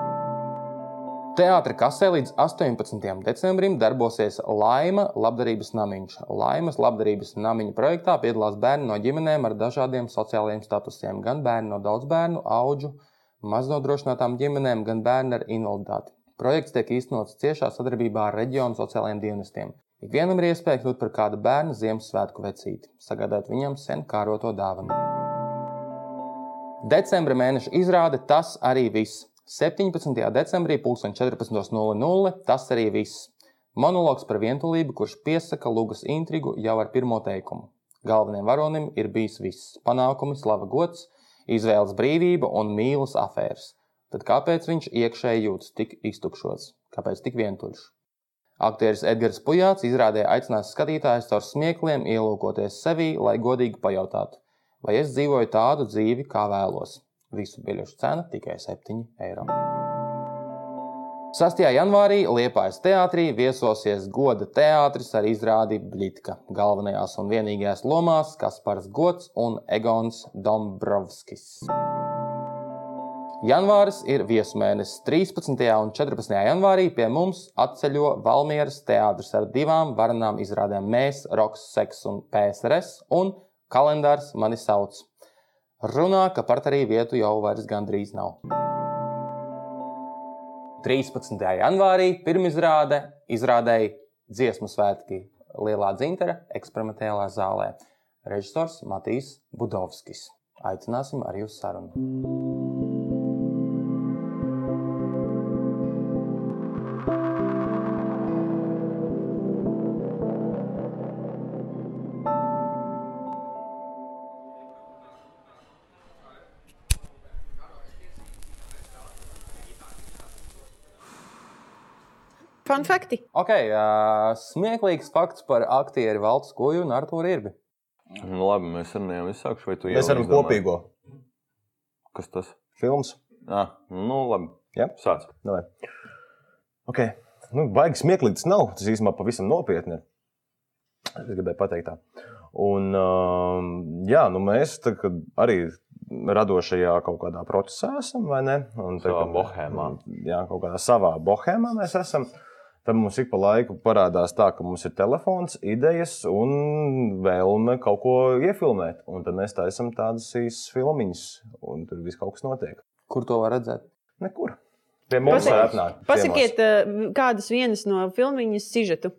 S1: Teātris kasē līdz 18. decembrim darbosies Laima labdarības namiņš. Laimas labdarības namiņa projektā piedalās bērni no ģimenēm ar dažādiem sociālajiem statusiem. Gan bērni no daudz bērnu, augu, maznodrošinātām ģimenēm, gan bērni ar invaliditāti. Projekts tiek īstenots ciešā sadarbībā ar reģionu sociālajiem dienestiem. Ikvienam ir iespēja kļūt par kādu bērnu Ziemassvētku vecīti, sagādāt viņam sen kāroto dāvanu. Decembra mēneša izrāde tas arī viss. 17. decembrī 14.00 tas arī viss. Monologs par vientulību, kurš piesaka lugas intrigu jau ar pirmo teikumu. Galvenajam varonim ir bijis viss - panākumi, slava gods, izvēles brīvība un mīlas afērs. Tad kāpēc viņš iekšēji jūtas tik iztukšots? Kāpēc tik vientuļš? Aktieris Edgars Pujāts izrādē aicinās skatītājus caur smiekliem ielūkoties sevī, lai godīgi pajautātu, vai es dzīvoju tādu dzīvi, kā vēlos. Visu biļešu cena tikai 7 eiro. 6. janvārī Liepājas teātrī viesosies goda teātris ar izrādi Blitka. Galvenajās un vienīgajās lomās Kaspars Gods un Egons Dombrovskis. Janvāris ir viesmēnesis. 13. un 14. janvārī pie mums atceļo Valmieras teātris ar divām varenām izrādēm - Mēs, Roks, Seks un PSRS un kalendārs mani sauc. Runā, ka par arī vietu jau vairs gandrīz nav. 13. janvārī pirmizrāde izrādēja dziesmu svētki Lielā dzintara eksperimentālā zālē. Režisors Matīs Budovskis. Aicināsim arī uz sarunu.
S4: Fun fakti.
S1: Ok, uh, smieklīgs fakts par aktieru Valtu Skoju un Arthuru Irbi.
S2: Nu, labi, mēs runājam, es sāku šeit.
S3: Mēs varam kopīgo
S2: Kas tas?
S3: filmu.
S2: Ah, nu, labi.
S3: Jā.
S2: sāc.
S3: Davai. Ok. Nu, baigi smieklīgi tas nav. Tas īstenībā pavisam nopietni. ir. Es gribēju pateikt tā. Un, um, jā, nu mēs tā, kā arī radošajā kaut kādā procesā esam, vai ne? Un, tā
S2: Savā
S3: kā-
S2: bohēmā.
S3: Jā, kaut kādā savā bohēmā mēs esam. Tad mums ik pa laiku parādās tā, ka mums ir telefons, idejas un vēlme kaut ko iefilmēt. Un tad mēs taisām tādas īsas filmiņas, un tur viss kaut kas notiek.
S1: Kur to var redzēt?
S3: Nekur. Pie mums
S4: Pasak-
S3: var atnākt. ciemos.
S4: Pasakiet, uh, kādas vienas no filmiņas sižetu.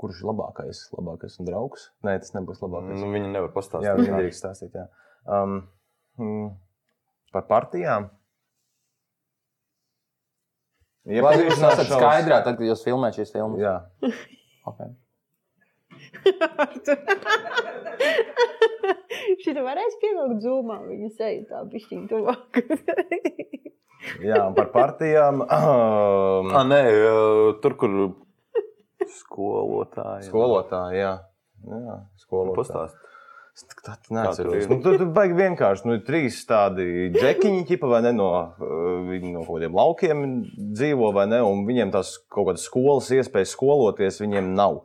S3: kurš ir labākais, labākais un draugs. Nē, tas nebūs labākais.
S2: Nu, viņa nevar pastāstīt.
S3: jā, viņi drīkst stāstīt. Jā. Um, mm, par partijām.
S1: Vai jūs
S3: Iepazīšanās
S1: esat
S3: šovs.
S1: skaidrā, tad, kad jūs filmējat šīs filmas?
S3: Jā,
S1: Okay.
S4: Šitā varēs pievilkt zūmā, viņa seja tā bišķiņa tuvāk.
S3: jā, un par partijām. Um,
S2: Ah, nē, ā, tur, kur skolotāji. Nu,
S3: skolotāji, jā. jā skolotāji.
S2: Pastāst.
S3: Es tā- tā neatceros.
S2: Katru
S3: Nu, tur tur baigi vienkārši. Nu, ir trīs tādi džekiņi, ķipa, vai ne, no, uh, viņi no kaut kādiem laukiem dzīvo, vai ne, un viņiem tās kaut kādas skolas iespējas skoloties, viņiem nav.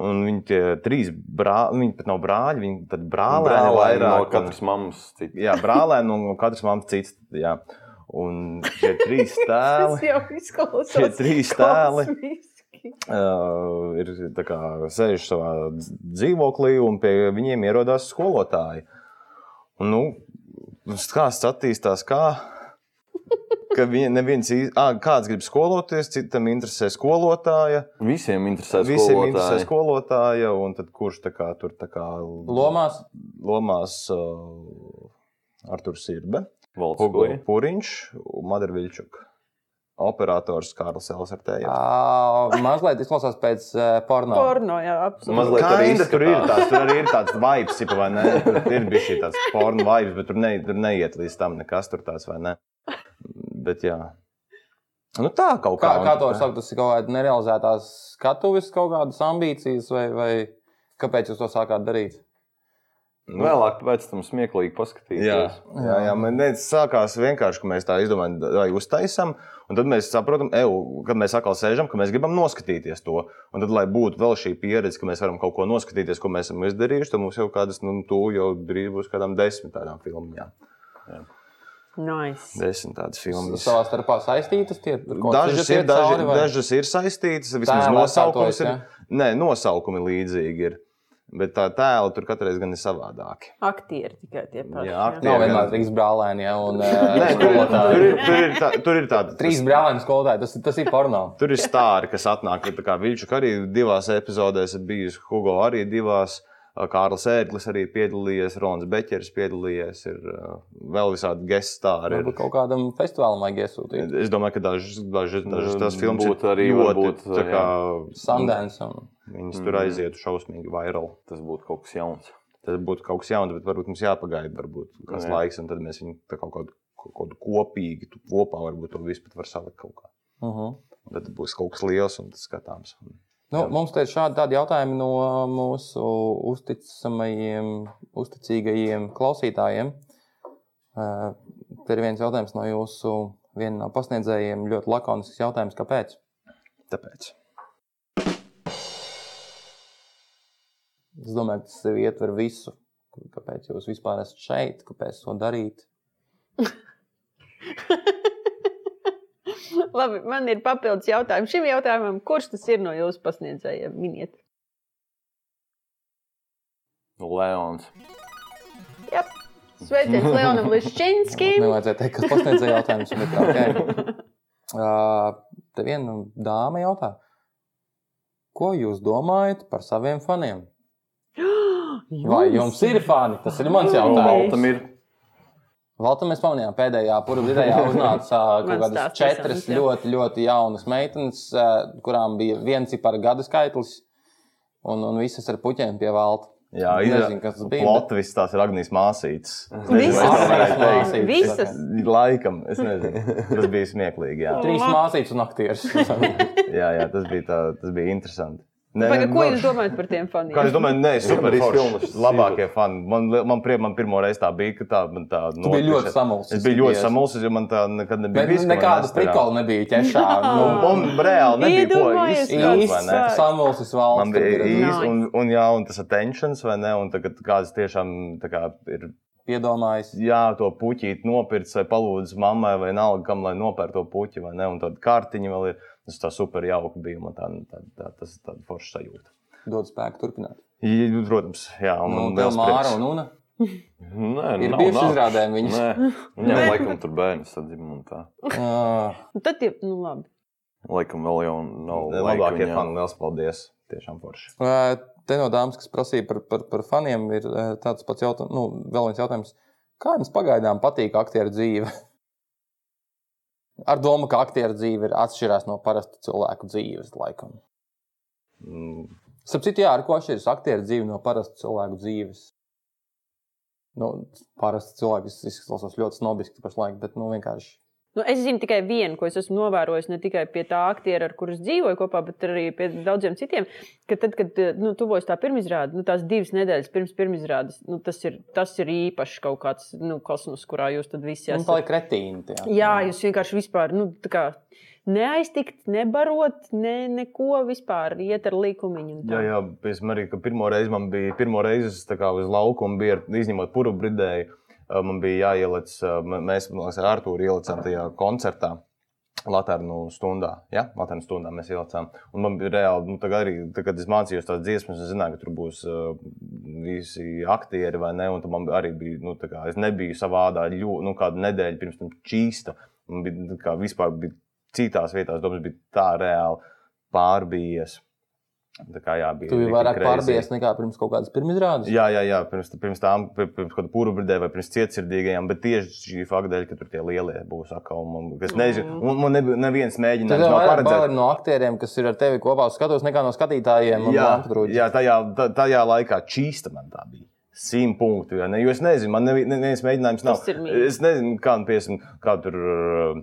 S3: Un viņi tie trīs brāļi, viņi pat nav brāļi, viņi tad brālēni
S2: Brālēni
S3: vairāk.
S2: no
S3: un-
S2: katras mammas. citi.
S3: Jā, brālēni un no katras mammas cits. Jā. Un šie trīs tēli.
S4: Tas jau izklausās.
S3: Šie trīs tēli
S4: kosmiski.
S3: uh, ir tā kā sēž savā dz- dzīvoklī, un pie viņiem ierodās skolotāji. Un, nu, stāsts attīstās kā. Ka viņa neviens īstenībā, kāds grib skoloties, citam interesē skolotāja.
S2: Visiem interesē
S3: Visiem interesē
S2: skolotāji.
S3: skolotāja, un tad kurš tā kā, tur tā kā
S1: Lomās
S3: lomās uh, Artur Sirbe.
S2: Valsts
S3: Hugo
S2: skola.
S3: Pūriņš un Madara Viļčuka. Operators Kārlis Elsertējs.
S1: ā, mazliet izklausās pēc eh, porno.
S4: Porno, jā, absolūti.
S2: Mazliet. arī
S3: Kinda tur ir
S2: izskatās.
S3: tāds, tur arī ir tāds vibes, tipa, vai ne? Tur ir bijis šī tāds porno vibes, bet tur, ne, tur neiet līdz tam nekas tur tāds, vai ne? Bet jā. Nu tā kaut
S1: Kā,
S3: kā.
S1: kā to var saukt? Tas ir kaut kāda nerealizētās skatuves, kaut kādas ambīcijas, vai, vai kāpēc jūs to sākāt darīt?
S3: Nu,
S2: Vēlāk pēc tam smieklīgi paskatīties.
S3: Jā, jā, jā man ne, tas sākās vienkārši, ka mēs tā izdomājām, vai uztaisām. Un tad mēs saprotam, eju, kad mēs atkal sēžam, ka mēs gribam noskatīties to. Un tad, lai būtu vēl šī pieredze, ka mēs varam kaut ko noskatīties, ko mēs esam izdarījuši, tad mums jau kādas, nu, tu jau drīz būs kādām desmit tādām filmām.
S4: Nice.
S3: Desmit tādas
S1: S-
S3: filmas.
S1: Savā starpā saistītas tie ir kaut kāds
S3: Dažas
S1: sižeti
S3: ir,
S1: iet
S3: daži,
S1: cauri, vai-
S3: dažas ir saistītas, vismaz
S1: Tēlā
S3: nosaukums
S1: kārtojas,
S3: ir.
S1: ja?
S3: Nē, nosaukumi līdzīgi ir. Bet tā tēla tur katreiz gan ir savādāki.
S4: Aktieri tikai tie
S3: Jā,
S4: paši. jā.
S3: aktieri.
S1: Nav vienmēr trīs brālēni, ja un eh,
S3: Nē, tur, ir- tur,
S1: skolotāji.
S3: ir, tur, ir tā, tur ir tāda.
S1: Trīs brālēni skolotāji, tas, ir- tas ir porno.
S3: Tur ir stāri, kas atnāk. ir tā Kā Viņš arī divās epizodēs ir bijis. Hugo arī divās. ā, Kārlis Ērglis arī piedalījies. Rons Beķers piedalījies. Ir ā, vēl visādi gestu stāri.
S1: Varbūt
S3: ir.
S1: kaut kādam festivālam vajag iesūtīt.
S3: Es domāju, ka dažas, dažas, dažas tās filmas
S2: Būtu arī varbūt,
S3: tā kā,
S1: Sundance. un-
S3: viņas tur aizietu šausmīgi vairāk.
S2: Tas būtu kaut kas jauns.
S3: Tas būtu kaut kas jauns, bet varbūt mums jāpagaida varbūt kāds
S2: Jā.
S3: laiks, un tad mēs viņu tā kaut kādu, kaut kādu kopīgi, tu kopā varbūt to visu pat var salikt kaut kā.
S1: Mhm.
S3: Un Tad būs kaut kas liels un tas skatāms.
S1: Nu, mums te ir šādi tādi jautājumi no mūsu uzticamajiem, uzticīgajiem klausītājiem. Uh, Te ir viens jautājums no jūsu, viena no pasniedzējiem, ļoti lakonisks jautājums, kāpēc?
S3: Tāpēc.
S1: Es domāju, ka tas sev ietver visu. Kāpēc jūs vispār esat šeit, kāpēc to darīt?
S4: Labi, man ir papildus jautājums šim jautājumam. Kurš tas ir no jūsu pasniedzējiem? Miniet.
S2: Leons.
S4: Sveiciens Leonam Lišķinskim.
S1: Nevajadzēja teikt, kas pasniedzēja jautājumus, bet tā ok. Uh, Te viena dāma jautā, ko jūs domājat par saviem faniem? Vai jums ir fani? Tas ir mans jautājums.
S2: Baltam ir
S1: Valtam mēs pamanījām pēdējā purvīdējā uznāca ā, kaut
S4: Man
S1: kādas
S4: stāsts
S1: četras
S4: interesants, jā.
S1: ļoti, ļoti jaunas meitenes, ā, kurām bija viens par gada skaitlis, un, un visas ar puķiem pie valta.
S3: Jā,
S1: Nezinu, kas tas bija,
S3: Latvijas tās ir Agnijas māsītes. Es nezinu,
S4: Visas?
S3: vai es tā varētu
S1: Agnijas
S3: teikt.
S1: māsītes.
S4: Visas?
S3: Laikam, es nezinu. Tas bija smieklīgi. Jā,
S1: Trīs
S4: Labi.
S1: māsītes un aktieris.
S3: jā, jā tas, bija tā, tas bija interesanti. Nē,
S4: Paga,
S3: nē,
S4: ko
S3: no-
S4: jūs domājat par tiem
S3: Kā es
S4: faniem?
S3: domāju, nē, super
S2: Arī
S3: izcils.
S2: filmas.
S3: Labākie fani. Man, li- man, prie, man pirmo reizi tā bija, ka tā, man tā
S1: Tu biji ļoti samulsis.
S3: Es biju ļoti
S1: Yes.
S3: samulsis, jo man tā nekad nebija.
S1: Bet
S3: bijis, ka man
S1: nekādas
S3: nestrādā.
S1: prikola nebija ķešā. Nu,
S4: Nā.
S3: Un reāli nebija ko
S4: Iedomājies,
S3: izdarīt. vai ne?
S4: kāds.
S1: Īsts Samuels
S3: Man bija
S1: valsts.
S3: īsi, un, un, jā, un tas attentions, vai ne? Un tagad kāds tiešām tā kā, ir
S1: Iedomājis.
S3: jā, to puķīt nopirkt, vai palūdz mammai, vai nalga, kam lai nopērk to puķi, vai ne? Un tāda kartiņa vēl ir. Tas tā super jauki bija, man tā, tā, tā, tas ir tāds foršs sajūta.
S1: Dod spēku turpināt.
S3: I, protams, jā, un
S1: Nu,
S3: man
S1: tev
S3: liels
S1: Māra
S3: prieks.
S1: un Una.
S2: Nē,
S1: Ir
S2: nav,
S1: bijušas
S2: nav.
S1: izrādēm viņas.
S2: Nē, Viņam
S4: Nē.
S2: laikam tur bērns atzīmē un tā.
S1: Ā,
S4: Nu, Tad tie, nu labi.
S2: Laikam vēl jau nav
S3: Nav
S2: laika
S3: labākie
S2: viņam.
S3: fani. Lielas paldies! Tiešām forši.
S1: Ē, Te no dāmas, kas prasīja par, par, par faniem, ir ē, tāds pats jautājums, nu, vēl viens jautājums. Kā jums pagaidām patīk aktieru dzīve? Ar domu, ka aktieru dzīve ir atšķirās no parasta cilvēku dzīves, laikam.
S3: Mm,
S1: Starp citu, jā, ar ko atšķiras aktieru dzīve no parasta cilvēku dzīves? Nu, parasti cilvēks izklausās ļoti snobiski pašlaik, bet nu, vienkārši
S4: Nu, es zinu tikai vienu, ko es esmu novērojis ne tikai pie tā aktiera, ar kuriem dzīvoju kopā, bet arī pie daudziem citiem. Ka tad, kad nu, tuvojas tā pirmizrāde, nu, tās divas nedēļas pirms pirmizrādes, nu, tas, ir, tas ir īpašs kaut kāds nu, kosmos, kurā jūs tad visi
S1: Jums tā ir kretīna.
S4: Jā, jūs vienkārši vispār nu, tā kā neaiztikt, nebarot, ne, neko vispār iet ar likumiņu. un tā.
S3: Jā, jā, piemēram, arī ka pirmo reizi man bija, pirmo reizi es tā kā uz laukuma bija, ar- izņemot puru bridēju, eh, man bija jāieliec, eh, m- mēs man liekas, ar Artūru ielicām tajā koncertā. Latvijas stundā, ja? Latvijas stundā mēs ielicām. Un man bija reāli, nu, tagad arī, tā, kad es mācījos tās dziesmas, es zināju, ka tur būs uh, visi aktieri vai ne. Un tad man arī bija, nu, tā kā es nebiju savādā ļoti, nu, kādu nedēļu pirms tam čīsta. Man bija, tā kā vispār bija citās vietās, domas bija tā reāli pārbījies. Tā kā jā, bija.
S1: Tu biji
S3: rikti
S1: vairāk
S3: crazy.
S1: pārbies nekā pirms kaut kādas pirmizrādes.
S3: Jā, jā, jā, pirms, pirms tam, pirms kāda pūrbridē vai pirms cietsirdīgajiem, bet tieši šī fakta dēļ, ka tur tie lielie būs atkal. Man, es nezinu,
S4: Mm.
S3: un man nebija neviens
S1: Tas
S3: mēģinājums
S1: jau
S3: nav
S1: vairāk
S3: paredzēts.
S1: bail no aktieriem, kas ir ar tevi kopā uz skatuves, nekā no skatītājiem.
S3: Jā,
S1: jā.
S3: jā tajā, ta- tajā laikā čīsta man tā bija. Simt punktu. Jā, ne, jo es nezinu, man nevi- ne- neviens mēģinājums nav.
S4: Tas ir mīļi.
S3: Es nezinu, kā, nu, piemēram, kā tur. uh,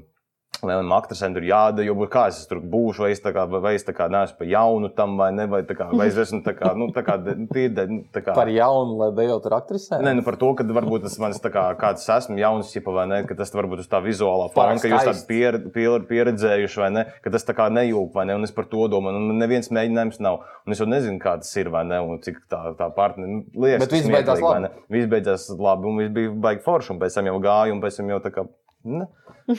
S3: Lielam aktrisēm tur jādara, jo kā es tur būšu, vai es tā kā, vai es tā kā neesmu pa jaunu tam, vai ne, vai, tā kā, vai es esmu tā kā, nu, tā kā, tie, tā kā.
S1: Par jaunu, lai dejotu ar aktrisēm.
S3: Nē, nu par to, ka varbūt tas manis tā kā kāds esmu jauns, ja vai ne, ka tas varbūt uz tā vizuālā
S1: Pārāk
S3: fona, ka jūs
S1: skaists.
S3: tādu pier, pier, pieredzējuši vai ne, ka tas tā kā nejūg vai ne, un es par to domāju, un man neviens mēģinājums nav, un es jau nezinu, kā tas ir vai ne, un cik tā, tā partneri, nu, liekas,
S1: Bet viss beidzās labi.
S3: Viss beidzās labi, un viss bija baigi forši, un pēc tam jau gāju, un pēc tam jau tā kā. Ne.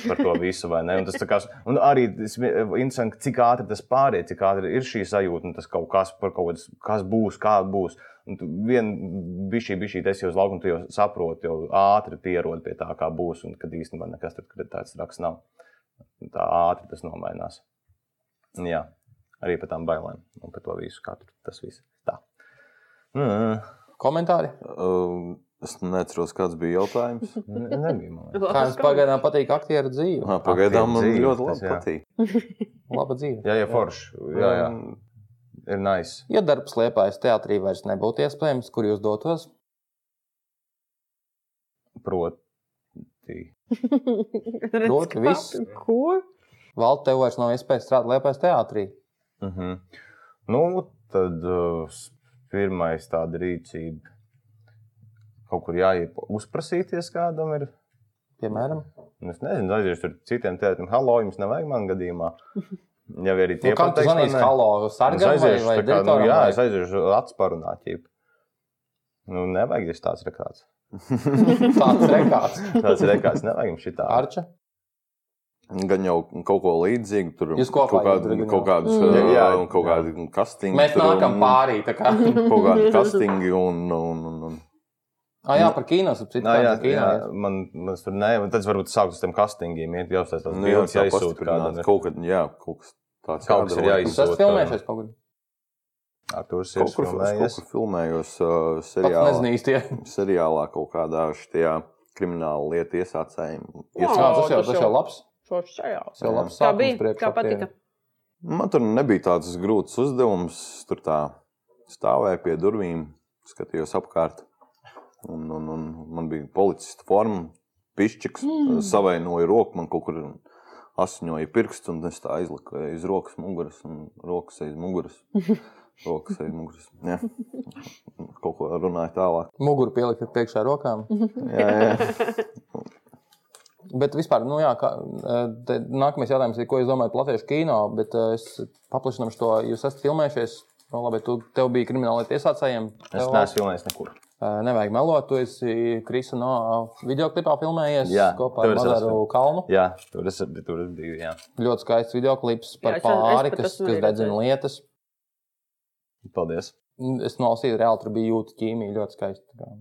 S3: Par to visu, vai ne? Un tas tā kā, un arī tas vi- interesanti, cik ātri tas pārējais, cik ātri ir šī sajūta, un tas kaut kas par kaut kādas, kas būs, kā būs. Un tu vien bija šī bišķī, tas jau uz lauka, un tu jau saproti, jau ātri pierod pie tā, kā būs, un kad īstenībā nekas tur kad tāds traks nav. Un Tā ātri tas nomainās. Un Jā, arī par tām bailēm un par to visu, kā tur tas viss. Tā. Mm,
S1: Komentāri.
S2: Uh, Es neatceros, kāds bija jautājums.
S3: ne- nu, Nebija man. liekas.
S1: Kā jums pagaidām patīk aktieru dzīve?
S2: Nā, pagaidām man
S3: dzīve,
S2: ļoti
S3: tas
S2: labi
S3: jā.
S2: patīk.
S1: Laba dzīve.
S3: Jā, jā, forši. Jā, jā.
S2: Um,
S3: Ir nice.
S1: Ja darbs liepājas teātrī vairs nebūtu iespējams, kur jūs dotos?
S3: Proti.
S1: Ļoti
S4: Redz, kā-
S1: viss.
S4: Ko?
S1: Valda, tev vairs nav iespējas strādāt liepājas teātrī.
S3: Uh -huh. Nu, tad uh, pirmā tāda rīcība. Kaut kur jāiet uzprasīties kādam. Ir.
S1: Piemēram,
S3: Nu, Es nezinu, aiziešu tur citiem tētim. Halo, jums nevajag man gadījumā. Jau arī
S1: nu,
S3: tie
S1: kam tas
S3: pateiks, vai
S1: zvanīs?
S3: ne?
S1: Halo,
S3: Es
S1: sargam vai,
S3: aiziešu,
S1: vai
S3: tā kā, nu,
S1: direktoram?
S3: jā,
S1: vai-
S3: es aiziešu atsparunāt. Ķip. Nu, nevajag tieši tāds rekāts.
S1: Tāds rekāds.
S3: Tāds rekāts nevajag jums šitā.
S1: Arča?
S2: Gan jau kaut ko līdzīgu, tur
S1: Jūs kopā
S2: kaut,
S1: jau tur gan
S2: kādu, kaut
S1: jau.
S2: kādus,
S4: Mm.
S2: mm. jā,
S3: Jā, jā.
S2: kaut kādu kastingu.
S1: Mēs
S2: tur
S1: nākam
S2: un-
S1: pārī. tā kā.
S2: Kaut kādu kastingu un, un, un, un.
S1: Ah, jā, par kino. ap citu
S3: Nā, jā,
S1: kādu kino,
S3: jā,
S1: jā.
S3: man, man tur nē, un tad es varbūt sāktu uz tiem kastingiem. iet, Jāuztais tās
S2: Nu, jā,
S3: bildes,
S2: tā
S3: jāizsūta
S2: pastiprināt.
S3: kādam.
S2: Kaut kad, jā, kaut kas tāds.
S3: Kaut kas ir
S2: jādara.
S1: Jūs
S3: jāiz-
S1: esat filmējušies kaut kur.
S3: Arturs ir
S2: Kaut kur, es kaut
S3: filmējies.
S2: kur filmējos uh,
S1: Pats
S2: seriālā,
S1: nezinu īsti. jā.
S2: seriālā kaut kādā šajā krimināla lieta iesācējuma.
S1: Jā,
S2: Iesā...
S4: Wow.
S1: Tas jau
S4: tas
S1: tas
S4: jau-
S1: jau labs.
S4: Šoši šajā.
S1: Tas jau
S2: Jā.
S1: labs.
S4: Tā
S1: sākums
S4: bija.
S1: priekš
S4: Tā
S1: aktieriem.
S4: patika.
S2: Man tur nebija tāds grūts uzdevums. Tur tā stāvēja pie durvīm, skatījos apkārt. Un, un, un man bija policista forma, pišķiks, mm. savainoja roku, man kaut kur asiņoja pirksts, un es tā aizliku aiz rokas muguras, un rokas aiz muguras. Rokas aiz muguras. Jā. Kaut ko runāju tālāk.
S1: Muguru pielikt priekšā rokām.
S4: Mhm.
S2: Jā, jā.
S1: Bet vispār, nu jā, kā, eh, te nākamais jautājums ir, ko jūs domājat par latviešu kino, bet eh, es paplašināšu to, jūs esat filmējušies. Nu, labi, tu, tev bija krimināla tiesācējiem.
S3: Es neesmu filmējis nekur.
S1: Eh, Nevajag melot, tu esi Krisa no videoklipā filmējies
S3: Jā,
S1: kopā
S3: tur
S1: ar
S3: es
S1: Mazaru
S3: esmu.
S1: Kalnu.
S3: Jā, tur es, tur es biju. Jā.
S1: Ļoti skaists videoklips
S4: Jā,
S1: par
S4: es- es
S1: pāri,
S4: pat
S1: kas,
S4: esmu
S1: kas
S4: arī
S1: dedzina lietas.
S3: Paldies.
S1: Es nolasīju, reāli tur bija jūtas ķīmija, ļoti skaisti. tā kā.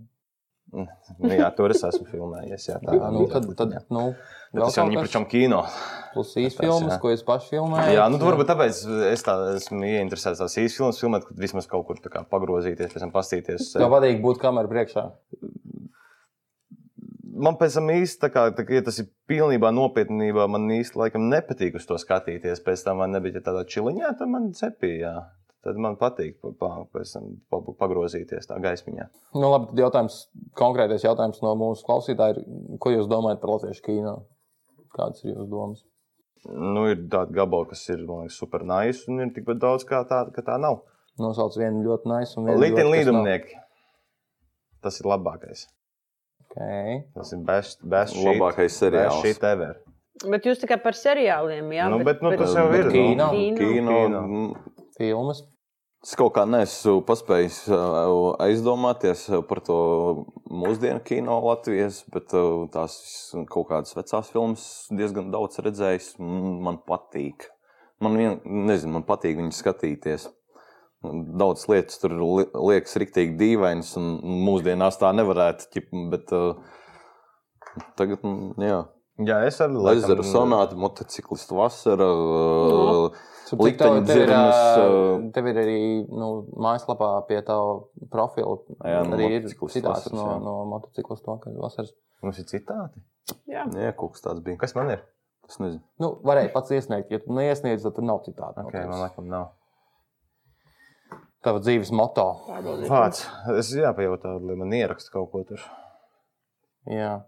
S3: Nu, jā, tur es esmu filmējies. Jā, tā
S1: Jā, nu, tad, tad,
S3: jā.
S1: nu,
S3: Bet Tas jau
S1: kaut
S3: ir
S1: kas.
S3: pašam kino.
S1: plus īsi
S3: Tas,
S1: filmas,
S3: jā.
S1: ko es pašu filmēju.
S3: Jā, nu, tur varbūt tāpēc es tā, esmu ieinteresēts tās īstas filmas, filmēt, kad vismaz kaut kur tā kā pagrozīties, pēc tam pastīties.
S1: Tev patīk būt kamerā priekšā.
S3: Man pēc tam īsti, tā kā, tā, kā, ja tas ir pilnībā nopietnībā, man īsti laikam nepatīk uz to skatīties. Pēc tam man nebija tādā čiliņā, tad man cepīja. Tad man patīk pa, pa, pēc tam pa- pagrozīties tā gaismiņā.
S1: Nu, labi, tad jautājums, konkrētais jautājums no mūsu klausītāja ir, ko jūs domājat par latviešu kino? Kādas ir jūsu domas?
S3: Nu, ir tāda gabala, kas ir man liekas, super nice, un ir tikpat daudz, kā tā, ka tā nav.
S1: Nosauc vienu ļoti nice un vienu ļoti,
S3: Lietiņa
S1: kas nav.
S3: līdumnieki. Tas ir labākais.
S1: Okay.
S3: Tas ir best, best shit.
S2: Labākais seriāls.
S3: Best shit ever.
S4: Bet jūs tikai par seriāliem, jā?
S3: Nu, bet, nu, tas jau
S2: Bet
S3: ir.
S1: kino.
S3: nu.
S4: Kino.
S2: Kino,
S3: Kino.
S2: mm,
S1: Filmas.
S2: Es kaut kā nesu paspējis ā, aizdomāties par to mūsdienu kino Latvijas, bet ā, tās kaut kādas vecās filmas diezgan daudz redzējis. un Man patīk. Man, vien, nezinu, man patīk viņu skatīties. Daudz lietas tur li- liekas riktīgi dīvainas, un mūsdienās tā nevarētu ķip, bet ā, tagad, mm, jā.
S3: Jā, es arī
S2: Lezera sonāta, motociklistu vasara, ā,
S1: Cik tev, tev, ir,
S2: Likteņdzirnas,
S1: ā, tev ir arī nu, mājaslapā pie tā profila.
S2: Jā, no
S1: arī ir
S2: motociklistu
S1: citāts
S2: vasaras,
S1: no,
S2: jā.
S1: no motociklista vakar vasaras.
S3: Mums ir citāti.
S4: Jā.
S2: jā, kaut kas tāds bija.
S3: Kas man ir?
S2: Es nezinu.
S1: Nu, varēja pats iesniegt, ja tu neiesniedz, tad tur nav citāta. no
S3: Okay,
S1: tevis.
S3: man liekas, nav.
S1: Tava dzīves moto.
S3: Vārds. Es jāpajautā, lai man ieraksta kaut ko tur.
S1: Jā.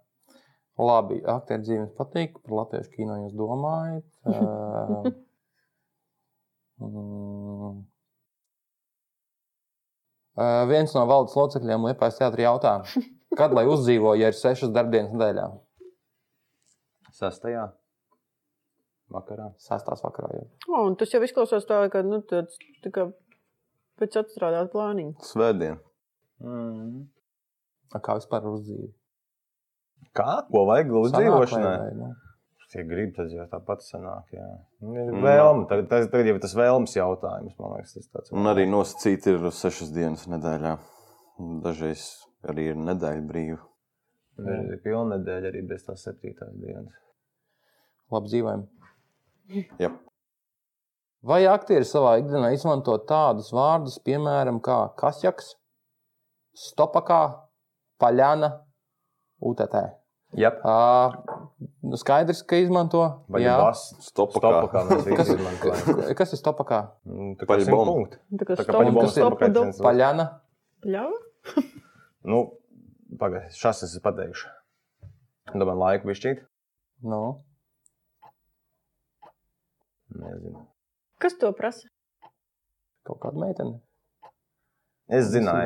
S1: Labi, aktieru dzīves patīk, par latviešu kino jūs domājat. Ā, mm. Ā, Viens no valdes locekļiem Liepājas teātrī jautā, kad lai uzdzīvo, ja ir sešas darbdienas nedēļā?
S3: Sastajā. Vakarā.
S1: Sestās vakarā. Jau.
S4: O, un tas jau izklausās tā, ka, nu, tāds, tā kā pēc atstrādāt plāniņu.
S2: Svētdien.
S3: Mm.
S1: A Kā vispār uzdzīvo?
S3: Kā? Ko vajag uz
S1: Sanāk vai-
S3: dzīvošanai?
S1: vai nu, ne?
S3: Ja grib, tad jau tāpat sanāk. Jā. Nu, ir
S2: Mm.
S3: Vēlme. Tagad, tas- tagad jau ir tas vēlmes jautājums. Man liekas, tas tāds.
S2: Un arī nosacīti ir sešas dienas nedēļā. Dažreiz arī ir nedēļa brīva.
S3: Ir pilna nedēļa arī bez tās septītās dienas.
S1: Labi dzīvojam.
S2: Jā.
S1: Vai aktieri savā ikdienā izmanto tādus vārdus, piemēram, kā kasjaks, stopakā, paļāna, UTT?
S3: Jā,
S1: Ā, Nu, skaidrs, ka izmanto.
S3: vai
S1: jā.
S3: bas? Stopā, kā
S2: Stopakā.
S3: mēs
S1: Kas-
S3: visi izmantojam.
S1: Kas ir stopakā?
S3: Nu, tā kā
S2: Paļbomba.
S3: simt punkti.
S4: Tā kā
S3: Tā kā
S4: stop,
S1: paņem
S3: paļbomba
S1: kas ir
S4: stop,
S3: stopā
S4: stop,
S3: pēc viens.
S1: Paļāna.
S4: ļauj.
S3: Nu, pagaidi, šas es pateikšu. Domāju, laiku bišķīt.
S1: Nu,
S3: Nezinu.
S4: Kas to prasa?
S1: kaut kāda meitene.
S3: Es zināju,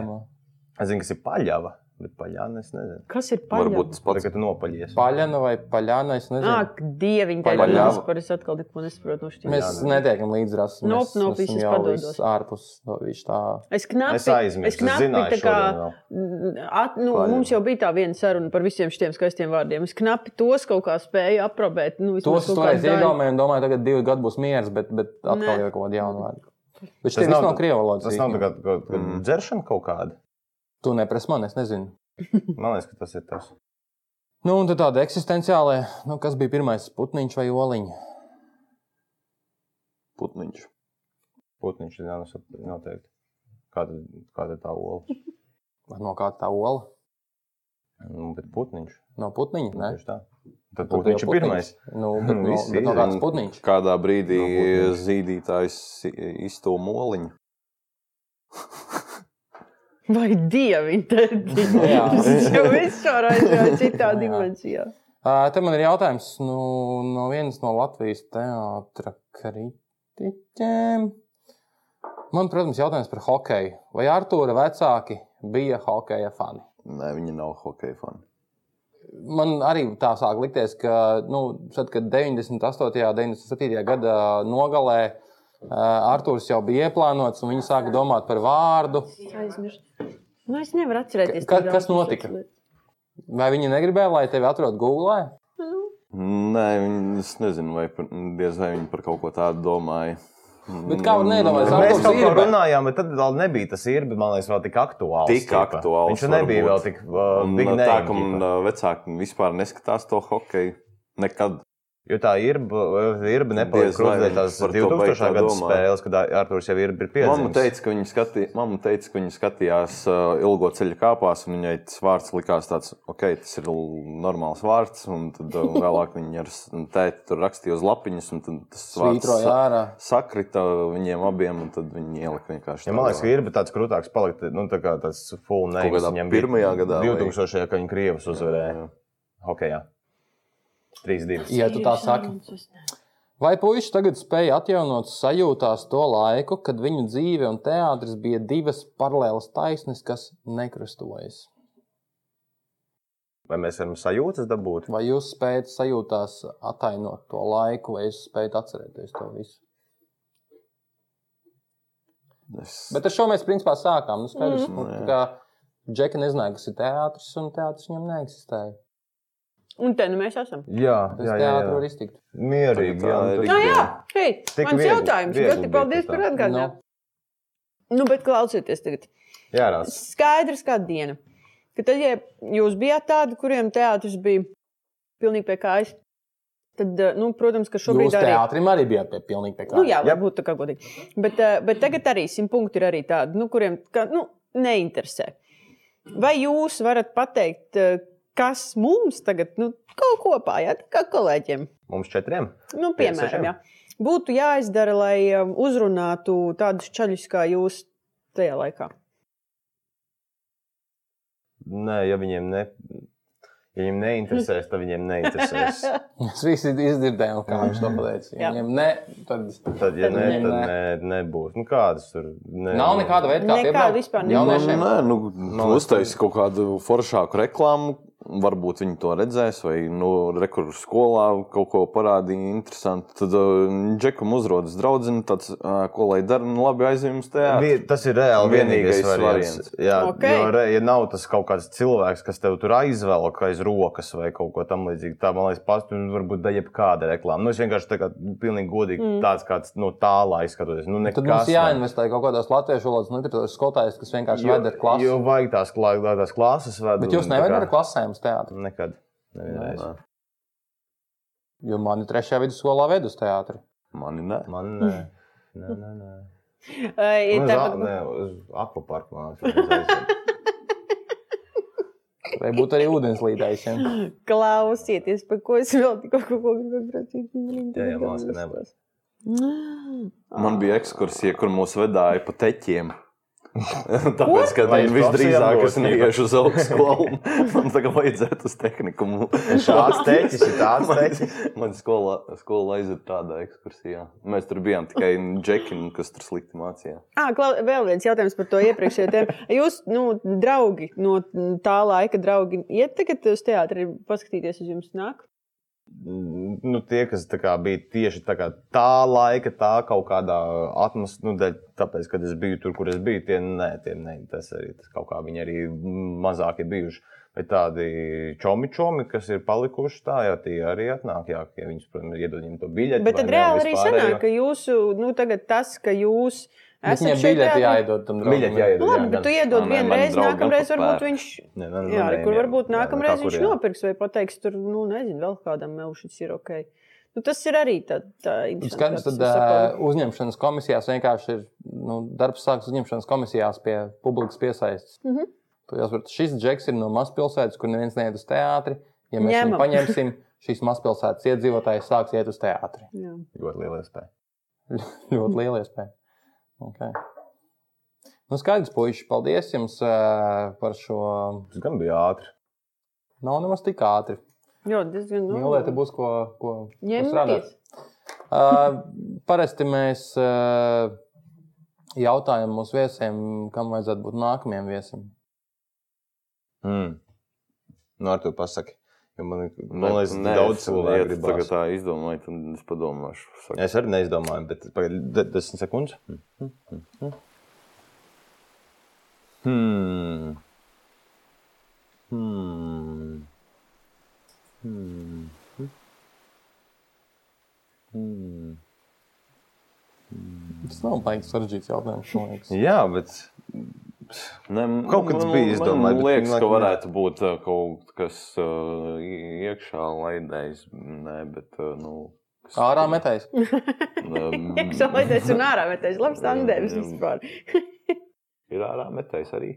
S3: es zinu, kas ir paļāva, bet paļāva es nezinu.
S4: Kas ir paļā?
S2: Varbūt tas
S3: Pats,
S2: pats.
S3: kad tu nopaļies.
S1: Paļāna vai paļāna, es nezinu.
S4: Ak, dieviņ, tā ir
S2: Paļāva.
S4: vispār. Es atkal neko nesaprotu no šķiet.
S1: Mēs netiekam līdz rasam.
S4: Nop, nop, visas padodos.
S1: Ārpus no viņš tā.
S4: Es knapi,
S3: Es aizmirsu,
S4: es
S3: es, es
S4: knapi
S3: zināju,
S4: tā kā,
S3: šodien vēl.
S4: mm, at, nu,
S2: Paļāva.
S4: mums jau bija tā viena saruna par visiem šiem skaistiem vārdiem. Es knapi tos kaut kā spēju aprobēt. Nu, vismaz
S1: Tos es
S4: kaut
S1: toreiz
S4: kādu daļu.
S1: iedomājos, domāju, tagad divi gadi būs miers, bet, bet
S4: Nē.
S1: atkal ir kaut kāda jauna vārda. Bet
S3: Tas
S1: šis nav
S3: nav-
S1: no krievu valodas.
S3: Tas nav tā kā, kā, kā
S2: Mm.
S3: dzeršana kaut kāda.
S1: Tu nepres man, es nezinu.
S3: Man liekas, ka tas ir tas.
S1: Nu, un tad tāda eksistenciālā, nu, kas bija pirmais putniņš vai oliņš?
S2: Putniņš.
S3: Putniņš ir jānosap- noteikti. Kāda, kāda ir tā ola?
S1: No kā tā ola?
S3: Nu, bet putniņš.
S1: No putniņa?
S3: Nu,
S1: Nē,
S3: Tieši tā.
S1: Tad
S3: Tad putniņš ir
S1: jau
S3: pirmais.
S1: Nu, bet, no,
S3: Visi
S1: bet no
S3: ir.
S1: kādas putniņš?
S2: Kādā brīdī
S3: No putniņa.
S2: zīdītājs izto moliņu.
S4: Vai dieviņ, tad
S1: Jā.
S4: tas jau viss šā raizē citā
S1: Jā.
S4: dimensijā.
S1: Ā, Te man ir jautājums nu, no vienas no Latvijas teātras kritiķiem. Man, protams, ir jautājums par hokeju. Vai Artūra vecāki bija hokeja fani?
S2: Nē, viņi nav hokeja fani.
S1: Man arī tā sāk likties, ka nu, tad, kad 98. un 97. gada nogalē ā, Artūrs jau bija ieplānots, un viņi sāka domāt par vārdu.
S4: Aizmirst. Nu, es nevaru atcerēties.
S1: Ka-
S4: tik daudz
S1: kas
S4: no
S1: notika?
S4: šīs lietas.
S1: Vai viņi negribēja, lai tevi atrod Google?
S4: Nu,
S2: Nē, viņi, es nezinu, vai par, diez vai viņi par kaut ko tādu domāja. Mm.
S1: Bet kā var nedomāt?
S2: Nē,
S1: Sākums
S3: Mēs kaut ko
S1: ir, bet-
S3: runājām, bet tad vēl nebija tas īrbi, man liekas, vēl tik aktuāls.
S2: Tik
S3: tipa.
S2: aktuāls
S3: Viņš jau nebija
S2: varbūt.
S3: vēl tik uh,
S2: Un,
S3: big
S2: uh, tā,
S3: name,
S2: ka man
S3: tipa.
S2: uh, vecāki vispār neskatās to hokeju. Nekad.
S3: Jo tā ir īrba, nepaliek
S2: Diez vai
S3: krustveida tās
S2: par to
S3: 2000.
S2: baigi tā
S3: gada
S2: domā.
S3: spēles, kad Arthurs jau ir pieredzējis.
S2: Māma teica, ka viņi, skatī, mamma teica, ka viņi skatījās uh, ilgo ceļu kāpās, un viņai tas vārds likās tāds, ok, tas ir l- normāls vārds. Un tad uh, vēlāk viņi ar s- tēti tur rakstīja uz lapiņas, un tad tas vārds
S1: Svītroja
S2: sa-
S1: ārā.
S2: sakrita viņiem abiem, un tad viņi ielika vienkārši.
S3: Ja
S2: tā
S3: man liekas, ka
S2: vārdu.
S3: ir tāds krūtāks, palikt nu, tā kā tas full name.
S2: kādā
S3: viņam bija
S2: pirmajā gadā vai-
S3: 2000. gadā, kad viņi Krievus uzvarēja
S2: Jā, jā.
S3: hokeja. Trīs, divas.
S1: Ja tu tā saki, vai puikas tagad spēja atjaunot sajūtās to laiku, kad viņu dzīve un teātris bija divas paralēlas taisnes, kas nekrustojas?
S3: Vai mēs varam sajūtas dabūt?
S1: Vai jūs spējat sajūtās atainot to laiku, vai jūs spējat atcerēties to visu?
S2: Es...
S1: Bet ar šo mēs principā sākām. Nu, skaidrs,
S2: Mhm.
S1: mm.
S2: Nu, jā.
S1: ka Džeka nezināja, kas ir teātris, un teātris viņam neeksistēja.
S4: Un te nu mēs esam.
S3: Jā,
S1: Tas teātris var iztikt.
S3: Mierīgi.
S2: Tā ir
S4: Jā,
S3: Jā, nu,
S4: jā, hei,
S3: Tik
S4: mans
S3: viegli-
S4: jautājums.
S3: viegli
S4: Ļoti
S3: bija
S4: paldies
S3: tā.
S4: par atgādinājumu. Nu, bet klausieties tagad.
S3: jā. jā Rās.
S4: Skaidrs, kā diena. Ka tad, ja jūs bijāt tādi, kuriem teātris bija pilnīgi pie kājas, tad, eh, nu, protams, ka šobrīd
S1: Jūs
S4: arī.
S1: teātrim arī bijāt pie pilnīgi pie
S4: Nu,
S1: kā.
S4: jā,
S3: Jā.
S4: varbūt tā kā godīgi. Bet, eh, bet tagad arī simt punkti ir arī tādi, nu, kuriem ka, nu, neinteresē. Vai jūs varat pateikt, eh, kas mums tagad nu, kaut kopā, jā, tā kā kolēģiem?
S3: Mums četriem.
S4: Nu, piemēram,
S3: sešiem?
S4: jā. būtu jāizdara, lai um, uzrunātu tādus čaļus kā jūs tajā laikā.
S3: Nē, ja viņiem ne. Ja viņiem neinteresēs, tad viņiem neinteresēs.
S1: Mēs visi izdzirdējām, kā viņš to pateica.
S4: Jā.
S1: Viņam ne, tad
S3: Tad, ja
S4: Tad
S3: nē,
S4: viņiem
S3: tad
S1: nē.
S3: nē, nebūs. Nu, kādas tur nē,
S1: nav nekāda veida, kā
S4: Nekāda
S1: piebraukt
S4: vispār nav.
S1: jauniešiem.
S2: Nē, nu, nu, uztaisīs kaut kādu foršāku reklāmu. Varbūt viņi to redzēs, vai nu, rekurors skolā kaut ko parādīja interesantu. Tad uh, Džekam uzrodas draudzene, tāds, uh, ko lai dara, nu labi aizjām uz teātri.
S3: Vi- Tas ir reāli vienīgais,
S2: Vienīgais
S3: vienīgais variants.
S2: variants.
S3: Jā, okay.
S4: Okei.
S3: jo, re, ja nav tas kaut kāds cilvēks, kas tev tur aizvelk aiz rokas vai kaut ko tamlīdzīgu, tā man liekas, pastāv varbūt da jebkāda reklāma. Nu, es vienkārši tā kā pilnīgi godīgi mm. tāds kāds no tālā izskatoties. Nu,
S1: Tad mums
S3: nekas, ne.
S1: jāinvestē kaut kādos latviešu valodas literatūras skolotājos, kas vienkārši
S3: Jo-
S1: vada ar klasi.
S3: Jo vajag tās, klā, lai tās klases vedu.
S1: Bet jūs
S3: un tā
S1: nevarat
S3: kā-
S1: ar klasēm uz teātru.
S3: Nekad. Nevienreiz.
S2: Nē.
S1: Jo mani trešajā vidusskolā ved uz teātru.
S2: Mani nē.
S3: Man nē. Nē, nē, nē.
S4: Vai
S3: Nu, uz a-
S4: tāpat-
S3: nē, uz akvaparku man liekas.
S1: Vai būtu arī ūdenslīdējis? Ja?
S4: Klausieties, par ko es vēl tikko kaut ko gribēju prasīt.
S3: Jā, jā, man liekas, ka nebūs.
S2: Man bija ekskursija, kur mūs vedāja pa teķiem. Tāpēc, ka
S3: Vai uz
S2: visdrīzāk es
S3: profesionālo
S2: neiešu uz augšu skolu. Man tagad vajadzētu uz tehniku.
S3: Šāds teķis ir tāds teķis.
S2: Manā skolā, skolā aizjūt tādā ekskursijā. Mēs tur bijām tikai džekini, kas tur slikti mācījās.
S4: Ah, klau, vēl viens jautājums par to iepriekšējo tēmu. Jūs, nu, draugi no tā laika, draugi, iet tagad uz teātri, paskatīties uz jums nāk.
S3: nu, tie, kas tā kā, bija tieši tā, kā, tā laika, tā kaut kādā atmosfērā, nu, dēļ, tāpēc, kad es biju tur, kur es biju, tie, nē, tie, nē, tas arī tas kaut kā viņi arī mazāk ir bijuši. Bet tādi čomičomi, kas ir palikuši tā, jā, tie arī atnāk, jā, ja viņus, protams, iedod viņiem to biļeti.
S4: Bet
S3: vai
S4: tad
S3: ne,
S4: reāli arī
S3: vispārējo.
S4: sanāk, ka jūsu, nu, tagad tas, ka jūs
S1: Bet
S4: esat
S1: Viņam
S4: šeit
S1: biļeti
S4: teātrī-
S1: jāiedod tam
S3: Biļeti jāiedod,
S4: Nu,
S3: jā,
S4: Labi,
S3: gan-
S4: bet tu iedod
S2: Nē, nē,
S4: vienu
S2: man
S4: reizi,
S2: draugam
S4: nākamreiz varbūt
S2: papēra.
S4: viņš.
S3: Nē, nē, nē,
S4: Jā, arī
S3: nē,
S4: kur
S3: jā, jā,
S4: varbūt
S1: nu,
S4: nākamreiz
S3: kā kur,
S4: viņš
S3: jā.
S4: nopirks vai pateiks, tur, nu, nezinu, vēl kādam melšķis ir ok. Nu, tas ir arī tāds
S1: Ir Nu, Skaidrs, tad ā, uzņemšanas komisijās vienkārši ir nu, darbs sākas uzņemšanas komisijās pie publikas piesaistes.
S4: Mhm.
S1: Tu jāsaprot, Šis džeks ir no mazpilsētas, kur neviens neiet uz teātri. Ja mēs
S4: Ņemam.
S1: viņu paņemsim, šīs mazpilsētas iedzīvotāji sāks iet uz teātri.
S3: Ļoti liela iespēja.
S1: Ļoti liela iespēja. Okay. Nu, skaidrs, puiši, paldies jums ā, par šo.
S3: Tas gan bija ātri.
S1: Nav nemaz tik ātri.
S4: Jā, diezgan
S1: Nu,
S4: nu,
S1: Mīlēt, te būs ko, ko ko strādāt.
S4: Ņemties.
S1: Uh, parasti mēs uh, jautājam mūsu viesiem, kam vajadzētu būt nākamajam viesim.
S3: Mm. Nu, ar to pasaki. Jo man ir-
S2: Ne-
S3: man liekas,
S2: nē,
S3: Nu, daudz
S2: es- ja
S3: cilvēku
S2: tu
S3: gribas.
S2: tagad tā izdomāju, tad es padomāšu. Saku.
S3: Es arī neizdomāju, bet pagaid- de- desmit sekundes. Hm. Hmm. Hmm. Hmm. Hmm.
S1: Tas nav baigts sarežģīts jautājums, man liekas.
S3: Jā, bet
S2: Ne,
S3: Kaut kad
S2: man-
S3: bija
S2: man
S3: izdomāts, bet
S2: liekas, ka
S3: laikam ne.
S2: varētu būt ā, kaut kas ā, i- iekšā laidējis. Nē, bet ā, nu. uh, kas-
S1: Ārā metējis.
S2: Ā,
S4: Iekšā laidēs un ārā metais. Labs tandēms vispār.
S2: Ir ārā metējis arī.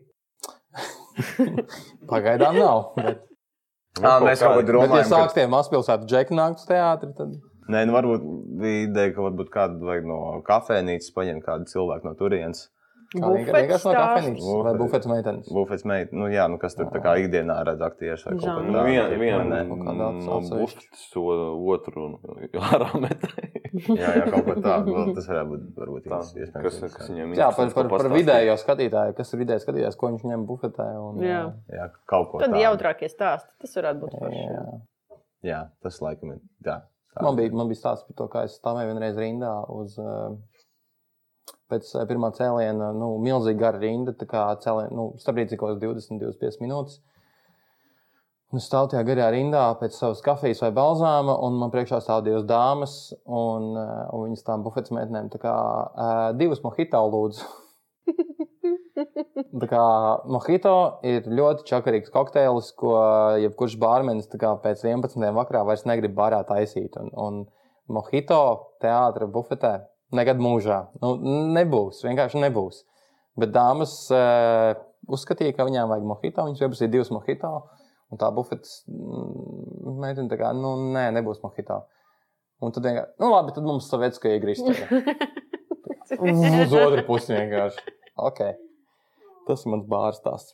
S1: Pagaidām nav. Bet,
S3: Ā, mēs kaut ko
S1: bet ja
S3: domājam. ka-
S1: sāks tie mazpilsētu džeki nākt uz teātri, tad
S3: Nē, nu varbūt bija ideja, ka varbūt kādu vajag no kafejnīcas paņemt kādu cilvēku no turienes.
S1: Vienkārši no kafejnīcas
S3: stāsts.
S1: vai bufetes meitenes.
S3: Bufets meita, nu jā, nu kas tur tā kā ikdienā redz aktiešu vai kaut
S4: Žanru.
S3: ko
S2: Nu, viena
S3: tādu.
S2: viena
S3: Vai ne?
S1: kaut
S2: no
S1: kādā atsevišķi.
S2: bušķis, o- otru un- ārā metēja.
S3: Jā, jā, kaut ko tādu. vēl Tas varētu būt varbūt
S2: Tā,
S3: ins- iespējams
S2: Kas,
S3: interesanti.
S2: kas
S1: Jā,
S2: viņam
S1: par,
S2: interesants,
S1: par,
S2: ko
S1: par
S2: pastāstīt?
S1: vidējo skatītāju, kas ir vidēji skatītājs, ko viņš ņem bufetē. Un, eh,
S4: Jā.
S3: Jā, kaut ko
S4: Tad
S3: tādu.
S4: jautrākie stāsti. Tas varētu būt forši. jā.
S1: jā.
S3: Jā, tas laikam ir. Jā, tā.
S1: Man bija, man bija stāsts par to, kā es stāvēju vienreiz rindā uz. eh, Pēc eh, pirmā cēliena, nu, milzīgi gara rinda. Tā kā cēliena, nu, stabrīdzīgos 20, 25 minūtes. Un es stāvu tajā garajā rindā pēc savas kafijas vai balzāma, un man priekšā stāv divas dāmas, un, eh, un viņas tām bufetes meitenēm tā kā eh, divas mohito lūdzu. Tā kā mohito ir ļoti čakarīgs kokteils, ko jebkurš bārmenis tā kā pēc 11. vakarā vairs negrib barā taisīt. Un, un mohito teātra bufetē nekad mūžā. Nu, nebūs, vienkārši nebūs. Bet dāmas eh, uzskatīja, ka viņām vajag mohito, viņas pieprasīja divas mohito. Un tā bufetes mm, meitene tā kā, nu, nē, nebūs mohito. Un tad vienkārši, nu, labi, tad mums savietas, ka iegriezt. Uz otru pusi vienkārši. Ok. Tas ir mans bārstāsts.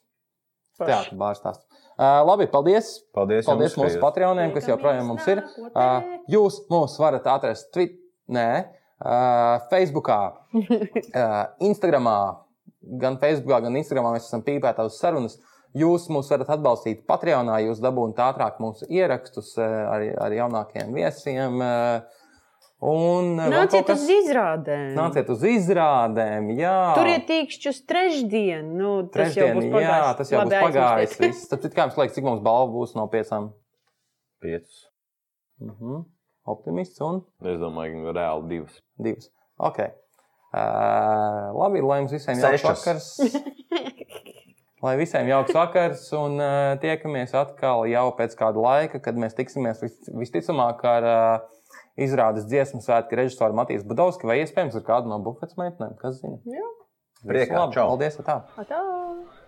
S1: Jā,
S4: Forši.
S1: bārstāsts. Uh, labi, paldies.
S3: Paldies,
S1: Paldies
S3: jums,
S1: mūsu
S3: ka jūs-
S1: patroniem, kas joprojām mums ir. Uh, jūs mūs varat atrast Twitterī, uh, Facebookā, uh, Instagramā. Gan Facebookā, gan Instagramā mēs esam pīpētā uz sarunas. Jūs mūs varat atbalstīt Patreonā, jūs dabūjāt ātrāk mūsu ierakstus uh, ar, ar jaunākiem viesiem. Uh, un, uh, vēl kaut
S4: Nāciet
S1: kas-
S4: uz izrādēm.
S1: Nāciet uz izrādēm, jā.
S4: Turiet tīkšķus trešdien. Nu, tas jau būs
S1: Trešdien, jā,
S4: pagājis.
S1: tas jau
S4: Labi,
S1: būs pagājis.
S4: aizmirsties.
S1: viss. Tad, kā jums liekas, cik mums balvu būs no piecām?
S3: Piecus.
S1: Mhm. Optimists un
S2: Es domāju, ka reāli divas.
S1: divas. Ok. Uh, labi, lai jums visiem jauks
S3: Sešas.
S1: vakars. Lai visiem jauks vakars un uh, tiekamies atkal jau pēc kāda laika, kad mēs tiksimies vis- visticamāk ar uh, izrādes dziesmu svētku režisoru Matīs Budovski vai iespējams ar kādu no bufetes meitenēm. Kas zina?
S4: Jā.
S1: Visu
S3: Priekā,
S1: labu.
S3: čau.
S1: Paldies! Atā.
S4: Atā.